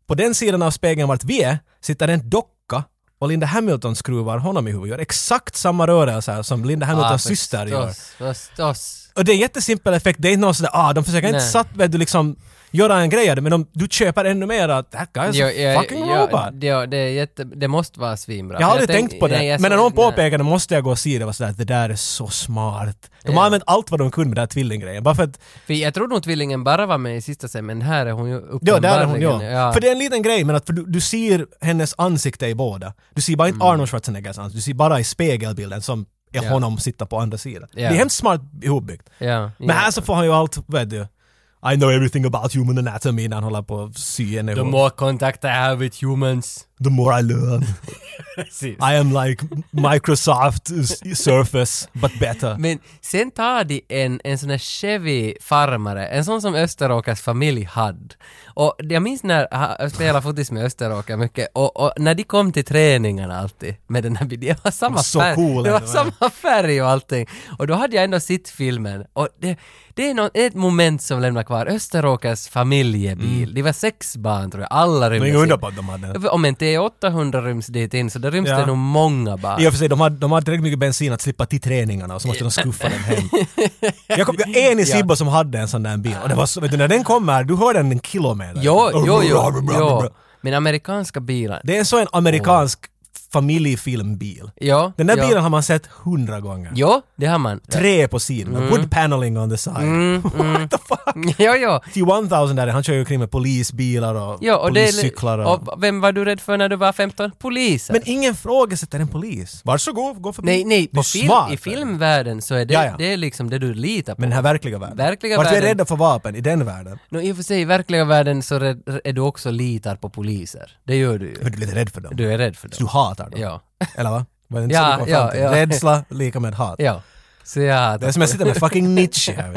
S2: På den sidan av spegeln vart vi är sitter en docka och Linda Hamilton skruvar honom i huvudet. Gör exakt samma rörelser som Linda Hamiltons syster gör.
S1: Förstås, förstås.
S2: Och det är en jättesimpel effekt, det är inte någon sådär ah, de försöker inte
S1: Nej.
S2: satt, vet du, liksom göra en grej av det, men de, du köper ännu mer att that guy is
S1: Jo,
S2: a
S1: jag-
S2: fucking
S1: jag-
S2: robot.
S1: Ja, det, är jätte, det måste vara svinbra.
S2: Jag har
S1: För
S2: aldrig tänkt på det,
S1: nej, jag
S2: men när
S1: såg-
S2: någon
S1: nej.
S2: påpekade det måste jag gå och se det, var sådär det där är så smart. De
S1: Ja.
S2: har använt allt vad de kunde med den här tvillinggrejen, bara för att,
S1: För jag tror nog tvillingen bara var med i sista scenen, men här är hon ju
S2: ja
S1: uppenbarligen...
S2: där är hon, ja.
S1: ja.
S2: För det är en liten grej, men att för du, du ser hennes ansikte i båda. Du ser bara inte Arnold Schwarzeneggers ansikte, du ser bara i spegelbilden som är
S1: Mm. Ja.
S2: honom sitta på andra sidan.
S1: Ja.
S2: Det är hemskt smart ihopbyggt.
S1: ja,
S2: Men här så får han ju allt, vad du, I know everything about human anatomy när han håller på att sy henne.
S1: The
S2: ihop.
S1: more contact I have with humans.
S2: The more I learn. I am like Microsoft s- Surface, but better.
S1: Men sen tar de en, en sån här Chevy-farmare, en sån som Österåkers familj hade. Och jag minns när jag spelade fotis med Österåker mycket, och, och när de kom till träningarna alltid med den här bilen, det var samma
S2: Så
S1: färg,
S2: cool
S1: det var
S2: ändå, ja.
S1: samma färg och allting. Och då hade jag ändå sett filmen, och det, det är någon, ett moment som lämnar kvar, Österåkers familjebil,
S2: Mm.
S1: det var sex barn tror jag, alla rymdes
S2: Men
S1: in.
S2: inget undra på att de hade den.
S1: Om inte är 800 ryms dit in, så då ryms
S2: Ja.
S1: det nog många barn.
S2: I och för sig, de hade, de hade tillräckligt mycket bensin att slippa till träningarna och så måste de skuffa
S1: *laughs*
S2: den hem. Jag kom, jag är en i Sibbo som hade en sån där bil och det var så, vet du, när den kommer, du hör den en kilometer.
S1: Jo, jo, jo, jo. Men amerikanska bilar.
S2: Det är så en amerikansk familjefilmbil.
S1: Ja,
S2: Den där
S1: ja.
S2: bilen har man sett hundra gånger.
S1: Jo, det har man. *laughs*
S2: Trä på sidorna,
S1: Mm.
S2: wood paneling on the side. What the fuck?
S1: Jo, jo.
S2: T-1000 där, han kör ju omkring med polisbilar och
S1: Jo, och det,
S2: poliscyklar och...
S1: och vem var du rädd för när du var 15? Polisen.
S2: Men ingen frågasätter en polis. Varsågod, gå förbi.
S1: nej, nej,
S2: Du
S1: på
S2: är
S1: film,
S2: smart,
S1: i
S2: eller?
S1: filmvärlden så är det,
S2: Ja, ja.
S1: det är liksom det du litar på.
S2: Men den här verkliga världen.
S1: Verkliga
S2: Vart vi är
S1: världen.
S2: rädda för vapen i den världen.
S1: Nå, I och för sig, i verkliga världen så är, är du också litar på poliser. Det gör du ju.
S2: Men du är lite rädd för dem.
S1: Du är rädd för
S2: Så du
S1: dem.
S2: hatar dem.
S1: Ja.
S2: Eller va? Var det inte
S1: Ja,
S2: så du kom fram
S1: ja,
S2: till?
S1: ja.
S2: Rädsla lika med hat.
S1: Ja. Så jag
S2: Det är
S1: hatar.
S2: som jag sitter med fucking Nietzsche här.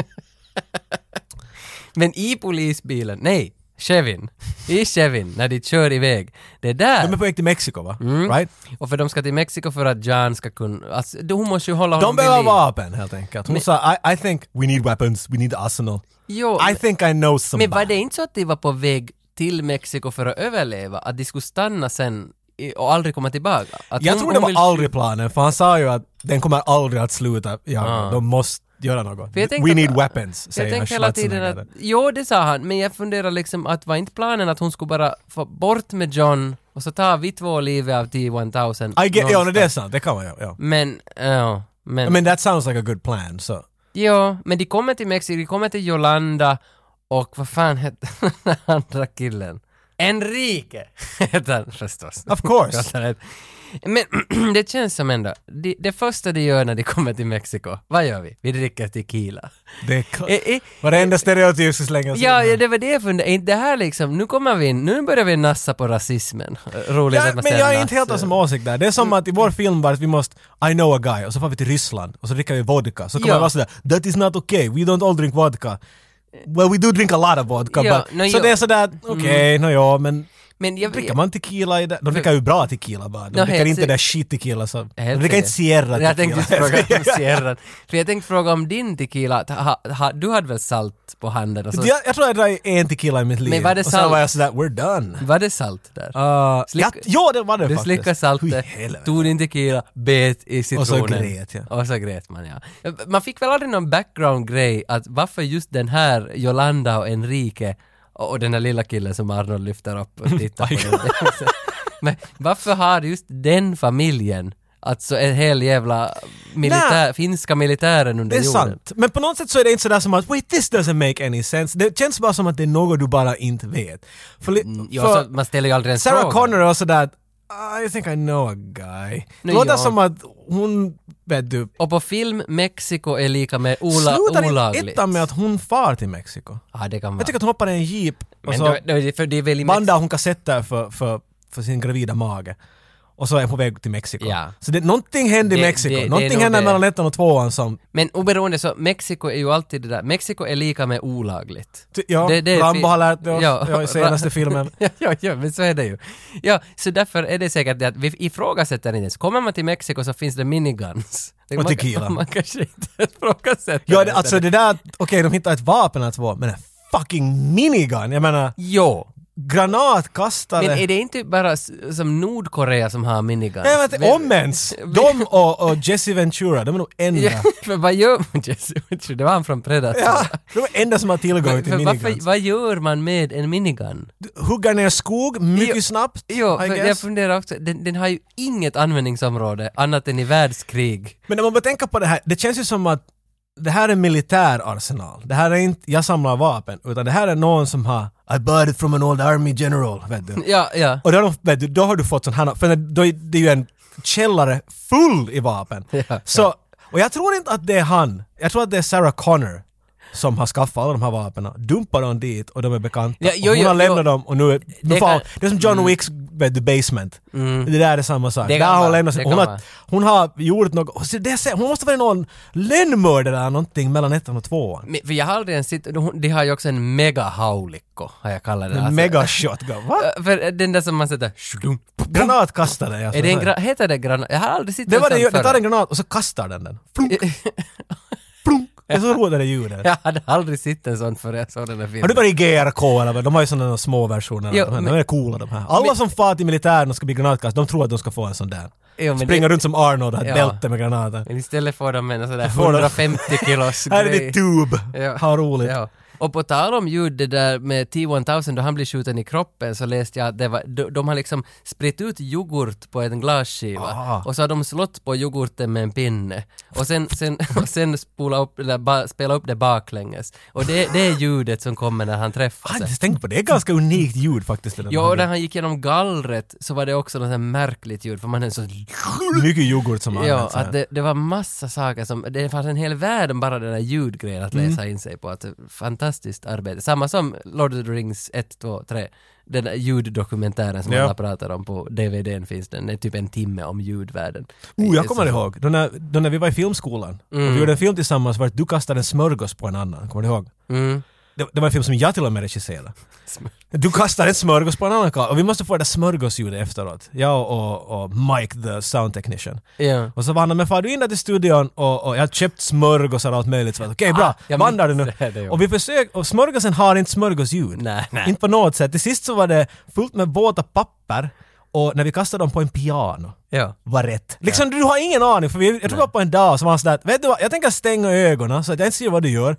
S1: Men i polisbilen, nej, Chevin. I Chevin, när de kör iväg. Det där.
S2: De är på väg till Mexiko va?
S1: Mm.
S2: Right?
S1: Och för de ska till Mexiko för att John ska kunna... Alltså, det- hon måste ju hålla honom
S2: De
S1: vid
S2: behöver
S1: liv.
S2: vapen helt enkelt. Hon sa I, I think we need weapons, we need arsenal.
S1: Jo,
S2: I think I know somebody.
S1: men var det inte så att de var på väg till Mexiko för att överleva? Att de skulle stanna sen i- och aldrig komma tillbaka? Att
S2: Jag
S1: hon-
S2: tror det
S1: hon vill-
S2: var aldrig planen, för han sa ju att den kommer aldrig att sluta. Ja,
S1: Ah.
S2: De måste göra något.
S1: För jag tänkte
S2: We
S1: att-
S2: need weapons,
S1: Jag
S2: säger han
S1: tänkte hela tiden att... Jo, det sa han, men jag funderar liksom att var inte planen att hon skulle bara få bort med John och så tar vi två livet av T-1000
S2: I get, ja,
S1: någonstans.
S2: det är sant, det kan man göra. Ja.
S1: Men, ja. Men,
S2: I mean that sounds like a good plan, so.
S1: ja, men de kommer till Mexiko, de kommer till Yolanda och vad fan hette *laughs* den andra killen? Enrique hette han förstås. *laughs*
S2: Of course.
S1: Gotland. Men *clears throat* det känns som ändå, det, det första de gör när de kommer till Mexiko, vad gör vi? Vi dricker tequila.
S2: det är klart.
S1: Eh, eh,
S2: Varenda stereotyp ska slängas
S1: *laughs* ja,
S2: in.
S1: ja, det var det jag funderade, Är inte det här liksom, nu kommer vi in, nu börjar vi nassa på rasismen. *laughs* Eh, Roligt
S2: Ja,
S1: att man
S2: men jag är inte
S1: nass-
S2: helt av som åsikt där. Det är som att i vår film var att vi måste I know a guy och så får vi till Ryssland och så dricker vi vodka. Så kommer
S1: Ja.
S2: det vara sådär that is not okay, we don't all drink vodka. Well we do drink a lot of vodka
S1: Ja, Mm.
S2: but...
S1: no,
S2: så
S1: jo.
S2: det är sådär okej, nå ja men
S1: Men jag,
S2: dricker man tequila i det? De dricker ju bra tequila bara. De
S1: Nå,
S2: dricker
S1: helt
S2: inte
S1: si-
S2: där shit tequila så... De
S1: Helt
S2: dricker inte
S1: säkert.
S2: Sierra
S1: Jag tänkte just
S2: tequila. *laughs*
S1: fråga om Sierra. För jag tänkte fråga om din tequila, att ha, ha, du hade väl salt på handen? Alltså, Och så,
S2: Jag, jag tror jag drack en tequila i mitt liv.
S1: Men var det
S2: och sen
S1: salt?
S2: var jag sådär we're done.
S1: Var det salt där?
S2: Uh,
S1: Slick-
S2: ja, ja, det var det
S1: Du
S2: faktiskt.
S1: slickade saltet,
S2: Hui helvete.
S1: tog din tequila, bet i citronen.
S2: Och så grät jag.
S1: Och så grät man ja. Man fick väl aldrig någon background-grej att varför just den här Jolanda och Enrique och och den här lilla killen som Arnold *laughs*
S2: *laughs*
S1: lyfter upp och tittar på. den. Men varför har just den familjen alltså en hel jävla militär, finska militären under
S2: Det är
S1: jorden.
S2: sant. Men på något sätt så är det inte sådär som att wait this doesn't make any sense. Det känns bara som att det är något du bara inte vet. För, li-
S1: Jo,
S2: för
S1: så man ställer ju aldrig ens
S2: Sarah
S1: frågan.
S2: Connor var sådär att "Ah, I think I know a guy. Det
S1: Nu
S2: låter
S1: jag-
S2: som att hon, vet du,
S1: Och på film, Mexiko är lika med ola-
S2: slutar
S1: olagligt.
S2: ettan med att hon far till Mexiko.
S1: Ja, det kan vara.
S2: Jag tycker att Alltså- hon hoppar i en jeep och
S1: Men
S2: så
S1: då, då, är det- för det är väl i Mex-
S2: bandar hon kassetter för, för, för sin gravida mage. Och så är hon på väg till Mexiko.
S1: Ja.
S2: Så det, någonting händer i
S1: Det-
S2: Mexiko.
S1: det- det är
S2: någonting
S1: nog
S2: händer
S1: det.
S2: mellan ettan och tvåan som...
S1: Men oberoende så, Mexiko är ju alltid det där, Mexiko är lika med olagligt.
S2: Ty- ja,
S1: är
S2: Rambo
S1: fi-
S2: har lärt oss, ja, i
S1: *laughs*
S2: senaste filmen.
S1: ja, ja, ja, men så är det ju. Ja, så därför är det säkert det att vi ifrågasätter inte ens. Kommer man till Mexiko så finns det
S2: *laughs*
S1: miniguns. Man- *laughs*
S2: tequila.
S1: Man kanske inte ifrågasätter
S2: Ja, det,
S1: det.
S2: alltså det där... Okej, de hittar ett vapen eller två, men en fucking minigun! Jag menar,
S1: Jo,
S2: granatkastare...
S1: men är det inte bara s- som Nordkorea som har miniguns?
S2: Nej,
S1: *laughs*
S2: vänta,
S1: Men-
S2: om ens! De och, och Jesse Ventura, de är nog enda.
S1: Ja, *laughs* för vad gör man? Jesse Winter? Det var han från Predator.
S2: Ja, de är enda som har tillgång
S1: Men,
S2: till
S1: för varför,
S2: miniguns.
S1: vad gör man med en minigun?
S2: Huggar ner skog mycket
S1: Jo,
S2: snabbt,
S1: Jo,
S2: I
S1: för jag
S2: guess.
S1: funderar också, den, den har ju inget användningsområde annat än i världskrig.
S2: Men om man bara tänker på det här, det känns ju som att det här är militärarsenal. Det här är inte jag samlar vapen, utan det här är någon som har I bought it from an old army general, vet *laughs* du.
S1: Ja, ja.
S2: Och då har, de, vet du, då har du fått sån här, för då är det är ju en källare full i vapen. Så, och jag tror inte att det är han, jag tror att det är Sarah Connor som har skaffat alla de här vapnen, dumpar dem dit och de är bekanta.
S1: Ja, jo,
S2: och hon
S1: jo,
S2: har lämnat
S1: jo.
S2: dem och nu, är- nu
S1: Det
S2: det, fan,
S1: kan- Mm.
S2: det är som John Wicks vet du, basement. Det där är samma sak.
S1: Det
S2: där
S1: kan
S2: har
S1: vara,
S2: hon lämnat sig.
S1: det
S2: Hon,
S1: kan
S2: har-
S1: vara.
S2: hon har gjort något, och så det, ser- hon måste vara någon lönnmördare eller någonting mellan ettan och tvåan.
S1: Men- För jag har aldrig ens sett, de- de har ju också en mega-haulikko, har jag kallat det. Alltså,
S2: En mega shotgun, va?
S1: För den där som man sätter... shudum, pum, pum.
S2: Granatkastare alltså.
S1: Är det en gra- heter det granat? Jag har aldrig sett
S2: Det var
S1: en
S2: det,
S1: sån
S2: ju- det
S1: förr.
S2: tar en granat och så kastar den den. Flunk! *laughs* Flunk! Det är så roligt det där ljudet.
S1: *laughs* Jag hade aldrig sett en sån förrän jag såg den där filmen.
S2: Har du varit i GRK eller vad? De har ju sådana små versioner. av
S1: Jo,
S2: de, här.
S1: men-
S2: de är coola de här. Alla
S1: men-
S2: som far till militären och ska bli granatkastare, de tror att de ska få en sån där.
S1: Jo, men
S2: Springa
S1: det-
S2: runt som Arnold och ha ett
S1: Ja.
S2: bälte med granater.
S1: Men istället får de en sån där
S2: Får de-
S1: 150 kilos
S2: *laughs* Här är
S1: grej.
S2: ditt tub!
S1: Ja.
S2: Ha roligt.
S1: Ja. Och på tal om ljud, det där med T-1000 då han blir skjuten i kroppen så läste jag att det var, de, de har liksom spritt ut yoghurt på en glasskiva
S2: Ah.
S1: och så har de slått på yoghurten med en pinne och sen, sen, *laughs* och sen spola upp, eller ba, spela upp det baklänges. Och det, det är ljudet som kommer när han
S2: Jag
S1: träffas.
S2: hade inte tänkt på det. Det är ganska unikt ljud faktiskt. det där.
S1: Ja, och när han gick genom gallret så var det också något sånt här märkligt ljud för man är så...
S2: Mycket yoghurt som
S1: Ja,
S2: används.
S1: att
S2: här.
S1: det, det var massa saker som, det fanns en hel värld om bara den där ljudgrejen att läsa
S2: Mm.
S1: in sig på. Att, fantastiskt arbete. Samma som Lord of the Rings 1, 2, 3. Den där ljuddokumentären som
S2: Ja.
S1: alla pratar om på DVDn finns den. Det är typ en timme om ljudvärlden.
S2: Oh,
S1: Det
S2: jag
S1: är
S2: kommer
S1: så-
S2: ihåg. Då när, då när vi var i filmskolan och vi gjorde en film tillsammans var det att du kastade en smörgås på en annan. Kommer du ihåg?
S1: Mm.
S2: Det, det var en film som jag till och med regisserade. Du kastar en smörgås på en annan karl och vi måste få det där smörgåsljudet efteråt. Jag och, och, och Mike, the sound technician.
S1: Ja.
S2: Och så var han men far du in där till studion och, och jag har köpt smörgåsar och allt möjligt. Så jag, Okej bra,
S1: Ah, jag
S2: vandrar du
S1: minns
S2: nu?
S1: *laughs* det här, det gjorde
S2: och vi försökte, och smörgåsen har inte smörgåsljud.
S1: Nej, nej.
S2: Inte på något sätt. Till sist så var det fullt med våta papper och när vi kastade dem på en piano
S1: Ja.
S2: var rätt. Liksom du har ingen aning för vi, jag tror det var på en dag som var han sådär, vet du vad, jag tänker stänga ögonen så att jag inte ser vad du gör.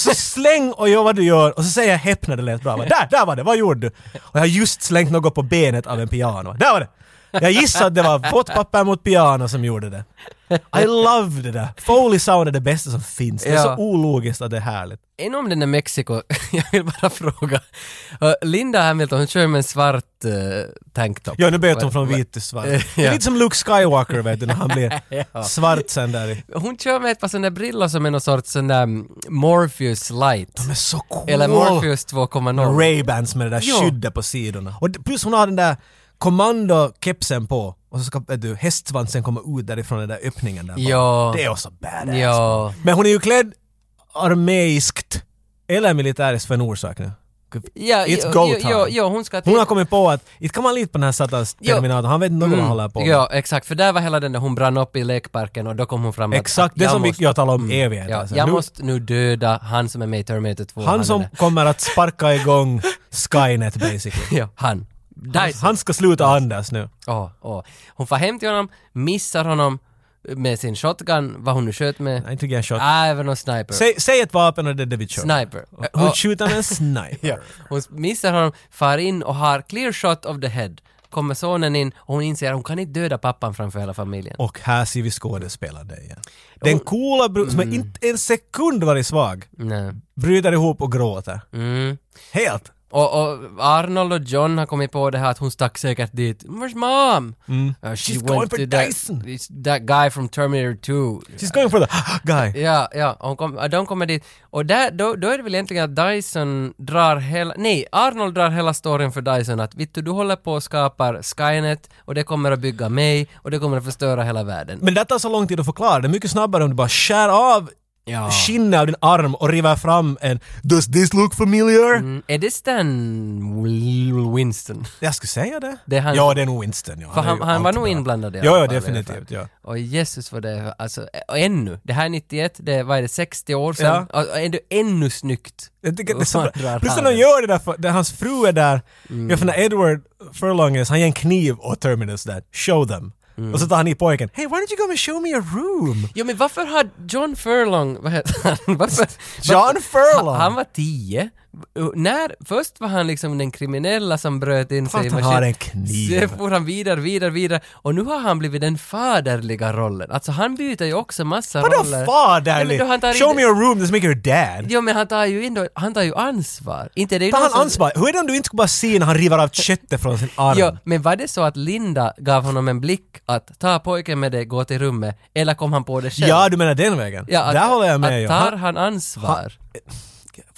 S1: *laughs*
S2: så släng och gör vad du gör och så säger jag häpp när det lät bra. Jag bara, Där, där var det, vad gjorde du? Och jag har just slängt något på benet av en piano. Där var det! Jag gissar att det var vått papper mot piano som gjorde det. I love det där! Foley sound är det bästa som finns. Det är
S1: Ja.
S2: så ologiskt att det är härligt.
S1: Ännu om den där Mexiko, *laughs* jag vill bara fråga. Uh, Linda Hamilton, hon kör med en svart uh, tanktop.
S2: Ja, nu byter hon från vit
S1: *laughs*
S2: till svart. Det är lite som Luke Skywalker vet du, när han blir svart sen där i.
S1: Hon kör med ett par sådana där brillor som är någon sorts sån där mm, Morpheus light.
S2: Men så cool!
S1: Eller Morpheus 2.0.
S2: Ray-Bans med det där
S1: Ja.
S2: skyddet på sidorna. Och d- plus hon har den där kommandokepsen på och så ska vet du, hästsvansen komma ut därifrån den där öppningen där bak.
S1: Ja.
S2: Det är också badass.
S1: Ja.
S2: Men hon är ju klädd armeiskt eller militäriskt för en orsak nu.
S1: Ja,
S2: It's
S1: jo,
S2: go
S1: jo,
S2: time.
S1: Jo, jo, hon ska till...
S2: Hon har kommit på att inte kan man lita på den här satans
S1: Ja. Mm.
S2: terminatorn, han vet inte vad han håller på med.
S1: Ja, exakt. För där var hela den där hon brann upp i lekparken och då kom hon fram att-
S2: Exakt,
S1: att
S2: det
S1: jag
S2: som vi-
S1: måste- Mm.
S2: jag talade om evighet,
S1: Ja,
S2: alltså.
S1: jag
S2: Nu-
S1: måste nu döda han som är med i Terminator 2. är *laughs*
S2: Han som
S1: den-
S2: kommer att sparka igång Skynet basically.
S1: Ja, han.
S2: Han,
S1: Dyson.
S2: han ska sluta andas nu.
S1: Åh, åh. Hon får hem till honom, missar honom med sin shotgun, vad hon nu sköt med.
S2: Nej, inte tycker jag shot.
S1: Nej, även någon sniper.
S2: Säg, säg ett vapen och det är det vi kör.
S1: Ah. Sniper. Ah.
S2: Hon
S1: Och- *laughs*
S2: skjuter med en sniper.
S1: Ja. Hon missar honom, far in och har clear shot of the head. kommer sonen in och hon inser att hon kan inte döda pappan framför hela familjen.
S2: Och här ser vi skådespelande igen. Den coola bruden
S1: Mm.
S2: som inte en sekund varit svag
S1: Nej.
S2: bryter ihop och gråter.
S1: Mm.
S2: Helt!
S1: Och, och Arnold och John har kommit på det här att hon stack säkert dit. Where's mom? Uh, she
S2: Mm. She's
S1: went
S2: going
S1: to
S2: for
S1: that,
S2: Dyson.
S1: it's that guy from Terminator 2.
S2: She's going for the *gasps* guy.
S1: Ja, ja, hon kom, ja, de kommer dit. Och där, då, då är det väl egentligen att Dyson drar hela, nej, Arnold drar hela storyn för Dyson att vittu du håller på och skapar Skynet och det kommer att bygga mig och det kommer att förstöra hela världen.
S2: Men det tar så lång tid att förklara. Det är mycket snabbare om du bara skär av
S1: Ja.
S2: skinnet av din arm och river fram en “Does this look familiar?”
S1: Mm, är det Stan Winston?
S2: Jag skulle säga det.
S1: Det är han-
S2: ja, det är nog Winston. Ja,
S1: För
S2: är
S1: han,
S2: ju
S1: han var
S2: alltid
S1: nog
S2: bra.
S1: inblandad i alla
S2: Ja, ja,
S1: fall, i alla fall.
S2: definitivt. Ja.
S1: Och Jesus vad det är, alltså, ä- och ännu, det här är 91, det är, vad är det, 60 år sedan, och och ändå ännu snyggt.
S2: Jag tycker det är så
S1: Och
S2: bra.
S1: han drar Mm.
S2: Plus när
S1: handen.
S2: de gör det där, för, där hans fru är där. Jag för när Edward Furlongus, han ger en kniv åt Terminus där. Show them.
S1: Mm.
S2: Och så tar han i pojken. Hey, why don't you go and show me a room?
S1: Jo men varför har John Furlong, vad heter han? *laughs* Varför,
S2: John Furlong!
S1: Han, han var 10. Och När, först var han liksom den kriminella som bröt in sig
S2: Att han
S1: maskin-
S2: har en kniv.
S1: Sen for han vidare, vidare, vidare. Och nu har han blivit den faderliga rollen. Alltså han byter ju också massa
S2: Vadå
S1: roller.
S2: faderlig?
S1: Ja, men då han tar in-
S2: Show me a room, that's make your dad.
S1: Jo men han tar ju in då, han tar ju ansvar. Inte det är ju
S2: Tar
S1: någon
S2: han
S1: som-
S2: ansvar? Hur är det om du inte skulle bara se när han river av köttet från sin arm?
S1: Ja, men var det så att Linda gav honom en blick att ta pojken med dig, gå till rummet, eller kom han på det själv?
S2: Ja, du menar den vägen?
S1: Ja, att-
S2: där håller jag med.
S1: att
S2: ja.
S1: Tar
S2: Han-
S1: han ansvar?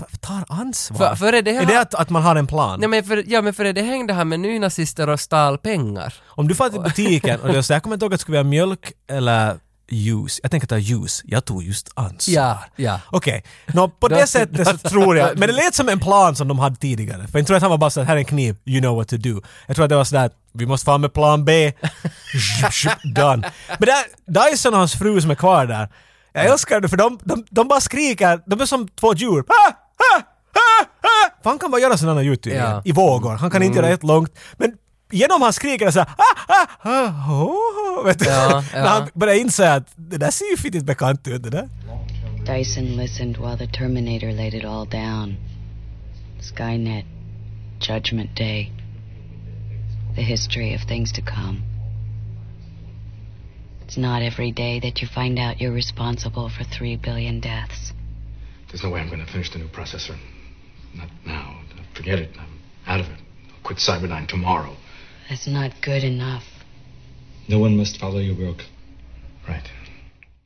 S2: f- tar ansvar?
S1: För- för är det
S2: är det
S1: han-
S2: att, att man har en plan?
S1: Nej men för, ja men för det hängde han med nynazister och stal pengar.
S2: Om du far till butiken och det är så, jag kommer inte ihåg att det skulle vara mjölk eller juice. Jag tänker ta juice. Jag tog just ansvar.
S1: Ja, ja.
S2: Okej. Nå, på
S1: Då-
S2: det sättet så
S1: *laughs*
S2: tror jag... Men det lät som en plan som de hade tidigare. För jag tror att han var bara såhär, här är en kniv, you know what to do. Jag tror att det var sådär, vi måste fram med
S1: *laughs*
S2: plan B. Zhup, zhup, Done. Men där, Dyson och hans fru som är kvar där, jag älskar det för de, de, de bara skriker, de är som två djur. Ah, ah, ah, ah. För han kan bara göra sådana ljud tydligen,
S1: Ja. Mm.
S2: i vågor. Han kan inte göra ett långt. Men genom han skriker det såhär ah, ah, ah, oh, oh, vet du?
S1: Ja, ja.
S2: *laughs* När han börjar inse att det där ser ju fittigt bekant ut det där.
S11: Dyson listened while the Terminator laid it all down. Skynet, Judgment Day, the history of things to come. It's not every day that you find out you're responsible for three billion deaths.
S12: There's no way I'm going to finish the new processor. Not now. Forget it. I'm out of it. I'll quit Cyberdyne tomorrow.
S11: That's not good enough.
S12: No one must follow your work. Right.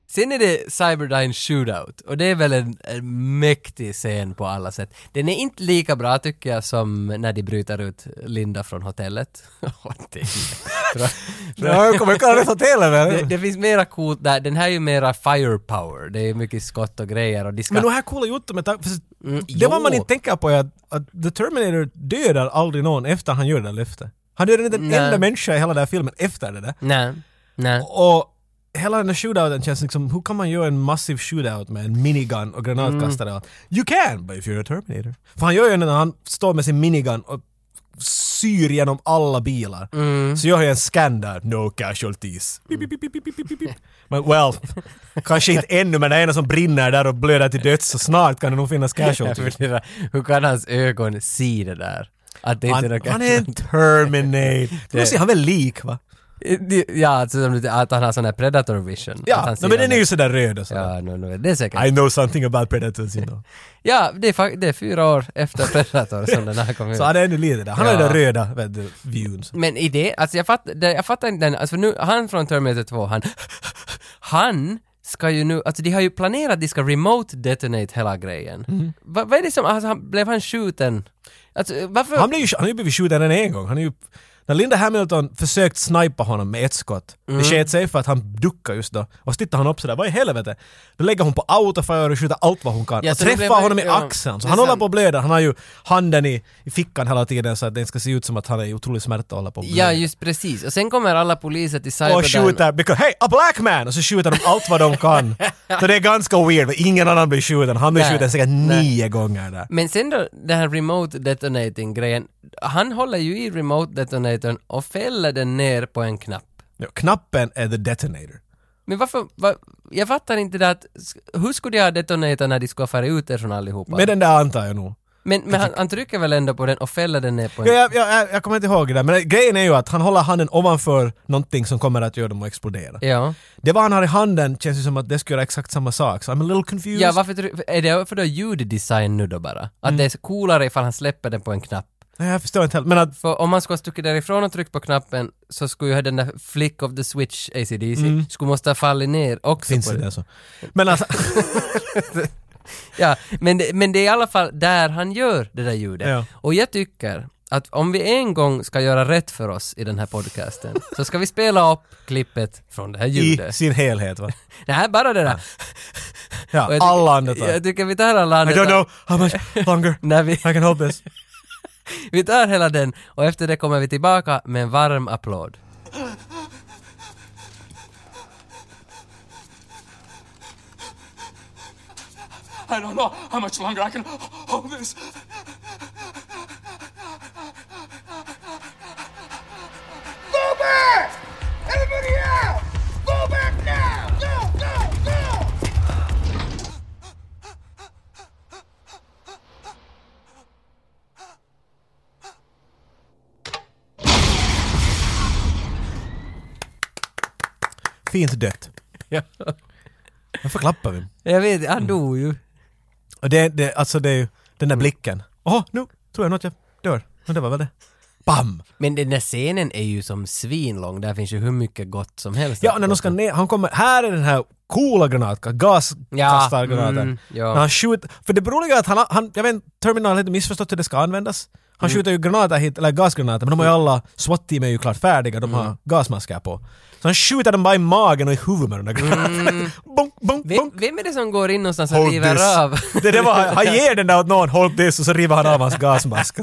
S1: Sen är det Cyberdyne Shootout och det är väl en, en mäktig scen på alla sätt. Den är inte lika bra tycker jag som när de bryter ut Linda från hotellet. *laughs* Och det
S2: *laughs*
S1: är-
S2: Jag kommer kalla det för tele,
S1: Det,
S2: men.
S1: det finns mera coolt där, den här är ju mera firepower, det är mycket skott och grejer och de ska...
S2: Men de här coola gjort med tanke för Det
S1: jo.
S2: var man inte tänka på är att, att äh, The Terminator dödar aldrig någon efter han gör det där löftet. Han dödar inte en
S1: Nej.
S2: enda människa i hela den här filmen efter det där.
S1: Nej, nej.
S2: Och hela den här shootouten känns liksom, hur kan man göra en massiv shootout med en minigun och granatkastare och allt? You can, but if you're a Terminator. För han gör ju det när han står med sin minigun och syr genom alla bilar.
S1: Mm.
S2: Så jag har ju en scan där, no casualties. Pip, pip, pip, pip, pip, pip, pip, pip. Men
S1: *laughs*
S2: well, kanske inte ännu men det är en som brinner där och blöder till döds så snart kan det nog finnas
S1: Jag
S2: casualties.
S1: funderar, hur kan hans ögon se det där? Att det inte är
S2: Han,
S1: något-
S2: han är en Terminator. Nu ser han väl lik va?
S1: Ja, alltså som du- att han har sån här predator vision. att
S2: Ja,
S1: han
S2: no,
S1: ser
S2: men den
S1: alla-
S2: är ju sådär röd och sådär.
S1: Ja, no, no, det är säkert.
S2: I know something about predators you know.
S1: Ja, det är, fa- det är fyra år efter *laughs* Predator som den här kom ut.
S2: Så han är ännu lite där. Han har
S1: Ja.
S2: den röda vet du, vyn. så.
S1: Men i det, alltså jag fattar, det- jag fattar inte den, alltså nu, han från Terminator 2, han, han ska ju nu, alltså de har ju planerat att de ska remote detonate hela grejen.
S2: Mhm.
S1: Va, vad är det som, alltså han, blev han skjuten? Alltså varför?
S2: Han, blev ju, han har ju blivit skjuten än en gång. Han är ju, när Linda Hamilton försökt snipa honom med ett skott,
S1: Mm.
S2: det sket sig för att han duckar just då. Och så tittar han upp sådär, vad i helvete? Då lägger hon på autofire och skjuter allt vad hon kan.
S1: Ja,
S2: och
S1: så det blev-
S2: träffar honom i
S1: ja,
S2: axeln.
S1: det
S2: Så
S1: är
S2: han håller
S1: sant.
S2: på att blöda. Han har ju handen i, i fickan hela tiden så att den ska se ut som att han är i otrolig smärta och håller på att
S1: Ja,
S2: blöda.
S1: just precis. Och sen kommer alla poliser till
S2: och
S1: Cyberdyne.
S2: skjuter, because hey, a black man! Och så skjuter de allt vad de kan.
S1: *laughs*
S2: så det är ganska weird, för ingen annan blir skjuten. Han blir
S1: Nej.
S2: skjuten säkert
S1: Nej.
S2: nio gånger där.
S1: Men sen då den här remote detonating grejen, han håller ju i remote detonatorn och fäller den ner på en knapp.
S2: Ja, knappen är the detonator.
S1: Men varför, va, jag fattar inte det att, sk- hur skulle jag detonera när de skulle ha farit ut er från allihopa?
S2: Med den där antar jag nog.
S1: Men, men han, han trycker väl ändå på den och fäller den ner på en...
S2: Alltså- Ja, jag, jag, jag kommer inte ihåg det där, men grejen är ju att han håller handen ovanför någonting som kommer att göra dem att explodera.
S1: Ja.
S2: Det vad han har i handen känns ju som att det skulle göra exakt samma sak, så I'm a little confused.
S1: Ja, varför try- Är det för då ljuddesign nu då bara? Att
S2: Mm.
S1: det är coolare ifall han släpper den på en knapp?
S2: Nej, jag förstår inte heller, men att...
S1: För om man skulle ha stuckit därifrån och tryckt på knappen så skulle ju den där flick of the switch ACDC,
S2: Mm.
S1: skulle måste ha fallit ner också
S2: Finns
S1: på
S2: det alltså?
S1: *laughs*
S2: Men alltså...
S1: ja, men det, men det är i alla fall där han gör det där ljudet.
S2: Ja.
S1: Och jag tycker att om vi en gång ska göra rätt för oss i den här
S2: *laughs*
S1: podcasten så ska vi spela upp klippet från det här
S2: I
S1: ljudet.
S2: sin helhet va?
S1: Nej, bara det där.
S2: Ja,
S1: Och jag tycker-
S2: alla andetag.
S1: Jag tycker vi tar alla
S2: I
S1: andetag.
S2: don't know how much
S1: *laughs*
S2: longer
S1: När vi,
S2: I can hold this.
S1: vi tar hela den och efter det kommer vi tillbaka med en varm applåd.
S13: I don't know how much longer I can hold this.
S8: Go back! Everybody out! Go back now! Go, go, go!
S2: Fint dött.
S1: *laughs* Ja.
S2: Varför klappar vi?
S1: Jag vet, han dog ju.
S2: Och det, det, alltså det är ju den där blicken. Åh, nu tror jag nog att jag dör. Men det var väl det. Bam!
S1: Men den där scenen är ju som svinlång, där finns ju hur mycket gott som helst.
S2: Ja, när de ska ner, han kommer, här är den här coola granaten, gaskastargranaten.
S1: Ja, mm, ja.
S2: När han skjuter, för det beroliga är att han, han jag vet inte, Terminal har lite missförstått hur det ska användas. Han
S1: Mm.
S2: skjuter ju granater hit, eller gasgranater, men de har ju alla, SWAT-team är ju klart färdiga, de
S1: Mm.
S2: har gasmasker på. Så han skjuter dem bara i magen och i huvudet med de där
S1: Mm.
S2: granaterna. *laughs*
S1: Vem, vem är det som går in någonstans och
S2: Hold this.
S1: river av?
S2: *laughs* Det, det var, han ger den där åt någon, hold this, och så river han av hans gasmask.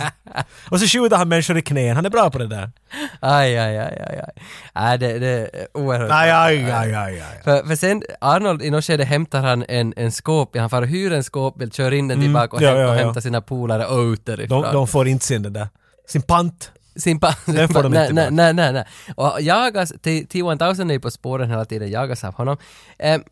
S2: Och så skjuter han människor i knän, han är bra på
S1: *laughs*
S2: det där.
S1: *laughs* Aj, aj, aj, aj, aj. Nej, det, det är oerhört.
S2: Aj, aj, aj, aj, aj.
S1: För, för sen, Arnold, i något skede hämtar han en, en skåpbil, han far och hyr en skåpbil, kör in den
S2: Mm,
S1: tillbaka och,
S2: ja,
S1: häm-
S2: ja,
S1: och
S2: ja.
S1: hämtar sina polare och ut därifrån.
S2: De, de får inte sin den där, sin pant.
S1: sin pa-
S2: *laughs* Den får de
S1: nej,
S2: inte
S1: nej,
S2: tillbaka.
S1: nej, nej, nej. Och jagas, T- T-1000 är ju på spåren hela tiden, jagas av honom. Ehm,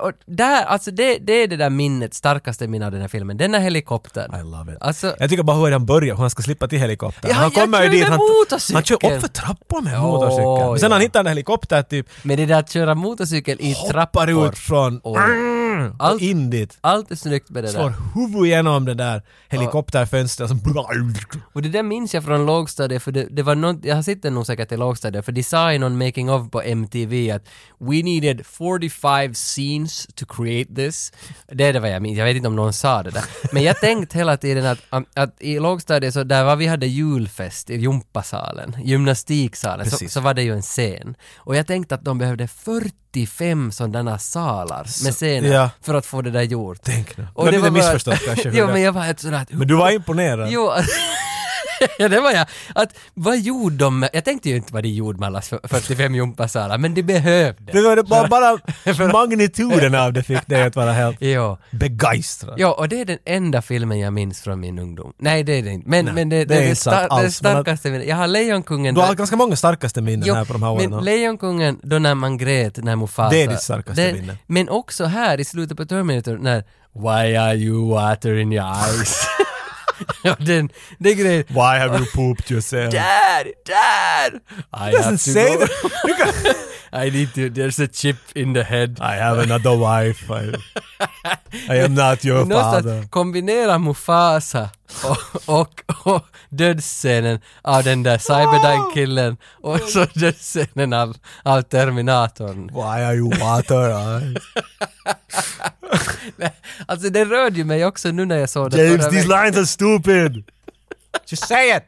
S1: och där, alltså det, det är det där minnet, starkaste minnet av den här filmen, den här helikoptern.
S2: I love it.
S1: Alltså,
S2: Jag tycker bara hur han börjar, hur han ska slippa till helikoptern.
S1: Ja,
S2: han
S1: jag
S2: kommer ju
S1: körde
S2: dit, han,
S1: motorcykel.
S2: han kör upp för trappor med
S1: Ja,
S2: motorcykeln. Men Sen
S1: ja.
S2: han hittar en helikopter typ,
S1: men det där att köra motorcykel i trappor,
S2: hoppar ut från
S1: Oj.
S2: och in dit.
S1: allt är snyggt med det där.
S2: Slår huvudet igenom det där helikopterfönstret. som-
S1: Och det där minns jag från lågstadiet, för det, det var något, jag sitter nog säkert i lågstadiet, för de sa i någon making of på MTV att we needed 45 scenes to create this. Det är det vad jag minns, jag vet inte om någon sa det där. Men jag tänkte hela tiden att, att, i lågstadiet, så där var vi hade julfest i gympasalen, gymnastiksalen, så,
S2: Precis.
S1: så var det ju en scen. Och jag tänkte att de behövde 45 sådana salar med scener
S2: ja.
S1: för att få det där gjort.
S2: Tänk nu.
S1: Och
S2: Du har
S1: det
S2: lite
S1: var bara-
S2: missförstått kanske.
S1: *laughs*
S2: hur
S1: jo,
S2: det-
S1: men jag var ett sådär att
S2: men du var imponerad.
S1: Jo, *laughs* ja det var jag. Att vad gjorde de med, jag tänkte ju inte vad de gjorde med alla 45 gympasalar, men de behövde.
S2: Det var det
S1: *laughs*
S2: bara, bara magnituden av det fick dig att vara helt
S1: Jo.
S2: begeistrad.
S1: Ja, och det är den enda filmen jag minns från min ungdom. Nej, det är det inte. Men,
S2: Nej,
S1: men det, det,
S2: det är
S1: är det,
S2: inte sant
S1: star-
S2: alls,
S1: det
S2: men att-
S1: starkaste minnet. Jag har Lejonkungen.
S2: Du har
S1: där-
S2: ganska många starkaste minnen här på de här åren.
S1: men Lejonkungen, då när man grät när Mufasa...
S2: Det är ditt starkaste
S1: Det-
S2: minne.
S1: Men också här i slutet på Terminator när Why are you water in your
S2: *laughs*
S1: eyes? Ja, den, den grejen.
S2: Why have you pooped yourself?
S1: Dad! Dad! I
S2: doesn't
S1: have to
S2: say
S1: go. I need to, there's a chip in the head.
S2: I have another wife. I, I am *laughs* not your
S1: Någonstans
S2: father.
S1: kombinera Mufasa och, och, och dödsscenen av den där Cyberdyne-killen och så dödsscenen av, av Terminatorn.
S2: Why are you *laughs* water eyes?
S1: Alltså det rörde ju mig också nu när jag såg det
S2: James,
S1: förra
S2: these
S1: veckan.
S2: lines are stupid. *laughs* Just say it.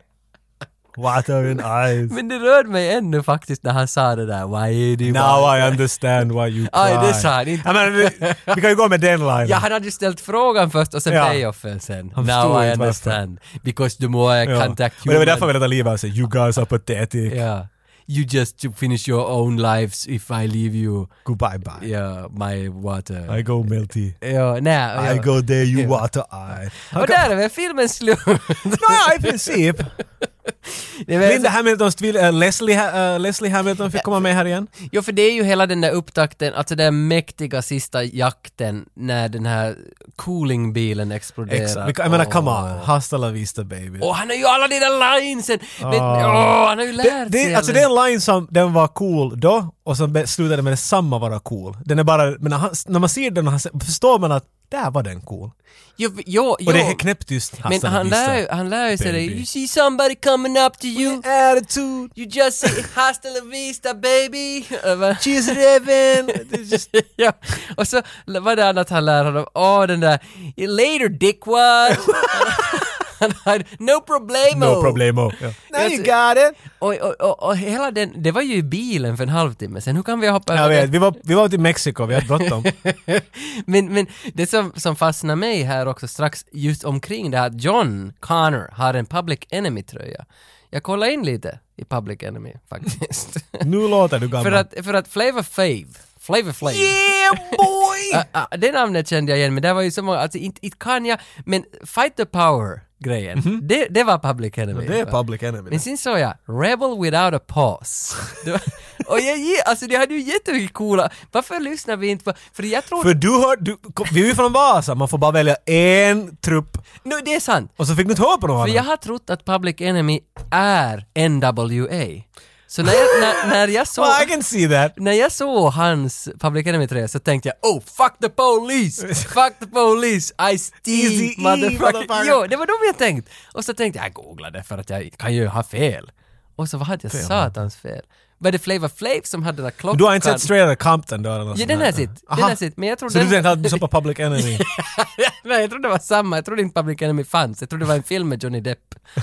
S2: Water in *laughs* eyes.
S1: Men det rörde mig ännu faktiskt när han sa det där Why do you
S2: Now
S1: want-"
S2: I understand why you cry.
S1: Aj, det sa han inte.
S2: Jag menar, vi, vi kan ju gå med den linen.
S1: Ja, han hade ju ställt frågan först och sen
S2: Ja.
S1: payoffen sen.
S2: Han förstod
S1: Now I
S2: inte varför.
S1: understand. Because the more I
S2: Ja.
S1: contact
S2: Och det var
S1: human-
S2: därför vi ville ta livet av sig. You guys are pathetic.
S1: Ja. You just finish your own lives if I leave you.
S2: Goodbye bye.
S1: Ja, my water.
S2: I go melty.
S1: ja, nej,
S2: I
S1: ja.
S2: go there, you
S1: Ja.
S2: water eye. Han
S1: Och
S2: kan- *laughs*
S1: där är väl filmen slut.
S2: Nå, ja, i princip.
S1: väl-
S2: Linda Hamiltons tvill... eh, Leslie, Ha- eh, Leslie Hamilton fick komma med här igen.
S1: Jo, för det är ju hela den där upptakten, alltså den där mäktiga sista jakten när den här coolingbilen exploderar.
S2: Ex- vi- Jag menar,
S1: Åh.
S2: come on. Hasta la vista baby.
S1: Och han har ju alla de där linesen! Men,
S2: Ah.
S1: åh, han har ju
S2: Det,
S1: lärt sig
S2: det, alltså
S1: alla-
S2: det är en line som den var cool då och som be- slutade med detsamma vara cool. Den är bara, men när, han, när man ser den och han, ser- förstår man att där var den cool.
S1: Jo, jo, jo.
S2: Och det är knäpptyst.
S1: Men
S2: Hasta la
S1: han
S2: vista.
S1: lär, han lär sig det.
S2: baby. Oh,
S1: You see somebody coming up to you.
S2: attitude.
S1: You just say hasta la vista baby.
S2: She's
S1: *laughs*
S2: living.
S1: ja. Och så var det annat han lär honom. Åh den där later
S2: *laughs*
S1: dickwad. Han hade no oh. problemo.
S2: No problemo. Ja.
S1: Now you
S2: got it!
S1: Och, och, och, och hela den, det var ju i bilen för en halvtimme sen, hur kan vi hoppa
S2: Jag vet, vi var, vi var ute i Mexiko, vi
S1: *laughs*
S2: hade bråttom.
S1: men, men det som, som fastnar mig här också strax just omkring det här att John Connor har en Public Enemy-tröja. Jag kollade in lite i Public Enemy faktiskt. *laughs*
S2: nu låter du gammal.
S1: för, att, för att Flavor Fave, Flavor Flav.
S2: Yeah boy!
S1: Ah, ah, det namnet kände jag igen men det var ju så många, alltså inte, inte kan jag, men Fight the Power grejen, det, det var Public Enemy.
S2: Mhm. det är Public Enemy.
S1: Men sen såg jag Rebel Without a Pause. Det
S2: *laughs*
S1: var, och jag ge, alltså det hade ju jättemycket coola, varför lyssnar vi inte på, för jag tror...
S2: För du har, du, kom, vi är ju från Vasa, man får bara välja en trupp.
S1: nu, det är sant!
S2: Och så fick du inte höra på någon
S1: För jag
S2: annan.
S1: har trott att Public Enemy är NWA. Så när jag, när, när jag såg...
S2: Well, I can see that.
S1: När jag såg hans Public Enemy 3 så tänkte jag oh fuck the police! Fuck the police! I
S2: Easy
S1: steal
S2: E,
S1: motherfucker!
S2: motherfucker.
S1: Jo, det var då jag tänkt! Och så tänkte jag, jag googlade för att jag kan ju ha fel. Och så vad hade jag satans fel? Var det Flavor Flav som hade den där klockan?
S2: Du har inte sett Straight Outta Compton då? eller något
S1: Oh, Ja,
S2: sånt
S1: den
S2: där?
S1: har sitt. Den
S2: Aha.
S1: har sitt. Men jag tror
S2: Så
S1: den...
S2: du tänkte att du såg på Public Enemy?
S1: *laughs* Nej, jag trodde det var samma. Jag trodde inte Public Enemy fanns. Jag trodde det var en film med Johnny Depp. *laughs*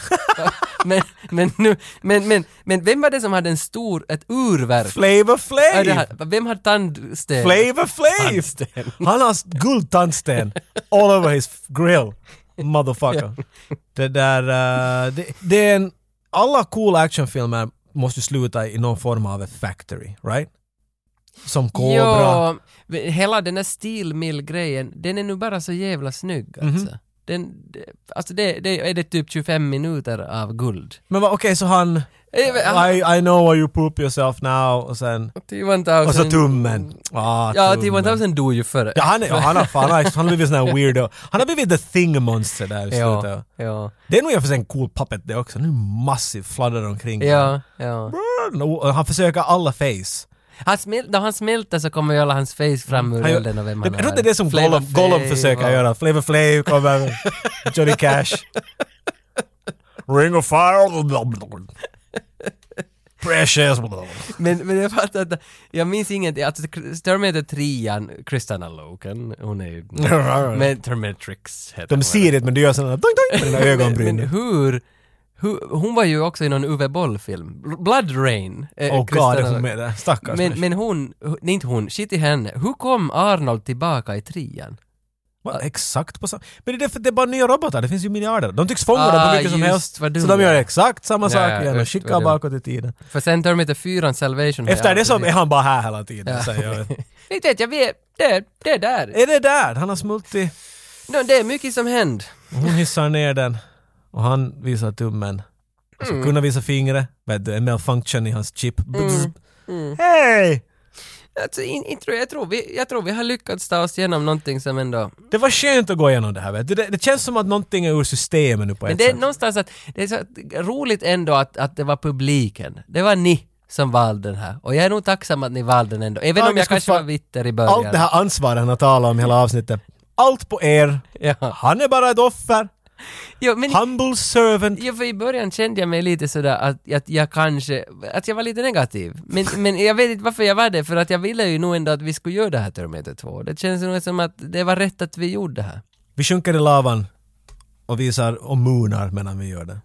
S1: men, men, nu, men, men, men vem var det som hade en stor, ett urverk?
S2: Flavor
S1: Ja, det
S2: Flav!
S1: här- Vem hade tandsten?
S2: Flavor Flav!
S1: Tandsten.
S2: Han har s- guldtandsten all over his grill. Motherfucker. Det där... eh, det, det är en, alla coola actionfilmer måste ju sluta i någon form av ett factory, right? Som Cobra.
S1: Ja, men hela den här stilmill-grejen, den är nu bara så jävla snygg
S2: Mhm.
S1: alltså. Den, det- alltså det, det är det typ 25 minuter av guld.
S2: Men va- okej, så han...
S1: Eh, men han-
S2: I, I know why you poop yourself now och sen... Och så tummen. Ah,
S1: Ja,
S2: tummen.
S1: T-1000 dog ju före.
S2: Ja, han, är, ja, han, har, fan, han har- han har blivit sån här weirdo. Han har blivit the thing-monster där i
S1: Ja,
S2: slutet.
S1: ja.
S2: Det är nog i och för sig en cool puppet det också. Nu är massiv fladdrar omkring.
S1: Ja, ja.
S2: Brrrr, och Han försöker alla face.
S1: Han smäl- när han smälter så kommer ju alla hans face fram ur
S2: Han gör-
S1: elden och vem
S2: jag
S1: han
S2: tror det är det som
S1: Flavor
S2: Gollum, Gollum
S1: Flav
S2: försöker
S1: och-
S2: göra. Flavor Flav
S1: *laughs*
S2: kommer. Johnny Cash. Ring of fire. Precious.
S1: Men, men jag fattar inte, jag minns inget, alltså Terminator 3, Kristanna Loken, hon är ju... *laughs* men Terminatrix heter hon.
S2: De ser det men du gör sådana dong, dong, *laughs* med dina
S1: *laughs* Men,
S2: ögonbryn.
S1: men hur, hur, hon var ju också i någon Uwe Boll-film, Bl- Blood Rain. eh,
S2: Åh Oh, god,
S1: Kristanna
S2: är hon
S1: Loken.
S2: med där?
S1: Men,
S2: Stackars människa.
S1: men hon, hu- nej inte hon, shit i henne. Hur kom Arnold tillbaka i trean?
S2: Vad, exakt på samma... Men det är, därför, det är bara nya robotar, det finns ju miljarder. De tycks fånga dem
S1: Ah,
S2: på mycket som
S1: just
S2: helst. Så
S1: vad dum
S2: de gör
S1: jag är.
S2: exakt samma
S1: Ja,
S2: sak
S1: ja,
S2: igen och
S1: usch, vad
S2: skickar
S1: dum.
S2: bakåt i tiden.
S1: För sen Terminator 4, Salvation. har jag
S2: Efter det så
S1: aldrig
S2: är
S1: sett.
S2: han bara här hela tiden.
S1: Ja.
S2: Så jag vet.
S1: Inte vet jag, vi är, det, det är där.
S2: Är det där? Han har smultit...
S1: Nå, det är mycket som händer.
S2: Hon hissar ner den och han visar tummen. Och
S1: Mm.
S2: så kunde visa fingret. Vet du, en malfunction i hans chip.
S1: Mm.
S2: Hej!
S1: Alltså, in, in, tror jag, jag, tror vi, jag tror vi har lyckats ta oss igenom någonting som ändå...
S2: Det var skönt att gå igenom det här vet du. Det, det känns som att någonting är ur systemet nu på
S1: Men
S2: ett
S1: det är
S2: sätt.
S1: någonstans att, det är så att- roligt ändå att, att det var publiken. Det var ni som valde den här. Och jag är nog tacksam att ni valde den ändå. Även
S2: Ja,
S1: om
S2: det
S1: jag
S2: skulle
S1: kanske
S2: fan-
S1: var bitter i början.
S2: Allt det här ansvaret han har talat om hela avsnittet. Allt på er.
S1: Ja.
S2: Han är bara ett offer.
S1: Jo, men,
S2: Humble servant.
S1: jo, för i början kände jag mig lite sådär att, att jag kanske, att jag var lite negativ. Men, men jag vet inte varför jag var det, för att jag ville ju nog ändå att vi skulle göra det här Terminator 2. Det känns nog som att det var rätt att vi gjorde det här.
S2: Vi sjunker i lavan och visar och moonar medan vi gör det.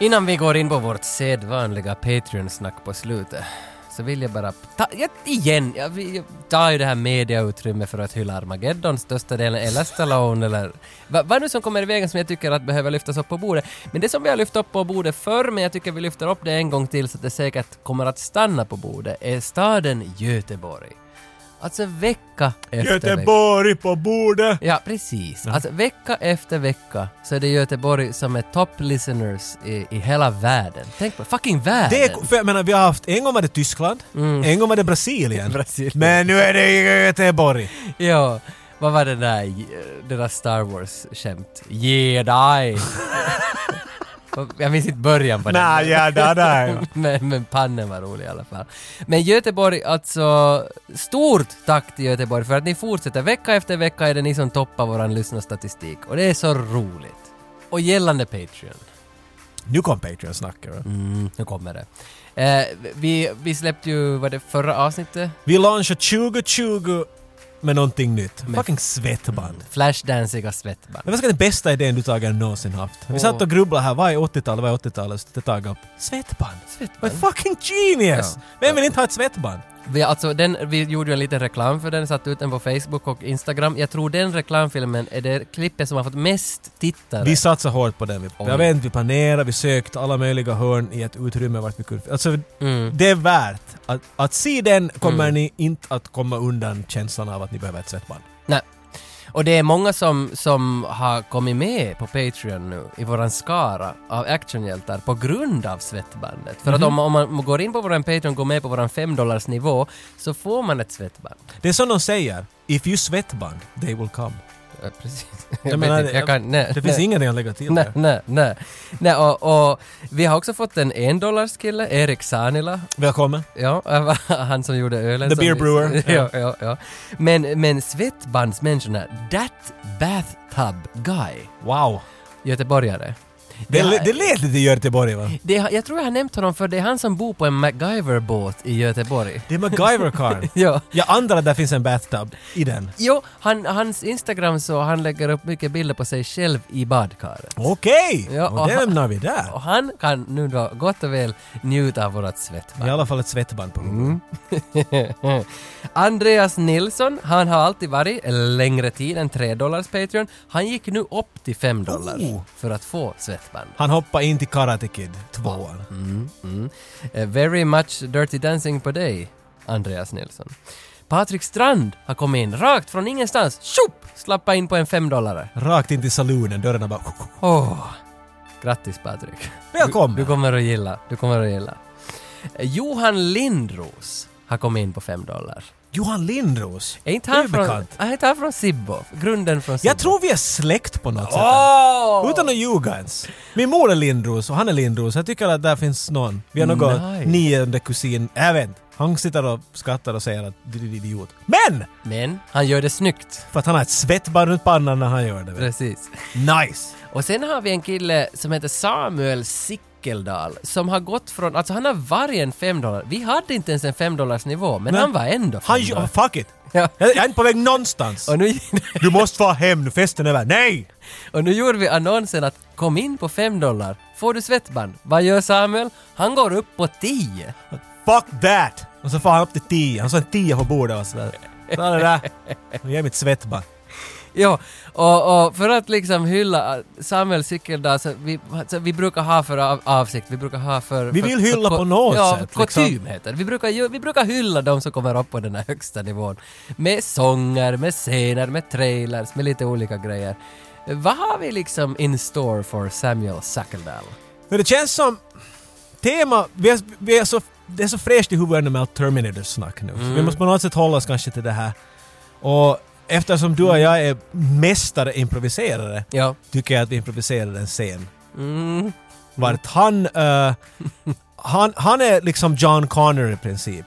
S1: Innan vi går in på vårt sedvanliga Patreon-snack på slutet så vill jag bara ta, jag, igen, jag, vi- jag tar ju det här mediautrymmet för att hylla Armageddon största delen, eller Stallone eller vad vad nu som kommer i vägen som jag tycker att behöver lyftas upp på bordet. Men det som vi har lyft upp på bordet förr, men jag tycker vi lyfter upp det en gång till så att det säkert kommer att stanna på bordet, är staden Göteborg. Alltså vecka efter vecka.
S2: Göteborg på bordet!
S1: Ja, precis. Alltså vecka efter vecka så är det Göteborg som är top listeners i, i hela världen. Tänk på fucking världen!
S2: Det är, för jag menar, vi har haft, en gång var det Tyskland,
S1: Mm.
S2: en gång var
S1: *laughs*
S2: det Brasilien. Men nu är det Göteborg!
S1: Ja, vad var det där, det där Star Wars-skämt?
S2: *laughs*
S1: Jedi! Jag minns inte början på den.
S2: Nej, ja, där, där.
S1: *laughs* men, men pannen var rolig i alla fall. Men Göteborg, alltså, stort tack till Göteborg för att ni fortsätter. Vecka efter vecka är det ni som toppar våran lyssnarstatistik och det är så roligt. Och gällande Patreon.
S2: Nu kom Patreon-snacket. va?
S1: Mm, nu kommer det. Eh, vi, vi släppte ju, var det förra avsnittet?
S2: Vi launchar 2020 med någonting nytt. Fucking svettband.
S1: Flashdansiga svettband.
S2: Det var säkert den bästa idén du tagare någonsin haft. Vi
S1: Åh.
S2: satt och grubblade här, vad är 80-talet, vad är 80-talet? Så tagare upp. Svettband! Vad fucking genius!
S1: Ja.
S2: Vem vill inte ha ett svettband?
S1: Vi, alltså, den, vi gjorde ju en liten reklam för den, satte ut den på Facebook och Instagram. Jag tror den reklamfilmen är det klippet som har fått mest tittare.
S2: Vi satsade hårt på den. Vi, jag vet inte, vi planerade, vi sökte alla möjliga hörn i ett utrymme vart vi kunde... Alltså, det är värt att, att se den kommer
S1: Mm.
S2: ni inte att komma undan känslan av att ni behöver ett svettband.
S1: Nej. Och det är många som, som har kommit med på Patreon nu i våran skara av actionhjältar på grund av svettbandet. För att
S2: Mhm.
S1: om, man- om man går in på våran Patreon och går med på våran 5 nivå så får man ett svettband.
S2: Det är som de säger, if you svettband, they will come.
S1: Ja, precis. *laughs*
S2: Jag
S1: Jag,
S2: menar,
S1: vet inte, jag kan, nej,
S2: det
S1: *laughs* nej.
S2: finns ingenting att lägga till
S1: Nej,
S2: där.
S1: nej, nej. nej och, och vi har också fått en endollarskille, Erik Sanila.
S2: Välkommen.
S1: Ja, *laughs* han som gjorde ölen.
S2: The
S1: som
S2: beer
S1: vi-
S2: brewer.
S1: *laughs* ja, ja, ja. Men, men svettbandsmänniskorna, that bathtub guy.
S2: Wow.
S1: Göteborgare.
S2: Det,
S1: Ja.
S2: det lät lite
S1: *laughs*
S2: Göteborg va?
S1: Det, är- jag tror jag har nämnt honom för det är han som bor på en MacGyver-båt i Göteborg.
S2: Det är MacGyver-karln.
S1: *laughs* ja.
S2: Jag antar att det finns en bathtub i den.
S1: Jo, han, hans Instagram så han lägger upp mycket bilder på sig själv i badkaret.
S2: Okej!
S1: Ja,
S2: och det
S1: han-
S2: lämnar vi där.
S1: Och han kan nu då gott och väl njuta av vårat svettband.
S2: I alla fall ett svettband på huvudet.
S1: Mm. *laughs* Andreas Nilsson, han har alltid varit längre tid än 3 dollars Patreon. Han gick nu upp till 5 dollar
S2: Oh.
S1: för att få svettband.
S2: Han hoppar in till Karate Kid, tvåan.
S1: Mm, mm. Eh, Very much Dirty Dancing på dig, Andreas Nilsson. Patrik Strand har kommit in rakt från ingenstans. Tjopp! Slappa in på en femdollare.
S2: Rakt in till saloonen, dörrarna bara...
S1: Åh! Grattis Patrik.
S2: Välkommen.
S1: Du, du kommer att gilla. Du kommer att gilla. Eh, Johan Lindros har kommit in på fem dollar.
S2: Johan Lindros!
S1: Är inte
S2: Det är
S1: han
S2: ju
S1: från...
S2: bekant.
S1: Är inte han från Sibbo? Grunden från Sibbo?
S2: Jag tror vi är släkt på något sätt.
S1: Åh!
S2: Utan att ljuga ens. Min mor är Lindros och han är Lindros. Jag tycker att där finns någon. Vi har någon
S1: Nice.
S2: nionde kusin. Jag vet inte. Han sitter och skrattar och säger att du är en idiot. Men!
S1: Men han gör det snyggt.
S2: För att han har ett svettband runt pannan när han gör det. vet
S1: Precis.
S2: du. Nice!
S1: Och sen har vi en kille som heter Samuel Sickeldal som har gått från, alltså han har varit en 5 dollar. Vi hade inte ens en 5 dollars nivå men
S2: Nej.
S1: han var ändå
S2: Han
S1: 5
S2: ju-
S1: dollar.
S2: Fuck it!
S1: Ja.
S2: Jag jag är inte på väg någonstans.
S1: Och nu, *laughs*
S2: Du måste vara hem nu, festen är över. Nej!
S1: och nu gjorde vi annonsen att kom in på 5 dollar, får du svettband. Vad gör Samuel? Han går upp på 10.
S2: Fuck that! Och så får han upp till 10. Han sa en 10 på bordet och sådär. Så är det där. Och ger mitt svettband.
S1: *laughs* Ja, och, och för att liksom hylla Samuel Sickeldahl, så vi, så vi brukar ha för av, avsikt, vi brukar ha för...
S2: Vi
S1: för,
S2: vill hylla
S1: för,
S2: på något
S1: ja,
S2: sätt,
S1: kutym
S2: liksom.
S1: heter det. Vi brukar, ju- vi brukar hylla de som kommer upp på den här högsta nivån. Med sånger, med scener, med trailers, med lite olika grejer. Vad har vi liksom in store for Samuel Sickeldahl?
S2: Men det känns som... Tema... Vi är, vi är så, det är så fräscht i huvudet nu med allt Terminator-snack nu. Så vi måste på något sätt hålla oss kanske till det här. Och eftersom du och jag är mästare improviserare
S1: Ja.
S2: tycker jag att vi improviserar en scen.
S1: Mm.
S2: Vart han... eh, han, han är liksom John Connor i princip.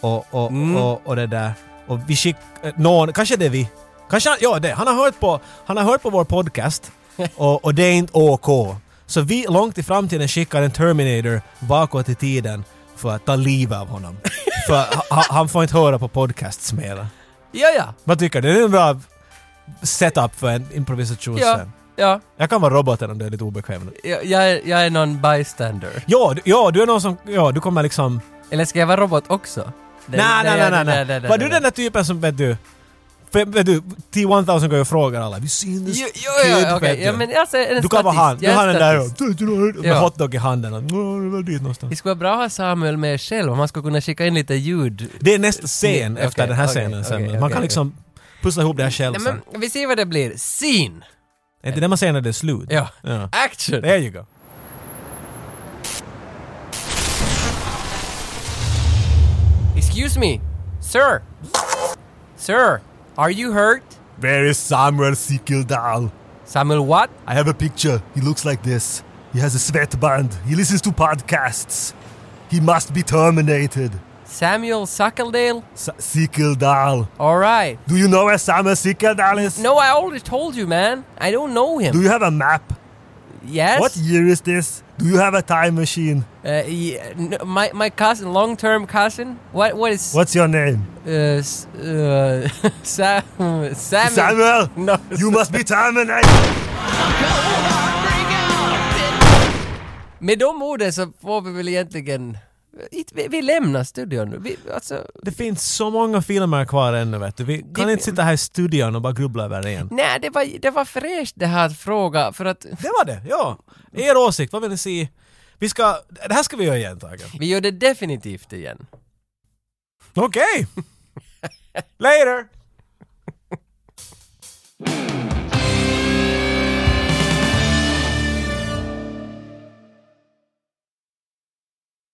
S2: Och, och,
S1: Mm.
S2: och, och det där. Och vi skick... eh, Någon... Kanske det är vi. Kanske han, Ja, det. Han har hört på, han har hört på
S1: *laughs*
S2: vår podcast. Och, och det är inte OK. Så vi långt i framtiden skickar en Terminator bakåt i tiden för att ta livet
S1: *laughs*
S2: av honom. för ha, han får inte höra på podcasts mera.
S1: Ja, ja.
S2: Vad tycker du? Det är en bra setup för en improvisationsscen.
S1: Ja, ja.
S2: Jag kan vara roboten om du är lite obekväm.
S1: Jag, jag, är, jag är någon bystander.
S2: Ja, du, ja, du är någon som... Ja, du kommer liksom...
S1: Eller ska jag vara robot också? Det-
S2: Nej,
S1: det-
S2: nej, nej, nej, nej. Var du
S1: nej.
S2: den där typen som, vet du, För, vet du, T-1000 går ju och frågar alla. Have you seen this
S1: Jo, jo,
S2: kid?
S1: jo,
S2: Vet
S1: okej.
S2: du.
S1: Ja, men alltså, en
S2: du kan vara
S1: statist.
S2: han. Du
S1: Jag är
S2: har den
S1: statist.
S2: där med
S1: Ja.
S2: hotdog i handen. Och, "Nå, det var dit någonstans."
S1: Det skulle vara bra att ha Samuel med själv, om man skulle kunna skicka in lite ljud.
S2: Det är nästa scen
S1: Okej,
S2: efter den här
S1: okej,
S2: scenen sen.
S1: okej,
S2: Man
S1: okej.
S2: kan liksom pussla ihop det här själv
S1: Nej,
S2: sen.
S1: men vi ser vad det blir. Scene!
S2: Är inte det man säger när det är slut?
S1: Ja.
S2: ja.
S1: Action!
S2: There you go.
S1: Excuse me, sir. Sir, are you hurt?
S14: Where is Samuel Sikildal?
S1: Samuel what?
S14: I have a picture. He looks like this. He has a sweatband. He listens to podcasts. He must be terminated.
S1: Samuel Suckledale?
S14: Sa- Sikildal.
S1: All right.
S14: Do you know where Samuel Sikildal is?
S1: No, I already told you, man. I don't know him.
S14: Do you have a map?
S1: Yes.
S14: What year is this? Do you have a time machine?
S1: Uh, yeah, n- my my cousin, long term cousin. What what is?
S14: What's your name?
S1: Uh, s- uh, *laughs* Sam, Samuel.
S14: Samuel!
S1: No.
S14: You must be terminated!
S1: Med de orden så får vi väl egentligen... Vi, vi lämnar studion nu. Vi, alltså,
S2: *laughs* Det finns så många filmer kvar ännu vet du. Vi kan
S1: Det-
S2: inte sitta här i studion och bara grubbla över det igen.
S1: nej, det var, det var fräscht det här att fråga för att...
S2: Det var det, ja. Er åsikt, vad vill ni se? Vi ska... Det här ska vi göra igen Tage.
S1: Vi gör det definitivt igen.
S2: Okej! Later!